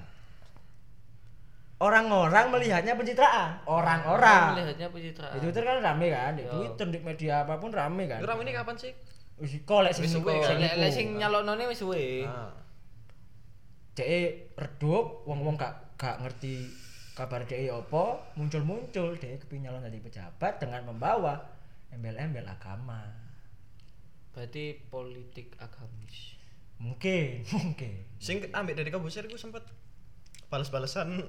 [SPEAKER 3] Orang-orang melihatnya pencitraan,
[SPEAKER 1] Orang
[SPEAKER 3] orang-orang.
[SPEAKER 1] melihatnya pencitraan.
[SPEAKER 3] Di Twitter kan rame kan, di
[SPEAKER 1] Yo.
[SPEAKER 3] Twitter, di media apapun rame kan.
[SPEAKER 2] Itu rame ini kapan sih?
[SPEAKER 3] Wis kolek sing
[SPEAKER 2] Wis
[SPEAKER 3] niku,
[SPEAKER 2] suwe kan?
[SPEAKER 3] sing
[SPEAKER 1] Lek lek
[SPEAKER 3] niku.
[SPEAKER 1] sing nyalonone wis suwe.
[SPEAKER 2] Ah.
[SPEAKER 3] Dek redup, wong-wong gak gak ngerti kabar dek apa, muncul-muncul dek kepingin nyalon dadi pejabat dengan membawa embel-embel agama.
[SPEAKER 1] Berarti politik agamis.
[SPEAKER 3] Mungkin, [laughs] mungkin.
[SPEAKER 2] Sing ambek dari Kabusir iku sempet balas-balesan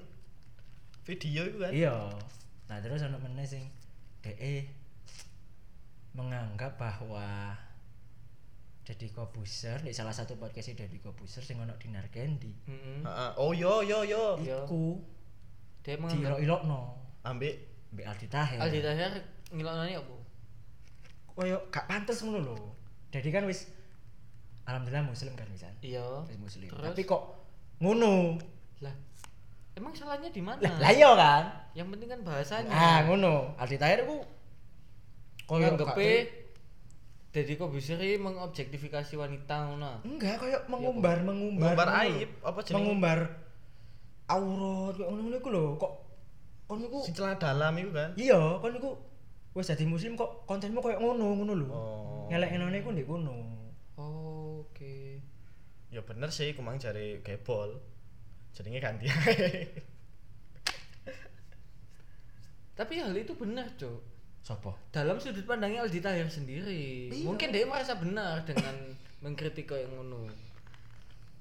[SPEAKER 2] video iku kan.
[SPEAKER 3] Iya. Nah, terus ana meneh sing dek menganggap bahwa Deddy Kobuser, di salah satu podcast Deddy Kobuser sing ono Dinar Candy.
[SPEAKER 1] Heeh.
[SPEAKER 3] Ah.
[SPEAKER 2] Heeh. Oh yo yo yo.
[SPEAKER 1] Iya.
[SPEAKER 3] Iku
[SPEAKER 1] Dia menganggap
[SPEAKER 3] diilok-ilokno
[SPEAKER 2] Ambek
[SPEAKER 3] mbek Aldi Taher.
[SPEAKER 1] Aldi Tahir ngiloknone apa?
[SPEAKER 3] koyo gak pantas ngono lho. Jadi kan wis alhamdulillah muslim kan wisan.
[SPEAKER 1] Iya.
[SPEAKER 3] Wis muslim.
[SPEAKER 1] Terus?
[SPEAKER 3] Tapi kok ngono?
[SPEAKER 1] Lah. Emang salahnya di mana?
[SPEAKER 3] Lah lah iya kan.
[SPEAKER 1] Yang penting Ah. kan bahasanya.
[SPEAKER 3] Ah ngono. Aldi Tahir ku koyo gak-
[SPEAKER 1] nganggepe Deddy Kobusier ini mengobjektifikasi wanita ngono.
[SPEAKER 3] enggak koyo mengumbar mengumbar
[SPEAKER 2] Mengumbar
[SPEAKER 3] ngono lho.
[SPEAKER 2] aib, apa jenenge?
[SPEAKER 3] Mengumbar aurat koyo ngono-ngono iku lho kok kon niku
[SPEAKER 2] Sing celana dalam iku kan.
[SPEAKER 3] iya kon niku wis dadi muslim kok kontenmu koyo ngono ngono lho
[SPEAKER 2] Oh.
[SPEAKER 3] ngelek-ngelekne iku ndek kono
[SPEAKER 1] Oh, oke
[SPEAKER 2] Ya bener sih kumang jare gebol. Jenenge ganti.
[SPEAKER 1] tapi hal itu benar cok
[SPEAKER 2] Sopo?
[SPEAKER 1] dalam sudut pandangnya Aldi Tahir sendiri mungkin dia merasa benar dengan mengkritik kayak ngono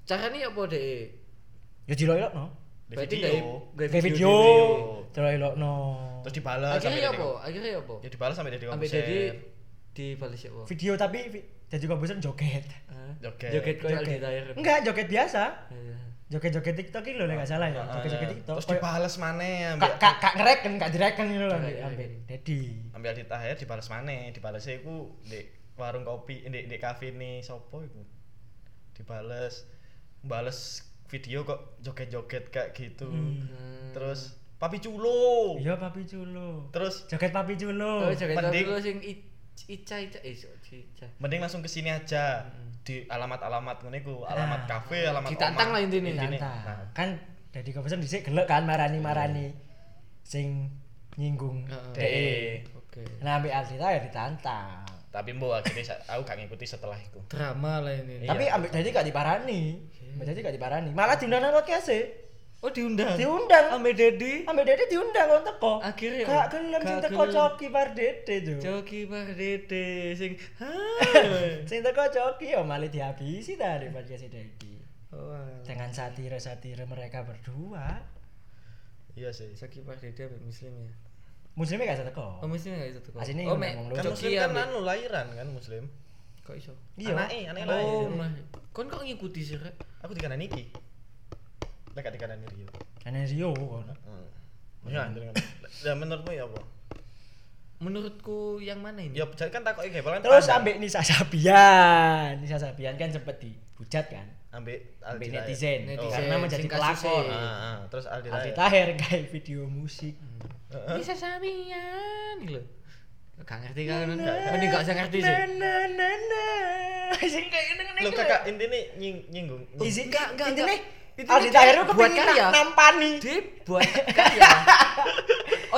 [SPEAKER 1] caranya apa deh
[SPEAKER 3] ya dilok-lokno
[SPEAKER 2] Di
[SPEAKER 1] [laughs] berarti
[SPEAKER 2] video.
[SPEAKER 1] nggak
[SPEAKER 3] Kayak video dilok-lokno
[SPEAKER 2] Terus dibalas Nah, sampai
[SPEAKER 1] akhirnya ya
[SPEAKER 2] dadi-
[SPEAKER 1] apa akhirnya apa
[SPEAKER 2] Ya dibalas sampai dari
[SPEAKER 1] sampai
[SPEAKER 2] komputer.
[SPEAKER 1] jadi di balas ya apa
[SPEAKER 3] video tapi vi- jadi komposer joget
[SPEAKER 1] Hah?
[SPEAKER 2] Joget.
[SPEAKER 1] joget kayak Aldi
[SPEAKER 3] joget
[SPEAKER 1] Tahir
[SPEAKER 3] enggak joget biasa
[SPEAKER 1] Iya.
[SPEAKER 3] joget-joget TikTok iki lho nek gak
[SPEAKER 1] Eh,
[SPEAKER 3] salah ya
[SPEAKER 1] Ah,
[SPEAKER 3] joget-joget
[SPEAKER 2] Ah,
[SPEAKER 3] TikTok
[SPEAKER 2] Terus
[SPEAKER 3] koyo-
[SPEAKER 2] dibalas maneh
[SPEAKER 3] kak
[SPEAKER 1] ya?
[SPEAKER 2] ambek
[SPEAKER 3] kak kak ngereken kak direken gitu loh
[SPEAKER 1] Kak
[SPEAKER 3] ambek
[SPEAKER 1] direken.
[SPEAKER 3] ambek Dedi
[SPEAKER 2] ambil di tahir dibalas maneh, dibalas iku di warung kopi, di di kafe nih sopo iku. Dibales bales video kok joget-joget kayak gitu.
[SPEAKER 1] Hmm.
[SPEAKER 2] Terus papi culo.
[SPEAKER 3] iya papi culo
[SPEAKER 2] Terus
[SPEAKER 3] joget papi
[SPEAKER 1] Oh,
[SPEAKER 3] culo
[SPEAKER 1] joget tapi
[SPEAKER 2] mending-
[SPEAKER 1] lo sing i- Ica Ica eh so- Ica.
[SPEAKER 2] mending langsung ke sini aja di alamat-alamat ngene iku, alamat
[SPEAKER 3] Hmm. Nah,
[SPEAKER 2] kafe, alamat
[SPEAKER 1] ditantang
[SPEAKER 2] omah.
[SPEAKER 1] lah intine.
[SPEAKER 2] Intine. Nah,
[SPEAKER 3] Ditantang. Iya, kan Dedi Kobesen dhisik gelek kan marani-marani sing nyinggung
[SPEAKER 1] Iya, Heeh.
[SPEAKER 2] DE.
[SPEAKER 1] Oke.
[SPEAKER 3] nah ambek Aldita ya ditantang
[SPEAKER 2] Tapi mbok akhirnya sa- aku gak ngikuti setelah iku.
[SPEAKER 1] Drama lah ini.
[SPEAKER 3] tapi ambek Dedi gak diparani ambek Dedi gak diparani malah diundang nang podcast e
[SPEAKER 1] Oh diundang.
[SPEAKER 3] diundang
[SPEAKER 1] Ame Dedi.
[SPEAKER 3] ambek Dedi diundang kon teko
[SPEAKER 1] Akhirnya.
[SPEAKER 3] gak gelem sing
[SPEAKER 1] Gak
[SPEAKER 3] teko
[SPEAKER 1] gelem.
[SPEAKER 3] coki par Dede jo
[SPEAKER 1] Joki Pak Dede sing. ha.
[SPEAKER 3] sing teko coki ya malah dihabisi ta di podcast Dedi
[SPEAKER 1] Wah.
[SPEAKER 3] dengan satire-satire mereka berdua
[SPEAKER 2] Iya sih.
[SPEAKER 1] Joki Pak Dede ambek muslim ya.
[SPEAKER 3] muslimnya gak teko
[SPEAKER 1] Oh muslim enggak itu kok.
[SPEAKER 3] Asine
[SPEAKER 1] Oh
[SPEAKER 3] ngomong
[SPEAKER 1] mek
[SPEAKER 3] wong
[SPEAKER 2] Kan
[SPEAKER 1] Joki
[SPEAKER 2] muslim kan
[SPEAKER 1] ambek
[SPEAKER 2] anu lahiran kan muslim.
[SPEAKER 1] kok iso.
[SPEAKER 3] Iya.
[SPEAKER 2] Anake, anake
[SPEAKER 1] Oh,
[SPEAKER 2] lahir.
[SPEAKER 1] mah. Kon kok ngikuti sih rek?
[SPEAKER 2] Aku di kanan iki. Lek gak di kanan Rio.
[SPEAKER 3] Ane Rio kono.
[SPEAKER 2] Hmm. Ya, anjir. Ya menurutmu ya apa?
[SPEAKER 1] Menurutku yang mana ini?
[SPEAKER 2] Ya jadi kan takoki gebel kan.
[SPEAKER 3] Terus
[SPEAKER 2] pandang.
[SPEAKER 3] ambek Nisa Sabian. Nisa Sabian kan sempet dihujat kan
[SPEAKER 2] ambek Aldila
[SPEAKER 3] ambek
[SPEAKER 2] ya?
[SPEAKER 3] netizen
[SPEAKER 1] Netizen,
[SPEAKER 3] karena menjadi
[SPEAKER 1] sing kasus
[SPEAKER 3] pelakon.
[SPEAKER 1] e.
[SPEAKER 2] Ah, ah, terus Aldila.
[SPEAKER 3] Aldi
[SPEAKER 2] ya?
[SPEAKER 3] Tahir kayak video musik.
[SPEAKER 1] Bisa samian lho. Gak ngerti kan. Mending gak usah ngerti sih.
[SPEAKER 3] Na na na na. Sing kayak ngene
[SPEAKER 2] Loh kakak intinya nying, nyinggung.
[SPEAKER 3] Izin
[SPEAKER 1] Enggak,
[SPEAKER 3] enggak
[SPEAKER 1] enggak,
[SPEAKER 3] enggak. Intine
[SPEAKER 1] enggak.
[SPEAKER 3] Aldi
[SPEAKER 1] Intine kayak
[SPEAKER 3] Tahir kok ya?
[SPEAKER 1] buat
[SPEAKER 3] pengen
[SPEAKER 1] karya.
[SPEAKER 3] na- nampani.
[SPEAKER 1] dibuat kaya ya.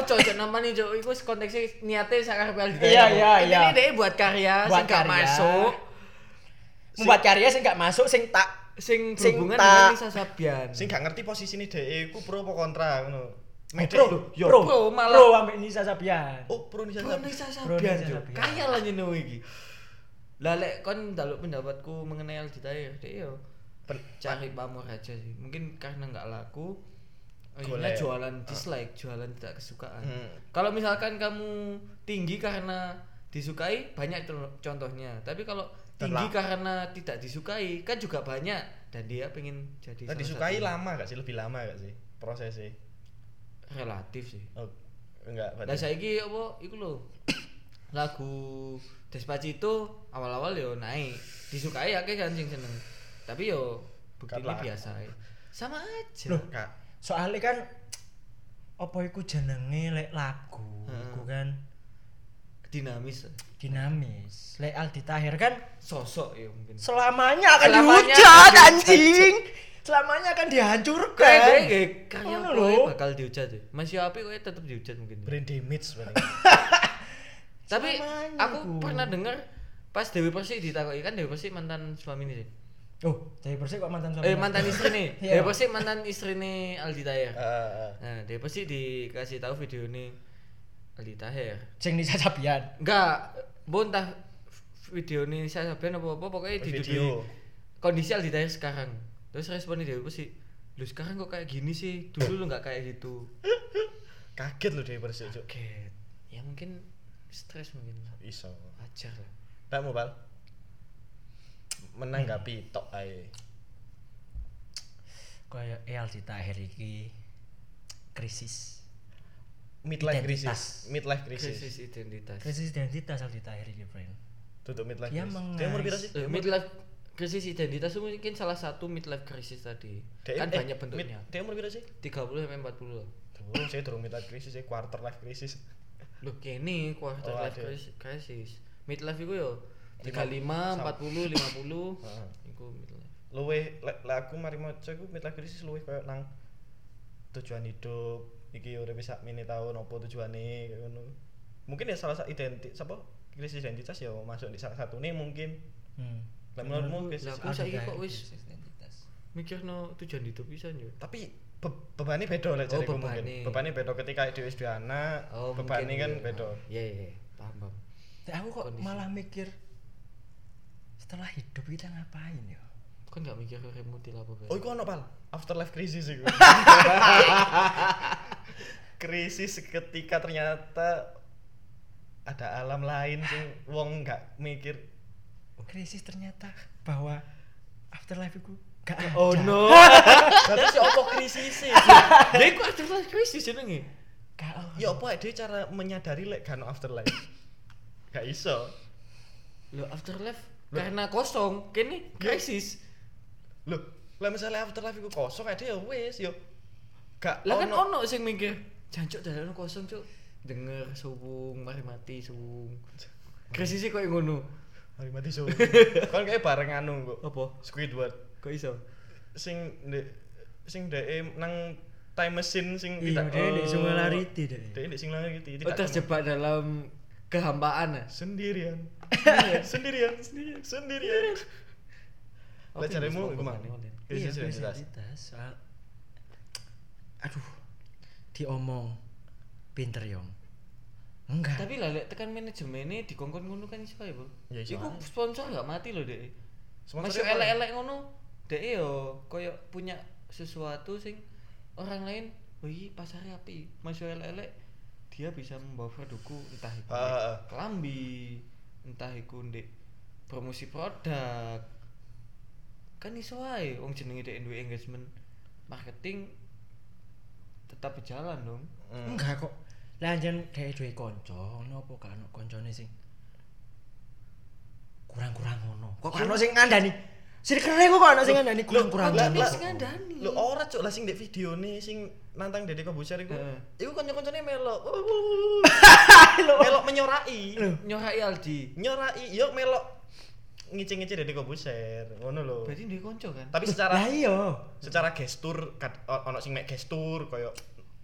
[SPEAKER 1] ojo ojo namanya ojo iku konteksnya niatnya sangat real
[SPEAKER 3] Iya, iya, iya.
[SPEAKER 1] ini dia buat karya sing
[SPEAKER 3] Buat
[SPEAKER 1] gak
[SPEAKER 3] karya.
[SPEAKER 1] masuk
[SPEAKER 3] Membuat karya sing gak masuk sing tak
[SPEAKER 1] sing
[SPEAKER 3] Sing
[SPEAKER 1] berhubungan
[SPEAKER 3] tak-
[SPEAKER 1] dengan Nisa Sabian
[SPEAKER 2] Sing gak ngerti posisi ini DE ku pro apa kontra ngono. Medek lho.
[SPEAKER 3] pro,
[SPEAKER 2] Yo.
[SPEAKER 3] pro,
[SPEAKER 1] Oh, pro malah.
[SPEAKER 3] pro ambek Nisa Sabian.
[SPEAKER 2] Oh, pro nih
[SPEAKER 1] Bro,
[SPEAKER 2] Sabian.
[SPEAKER 1] Nisa
[SPEAKER 3] Bro,
[SPEAKER 1] Sabian
[SPEAKER 3] Nisa
[SPEAKER 1] jo
[SPEAKER 3] Sabian.
[SPEAKER 1] kaya lah nyeneng iki lah lek kon njaluk pendapatku mengenai Aldi Taher dek yo
[SPEAKER 2] Pen-
[SPEAKER 1] cari pamor aja sih mungkin karena nggak laku akhirnya
[SPEAKER 2] Golek. Ah.
[SPEAKER 1] jualan dislike jualan tidak kesukaan
[SPEAKER 2] Hmm.
[SPEAKER 1] kalau misalkan kamu tinggi karena disukai banyak co- contohnya tapi kalau tinggi
[SPEAKER 2] Terlak-
[SPEAKER 1] karena tidak disukai kan juga banyak dan dia pengen jadi
[SPEAKER 2] Nah,
[SPEAKER 1] salah
[SPEAKER 2] disukai
[SPEAKER 1] satu.
[SPEAKER 2] lama gak sih? Lebih lama gak sih prosesnya?
[SPEAKER 1] relatif sih
[SPEAKER 2] Oh, enggak. berarti.
[SPEAKER 1] lah saiki apa iku lho [coughs] lagu Despacito awal-awal yo naik disukai akeh kan sing seneng tapi yo buktinya
[SPEAKER 2] Kan lah.
[SPEAKER 1] biasa ae. sama aja
[SPEAKER 3] Loh,
[SPEAKER 2] Kak.
[SPEAKER 3] soalnya kan apa iku jenenge lek lagu iku kan
[SPEAKER 1] dinamis
[SPEAKER 3] dinamis lek Aldi Tahir kan
[SPEAKER 1] sosok ya mungkin
[SPEAKER 3] selamanya akan
[SPEAKER 1] Selamanya
[SPEAKER 3] dihujat
[SPEAKER 1] akan
[SPEAKER 3] anjing selamanya akan dihancurkan
[SPEAKER 1] kayak kayak karya
[SPEAKER 3] kan? Ngono
[SPEAKER 1] kowe
[SPEAKER 3] lho.
[SPEAKER 1] bakal dihujat ya Mas Yopi kowe tetep dihujat mungkin
[SPEAKER 2] Brain damage paling.
[SPEAKER 1] [laughs] tapi
[SPEAKER 3] Selamanya
[SPEAKER 1] aku
[SPEAKER 3] iku.
[SPEAKER 1] pernah dengar pas Dewi Persik ditakoki kan Dewi Persik mantan suami nih
[SPEAKER 3] oh Dewi Persik kok mantan suami
[SPEAKER 1] eh mantan istri nih
[SPEAKER 3] [laughs] Iya.
[SPEAKER 1] Dewi Persik mantan istri nih Aldi Taher
[SPEAKER 2] Heeh.
[SPEAKER 1] nah Dewi Persik dikasih tahu video nih Aldi Taher
[SPEAKER 3] sing Nisa Sabian
[SPEAKER 1] ya? Enggak, bon tah video ini saya sabian apa apa pokoknya di
[SPEAKER 2] Video.
[SPEAKER 1] kondisi Aldi Tahir sekarang. Terus responnya dia apa sih? Lu sekarang kok kayak gini sih? Dulu lu nggak kayak gitu.
[SPEAKER 2] Kaget lho DE Persik, Cuk.
[SPEAKER 1] Oke, ya mungkin stres mungkin lah.
[SPEAKER 2] Iso.
[SPEAKER 1] Wajar lah.
[SPEAKER 2] Tak mau bal.
[SPEAKER 1] Hmm.
[SPEAKER 2] Menanggapi tok ae.
[SPEAKER 3] kayak eh Aldi Tahir iki krisis
[SPEAKER 2] Midlife crisis.
[SPEAKER 3] Identitas.
[SPEAKER 2] Midlife crisis.
[SPEAKER 1] Krisis identitas.
[SPEAKER 3] krisis identitas Aldi Tahir iki friend
[SPEAKER 2] Tutup midlife
[SPEAKER 3] Dia
[SPEAKER 2] crisis.
[SPEAKER 3] mengais.
[SPEAKER 2] Dia umur pira sih?
[SPEAKER 1] Eh, midlife krisis identitas itu mungkin salah satu midlife krisis tadi.
[SPEAKER 2] Dia-
[SPEAKER 1] kan
[SPEAKER 2] eh,
[SPEAKER 1] banyak
[SPEAKER 2] mid-
[SPEAKER 1] bentuknya.
[SPEAKER 2] Dia umur pira sih?
[SPEAKER 1] 30 sampai 40 lah.
[SPEAKER 2] Durung saya durung midlife crisis, saya quarter life crisis.
[SPEAKER 1] Loh kene quarter
[SPEAKER 2] Oh,
[SPEAKER 1] life
[SPEAKER 2] ada.
[SPEAKER 1] crisis, crisis. Midlife iku yo 35,
[SPEAKER 2] Lima-
[SPEAKER 1] 40, [laughs] 50.
[SPEAKER 2] Heeh.
[SPEAKER 1] Iku midlife.
[SPEAKER 2] Luwe lek lek aku mari maca iku midlife crisis luwe koyo nang tujuan hidup, iki uripe sak mini tahun opo tujuane kayak ngono. Mungkin ya salah satu identitas apa krisis identitas ya masuk di salah satu nih mungkin.
[SPEAKER 3] Hmm.
[SPEAKER 2] Lah menurutmu krisis
[SPEAKER 1] Lah aku saiki
[SPEAKER 3] Ada
[SPEAKER 1] kok wis
[SPEAKER 5] krisis identitas
[SPEAKER 1] mikirno tujuan hidup pisan yo.
[SPEAKER 2] tapi be bebani beda lah
[SPEAKER 1] Oh,
[SPEAKER 2] jariku mungkin.
[SPEAKER 1] bebane.
[SPEAKER 2] Bebani beda ketika dhewe sudah anak, bebani
[SPEAKER 1] mungkin
[SPEAKER 2] kan
[SPEAKER 1] iya.
[SPEAKER 2] beda.
[SPEAKER 1] Iya iya iya. paham paham.
[SPEAKER 3] Tapi aku kok
[SPEAKER 1] Kondisi.
[SPEAKER 3] malah mikir setelah hidup kita ngapain ya?
[SPEAKER 1] Kan gak mikir uripmu til apa bae.
[SPEAKER 2] Oh, iku ono pal. Afterlife crisis
[SPEAKER 1] [laughs]
[SPEAKER 2] iku. krisis ketika ternyata ada alam lain sing wong nggak mikir.
[SPEAKER 3] Krisis ternyata bahwa afterlife itu gak ada.
[SPEAKER 2] Oh
[SPEAKER 1] [laughs]
[SPEAKER 2] no. Berarti si opo krisis sih?
[SPEAKER 1] Lha iku afterlife crisis jenenge.
[SPEAKER 3] Gak ada.
[SPEAKER 2] Ya opo dhewe cara menyadari lek gak ono afterlife. Gak iso.
[SPEAKER 1] Lho afterlife karena kosong kene crisis.
[SPEAKER 2] Loh, lah misalnya afterlife iku kosong ada ya wis yo. Gak
[SPEAKER 1] Lah kan ono sing mikir, jancuk dalane kosong, Cuk. Denger suwung mari mati suwung. Krisisnya koyo ngono.
[SPEAKER 2] Hari mati
[SPEAKER 1] [laughs]
[SPEAKER 2] so. kan kayak bareng anu kok.
[SPEAKER 1] Apa?
[SPEAKER 2] Squidward
[SPEAKER 1] Kok iso?
[SPEAKER 2] sing de, sing dhek nang time machine sing
[SPEAKER 3] Iya, dia di singularity deh.
[SPEAKER 2] Dhek ndek sing lanang gitu.
[SPEAKER 1] Oh, terjebak dalam kehampaan ya?
[SPEAKER 2] sendirian. Iya, sendirian, sendirian, sendirian. Lah
[SPEAKER 1] Apa yang
[SPEAKER 2] jaremu
[SPEAKER 1] disebut
[SPEAKER 2] iku mang.
[SPEAKER 1] konten-konten?
[SPEAKER 3] Iya,
[SPEAKER 2] Krisis identitas.
[SPEAKER 3] identitas. Soal- Aduh. Diomong pinter yong. Enggak.
[SPEAKER 1] Tapi lah lek tekan manajemennya dikongkon ngono kan iso ya, Bu.
[SPEAKER 2] Ya, iso
[SPEAKER 1] Iku
[SPEAKER 2] ae.
[SPEAKER 1] sponsor gak mati loh, Dek.
[SPEAKER 2] Sponsornya
[SPEAKER 1] Masuk
[SPEAKER 2] apa?
[SPEAKER 1] elek-elek ngono, Dek yo koyo punya sesuatu sing orang lain, "Wah, iki pasarnya api." Masuk elek-elek dia bisa membawa produkku entah itu
[SPEAKER 2] Ah, ah, ah.
[SPEAKER 1] kelambi, entah iku ndek promosi produk. Kan iso ae wong jenenge dek duwe engagement marketing tetap berjalan dong.
[SPEAKER 2] Hmm.
[SPEAKER 3] Enggak kok. Lah anjen dhewe duwe kanca, ono apa gak ono kancane sing kurang-kurang ngono. Kok gak ono sing ngandani? Sirkere kok gak ono sing ngandani kurang-kurang
[SPEAKER 2] lah,
[SPEAKER 3] ngono.
[SPEAKER 2] lah,
[SPEAKER 1] sing ngandani.
[SPEAKER 2] Lho ora cuk lah sing ndek videone sing nantang Dedek Kobuser iku.
[SPEAKER 1] Heeh.
[SPEAKER 2] Iku kanca-kancane melok. Melok menyorai.
[SPEAKER 1] Nyorai Aldi.
[SPEAKER 2] Nyorai, yo melok ngicing-ngicing Dedek Kobuser. Ngono lho.
[SPEAKER 1] Berarti duwe konco kan?
[SPEAKER 2] Tapi secara
[SPEAKER 3] Lah iya.
[SPEAKER 2] secara gestur kad- o- ono sing mek gestur koyo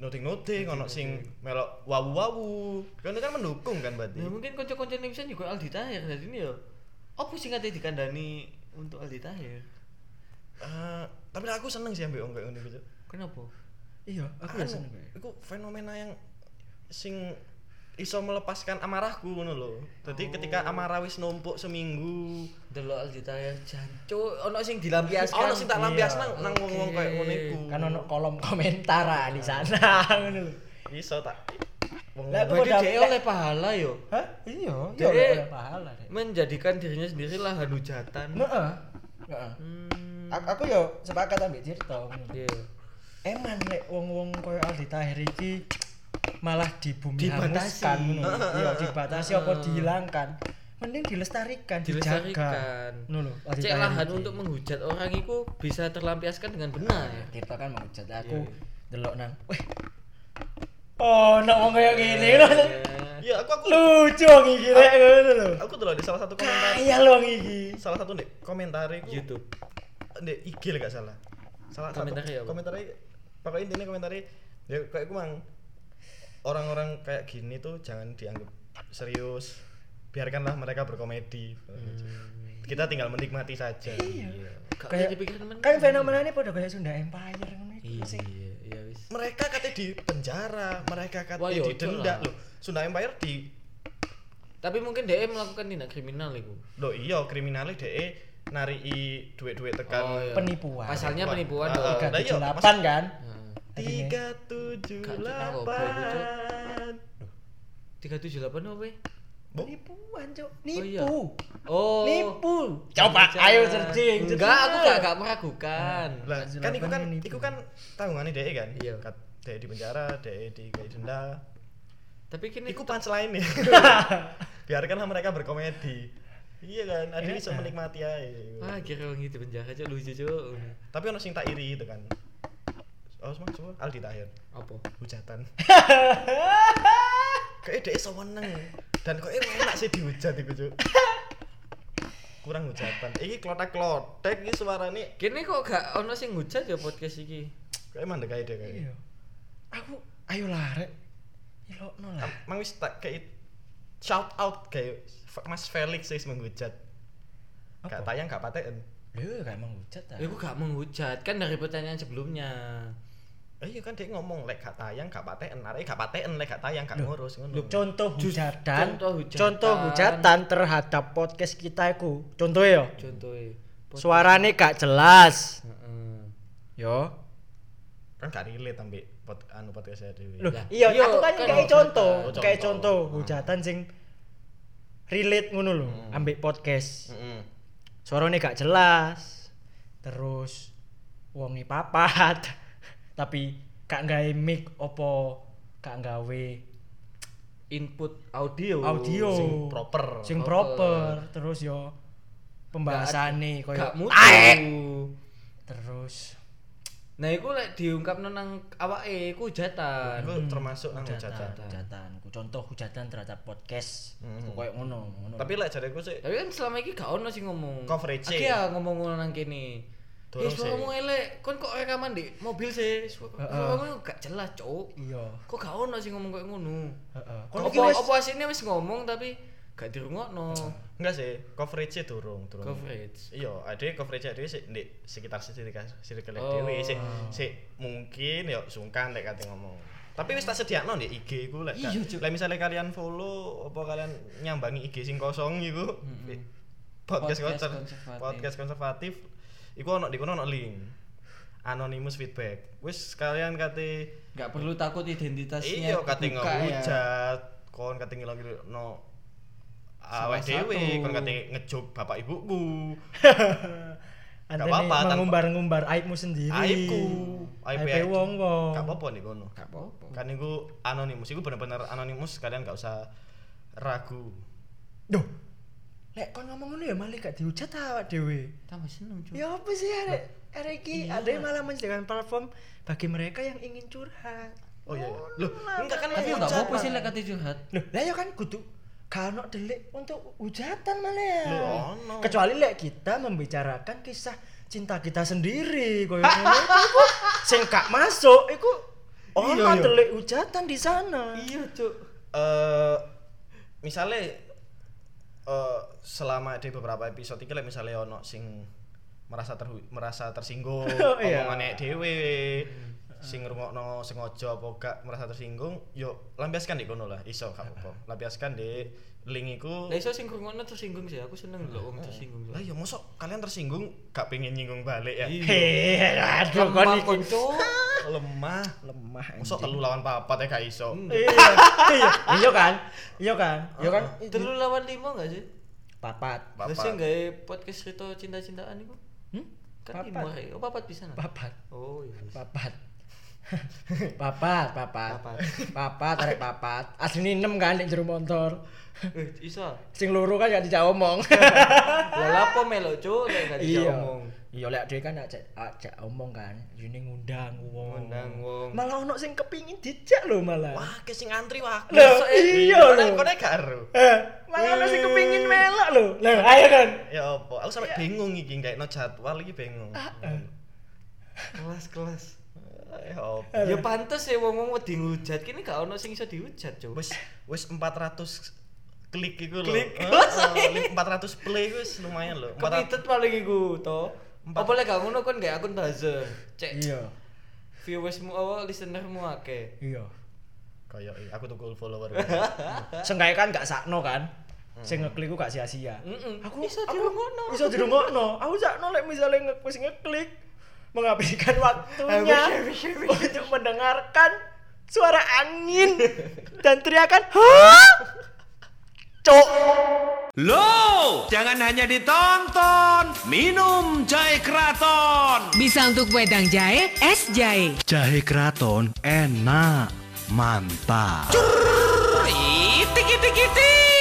[SPEAKER 2] noting noting ono sing melok wawu wawu kan kan mendukung kan berarti
[SPEAKER 1] Ya mungkin konco-konco Nimsan juga Aldi Tahir dari ini ya. Apa sih katanya dikandani untuk Aldi Tahir?
[SPEAKER 2] Eh, tapi aku seneng sih ambek wong kayak ngono gitu
[SPEAKER 1] Kenapa?
[SPEAKER 3] Iya, aku
[SPEAKER 2] Anu,
[SPEAKER 3] gak seneng kok.
[SPEAKER 2] iku fenomena yang sing iso melepaskan amarahku ngono lho
[SPEAKER 3] Oh.
[SPEAKER 2] jadi ketika amarah wis numpuk seminggu
[SPEAKER 1] Delok Aldi Tahir jancu, ono sing dilampiaskan.
[SPEAKER 2] ono sing tak lampias
[SPEAKER 3] Iya.
[SPEAKER 2] nang nang wong wong kayak ngono iku
[SPEAKER 3] Kan ono kolom komentar ah, di sana [laughs] ngono lho.
[SPEAKER 2] iso tak wong
[SPEAKER 3] Lah,
[SPEAKER 1] Berarti
[SPEAKER 2] wong-
[SPEAKER 3] Kok
[SPEAKER 1] dia
[SPEAKER 3] dapet-
[SPEAKER 1] oleh pahala yo.
[SPEAKER 3] Hah? Iya, iya
[SPEAKER 1] Dek.
[SPEAKER 3] oleh pahala deh.
[SPEAKER 1] Menjadikan dirinya sendiri lahan hujatan.
[SPEAKER 3] Heeh. Heeh.
[SPEAKER 1] Hmm.
[SPEAKER 3] Aku aku yo sepakat ambek Tirta ngono.
[SPEAKER 1] Iya.
[SPEAKER 3] Eman nek wong-wong koyo Aldi Tahir iki malah dibumi
[SPEAKER 1] Dibatasi.
[SPEAKER 3] hanguskan ngono. Iya, dibatasi apa dihilangkan. Mending dilestarikan, dijaga.
[SPEAKER 1] Dilestarikan.
[SPEAKER 3] Ngono lho. Aldi
[SPEAKER 1] Cek
[SPEAKER 3] Tahir
[SPEAKER 1] lahan
[SPEAKER 3] iki.
[SPEAKER 1] untuk menghujat orang itu bisa terlampiaskan dengan benar.
[SPEAKER 3] Tirta kan menghujat aku
[SPEAKER 1] Iya,
[SPEAKER 3] delok nang. Wih. Oh, nek wong koyo
[SPEAKER 1] Iya.
[SPEAKER 3] ngene lho.
[SPEAKER 2] ya aku aku
[SPEAKER 3] Lucu wong iki rek ngono lho.
[SPEAKER 2] aku tuh di salah satu komentar
[SPEAKER 3] Kaya lho wong iki.
[SPEAKER 2] salah satu nih komentar iku
[SPEAKER 1] YouTube.
[SPEAKER 2] di IG lah gak salah. Salah
[SPEAKER 1] Komentarnya
[SPEAKER 2] satu
[SPEAKER 1] apa?
[SPEAKER 2] komentarnya pokoknya intinya komentarnya ya kayak gue mang orang-orang kayak gini tuh jangan dianggap serius. Biarkanlah mereka berkomedi.
[SPEAKER 1] Hmm.
[SPEAKER 2] Kita tinggal menikmati saja.
[SPEAKER 1] Iya. Gak
[SPEAKER 3] Kayak-
[SPEAKER 1] usah dipikirin temen.
[SPEAKER 3] Kan fenomena ini padha kaya Sunda Empire ngono iku
[SPEAKER 1] Iya,
[SPEAKER 3] sing
[SPEAKER 1] iya, iya wis.
[SPEAKER 2] Mereka katanya di penjara, mereka
[SPEAKER 1] Wah,
[SPEAKER 2] katanya
[SPEAKER 1] ya
[SPEAKER 2] didenda
[SPEAKER 1] lah.
[SPEAKER 2] loh. Sunda Empire di
[SPEAKER 1] Tapi mungkin dia melakukan tindak kriminal itu.
[SPEAKER 2] lo iya kriminalnya de narii duit-duit tekan
[SPEAKER 1] Oh, iya.
[SPEAKER 3] penipuan.
[SPEAKER 1] Pasalnya penipuan
[SPEAKER 2] Ah,
[SPEAKER 1] dong.
[SPEAKER 2] ah. Lah, iya,
[SPEAKER 3] 378 kan?
[SPEAKER 1] Heeh.
[SPEAKER 3] Adine.
[SPEAKER 2] tiga tujuh
[SPEAKER 1] Gak, Cuk, tak goblok,
[SPEAKER 2] delapan.
[SPEAKER 1] 378 apa? ya?
[SPEAKER 2] Bo,
[SPEAKER 3] Penipuan, Cok.
[SPEAKER 1] Oh, iya.
[SPEAKER 3] Nipu.
[SPEAKER 1] Oh.
[SPEAKER 3] Nipu. Coba ayo searching.
[SPEAKER 1] Enggak, aku gak, gak meragukan.
[SPEAKER 2] lah
[SPEAKER 3] Kan
[SPEAKER 2] kan iku kan
[SPEAKER 3] jelapan
[SPEAKER 2] iku kan tanggungannya dhek kan
[SPEAKER 1] Iya.
[SPEAKER 2] Kat, dhek di penjara dhek di kayak denda
[SPEAKER 1] Tapi kini
[SPEAKER 2] iku punchline
[SPEAKER 1] [laughs]
[SPEAKER 2] ya biarkanlah mereka berkomedi iya kan ada yang bisa menikmati aja
[SPEAKER 1] Eh, ah kira orang itu penjara aja lucu cuk.
[SPEAKER 2] tapi ono sing tak iri itu kan oh semua semua Aldi Tahir
[SPEAKER 1] Apa? [laughs]
[SPEAKER 2] hujatan kayak dhek iso meneng dan kok enak sih dihujat iku cuk kurang hujatan iki klotek-klotek iki suarane
[SPEAKER 1] Kini kok gak ono sing ngujat ya podcast iki.
[SPEAKER 2] kayak mandek aja deh kayak
[SPEAKER 3] Iya.
[SPEAKER 2] aku ayo lah rek
[SPEAKER 3] Elokno lah.
[SPEAKER 2] emang wis tak kayak shout out kayak F- Mas Felix wis menghujat gak
[SPEAKER 3] Apa?
[SPEAKER 2] tayang gak paten
[SPEAKER 3] Lho, gak emang hujat ta.
[SPEAKER 1] Ya, aku gak menghujat kan dari pertanyaan sebelumnya.
[SPEAKER 2] Eh, iya kan dia ngomong lek gak tayang gak paten arek gak paten lek gak tayang gak ngurus ngono
[SPEAKER 3] Contoh hujatan,
[SPEAKER 1] contoh hujatan.
[SPEAKER 3] contoh hujatan terhadap podcast kita iku. Contohnya yo,
[SPEAKER 1] Contohnya. Pod-
[SPEAKER 3] suarane gak jelas.
[SPEAKER 1] Heeh.
[SPEAKER 3] Yo.
[SPEAKER 2] kan gak relate ambek pod, anu podcast saya dhewe
[SPEAKER 3] Loh,
[SPEAKER 1] Lah,
[SPEAKER 3] iya,
[SPEAKER 1] iya,
[SPEAKER 3] aku kan
[SPEAKER 1] kan
[SPEAKER 3] kayak
[SPEAKER 1] hujatan.
[SPEAKER 3] contoh,
[SPEAKER 2] Oh,
[SPEAKER 3] kayak
[SPEAKER 2] contoh.
[SPEAKER 3] contoh hujatan sing relate ngono lho, ambek podcast.
[SPEAKER 2] Heeh.
[SPEAKER 3] Suarane gak jelas. Terus wonge papat. [laughs] Tapi gak gawe mic opo, gak gawe
[SPEAKER 1] Input audio.
[SPEAKER 3] audio
[SPEAKER 2] sing proper
[SPEAKER 3] Oh. Sing
[SPEAKER 1] Proper.
[SPEAKER 3] proper. Terus yo pembahasane koyo
[SPEAKER 1] Gak mutu.
[SPEAKER 3] "Taek!" Terus
[SPEAKER 1] Nah, iku lek diungkapno nang awake iku hujatan.
[SPEAKER 3] Hmm.
[SPEAKER 2] Iku termasuk nang hujatan
[SPEAKER 3] hujatan. Ku Nah, Contoh hujatan terhadap podcast.
[SPEAKER 2] Hmm.
[SPEAKER 3] Ku Koyo ngono, ngono.
[SPEAKER 2] tapi lek jariku sih
[SPEAKER 1] Tapi kan selama ini gak ono sih ngomong.
[SPEAKER 2] Coverage.
[SPEAKER 1] Aki ya ngomong ngono nang kene.
[SPEAKER 2] Durung
[SPEAKER 1] Eh, suaramu elek. Kon kok rekaman di mobil sih? Su- Suaramu gak jelas, Cuk.
[SPEAKER 3] iya.
[SPEAKER 1] Kok gak ono sih ngomong koyo ngono?
[SPEAKER 3] Heeh. [laughs]
[SPEAKER 1] Kon
[SPEAKER 3] Kon iki
[SPEAKER 1] opo
[SPEAKER 3] wis
[SPEAKER 1] opo asine wis ngomong tapi gak dirungokno.
[SPEAKER 2] enggak sih coverage durung durung
[SPEAKER 1] Coverage.
[SPEAKER 2] iya ada coverage ada sih di sekitar circle circle
[SPEAKER 1] Oh.
[SPEAKER 2] dewe sih sih mungkin ya sungkan lek kate ngomong tapi wis tak sediakno di IG ku lek
[SPEAKER 3] Iya, Cuk.
[SPEAKER 2] lek misalnya kalian follow apa kalian nyambangi IG sing kosong iku
[SPEAKER 1] Podcast
[SPEAKER 2] podcast, konser,
[SPEAKER 1] konservatif.
[SPEAKER 2] podcast konservatif iku ono di kono ono link anonymous feedback wis kalian kate
[SPEAKER 1] Gak perlu takut identitasnya.
[SPEAKER 2] iya kate
[SPEAKER 1] kebuka ya.
[SPEAKER 2] ngehujat kon kate ngilangno
[SPEAKER 1] Salah
[SPEAKER 2] awak dhewe
[SPEAKER 1] satu.
[SPEAKER 2] kon kate ngejog bapak ibuku Gak
[SPEAKER 3] Anda
[SPEAKER 2] apa-apa,
[SPEAKER 3] nih
[SPEAKER 2] tanpa-
[SPEAKER 3] mengumbar-ngumbar aibmu sendiri.
[SPEAKER 2] aibku
[SPEAKER 3] Aib
[SPEAKER 2] aib-
[SPEAKER 3] wong-wong.
[SPEAKER 2] gak apa-apa nih kono
[SPEAKER 1] Gak apa-apa.
[SPEAKER 2] kan iku anonimus iku bener-bener anonimus kalian gak usah ragu
[SPEAKER 3] Duh. Lek kon ngomong ngono ya malah gak dihujat awak dhewe.
[SPEAKER 1] Tambah seneng, Cuk.
[SPEAKER 2] Iya,
[SPEAKER 3] Ya apa sih arek arek iki ada yang malah menyediakan platform bagi mereka yang ingin curhat.
[SPEAKER 2] oh iya iya loh enggak kan
[SPEAKER 1] Tapi gak apa-apa sih lek kate curhat.
[SPEAKER 3] Loh, lah ya kan kudu gak ono delik untuk hujatan malah ya.
[SPEAKER 2] Loh, ono.
[SPEAKER 3] Kecuali lek kita membicarakan kisah cinta kita sendiri koyo ngono iku, iku sing gak masuk iku
[SPEAKER 2] Iya,
[SPEAKER 3] ono
[SPEAKER 2] iya.
[SPEAKER 3] delik hujatan di sana.
[SPEAKER 1] Iya, Cuk.
[SPEAKER 2] Eh, misalnya eh, selama di beberapa episode iki lek misalnya ono sing merasa terhu, merasa [laughs] tersinggung
[SPEAKER 3] Iya.
[SPEAKER 2] omongane dhewe sing ngrungokno sengaja apa gak merasa tersinggung yo lampiaskan di kono lah iso gak apa-apa lampiaskan di link iku
[SPEAKER 1] Lah iso sing krungokno tersinggung sih. Aku seneng lho wong tersinggung.
[SPEAKER 2] lah ya mosok kalian tersinggung gak pengen nyinggung balik ya
[SPEAKER 1] Iya.
[SPEAKER 2] Oh,
[SPEAKER 3] Hei, aduh kon
[SPEAKER 1] Lemah,
[SPEAKER 3] iki
[SPEAKER 1] kon,
[SPEAKER 3] [laughs]
[SPEAKER 1] Cuk.
[SPEAKER 2] lemah
[SPEAKER 3] lemah.
[SPEAKER 2] mosok telu lawan papat ya gak iso
[SPEAKER 3] Iya, iya, iya kan, iya kan, iya kan,
[SPEAKER 1] Telu lawan lima gak sih?
[SPEAKER 3] papat,
[SPEAKER 2] Papat.
[SPEAKER 1] Terus gawe ya podcast cerita cinta-cintaan iku.
[SPEAKER 3] hmm?
[SPEAKER 1] Kan lima
[SPEAKER 3] papat,
[SPEAKER 1] ae. Oh, papat pisan. ah?
[SPEAKER 3] papat,
[SPEAKER 1] Oh, iya.
[SPEAKER 3] papat, [laughs] papat, papat,
[SPEAKER 1] Papat.
[SPEAKER 3] papat, tarik papat, asli enam kan di jero motor,
[SPEAKER 1] Eh, iso. ah?
[SPEAKER 3] sing loro kan gak dijak omong,
[SPEAKER 1] Lah lapo melo, Cuk? Lek gak
[SPEAKER 3] [laughs] iya,
[SPEAKER 1] diomong.
[SPEAKER 3] iya lek dia kan ajak ajak omong kan, ini ngundang wong,
[SPEAKER 1] Ngundang wong.
[SPEAKER 3] malah ono sing kepingin dijak lho malah,
[SPEAKER 2] wah ke sing antri wah
[SPEAKER 3] Loh, iya
[SPEAKER 2] Lah,
[SPEAKER 3] lho,
[SPEAKER 2] kono gak ero
[SPEAKER 3] Eh, malah ono sing kepingin melok lho, lah ayo kan,
[SPEAKER 2] ya apa aku sampe bingung iki gak no jadwal iki bingung
[SPEAKER 1] Kelas-kelas.
[SPEAKER 2] Hmm. ya apa
[SPEAKER 1] Ya pantes ya wong-wong wedi ngujat. Kini gak ono sing iso dihujat, Cuk.
[SPEAKER 2] wis wis 400 klik iku lho
[SPEAKER 1] Klik.
[SPEAKER 2] Eh, eh, 400 play iku wis lumayan
[SPEAKER 3] Iya.
[SPEAKER 2] lho 400
[SPEAKER 1] Kepitet paling iku to.
[SPEAKER 2] Empat-
[SPEAKER 1] Apa lek gak ngono kon gak akun buzzer. Cek
[SPEAKER 3] iya,
[SPEAKER 1] viewersmu awal listenermu akeh.
[SPEAKER 3] iya.
[SPEAKER 2] koyo iya, aku tuku follower
[SPEAKER 3] Sengkae kan gak sakno kan. Sing ngeklik ku gak sia-sia.
[SPEAKER 1] Heeh.
[SPEAKER 3] Aku
[SPEAKER 1] iso
[SPEAKER 3] aku
[SPEAKER 1] dirungokno.
[SPEAKER 3] Iso dirungokno. Aku sakno lek misale nge- wis ngeklik
[SPEAKER 1] I
[SPEAKER 3] menghabiskan waktunya
[SPEAKER 1] wish, I wish, I wish.
[SPEAKER 3] untuk mendengarkan suara angin dan teriakan hah? Cok.
[SPEAKER 5] Loh, jangan hanya ditonton, minum jahe keraton.
[SPEAKER 6] Bisa untuk wedang jahe, es jahe.
[SPEAKER 5] Jahe keraton enak, mantap. Cur, itik itik itik.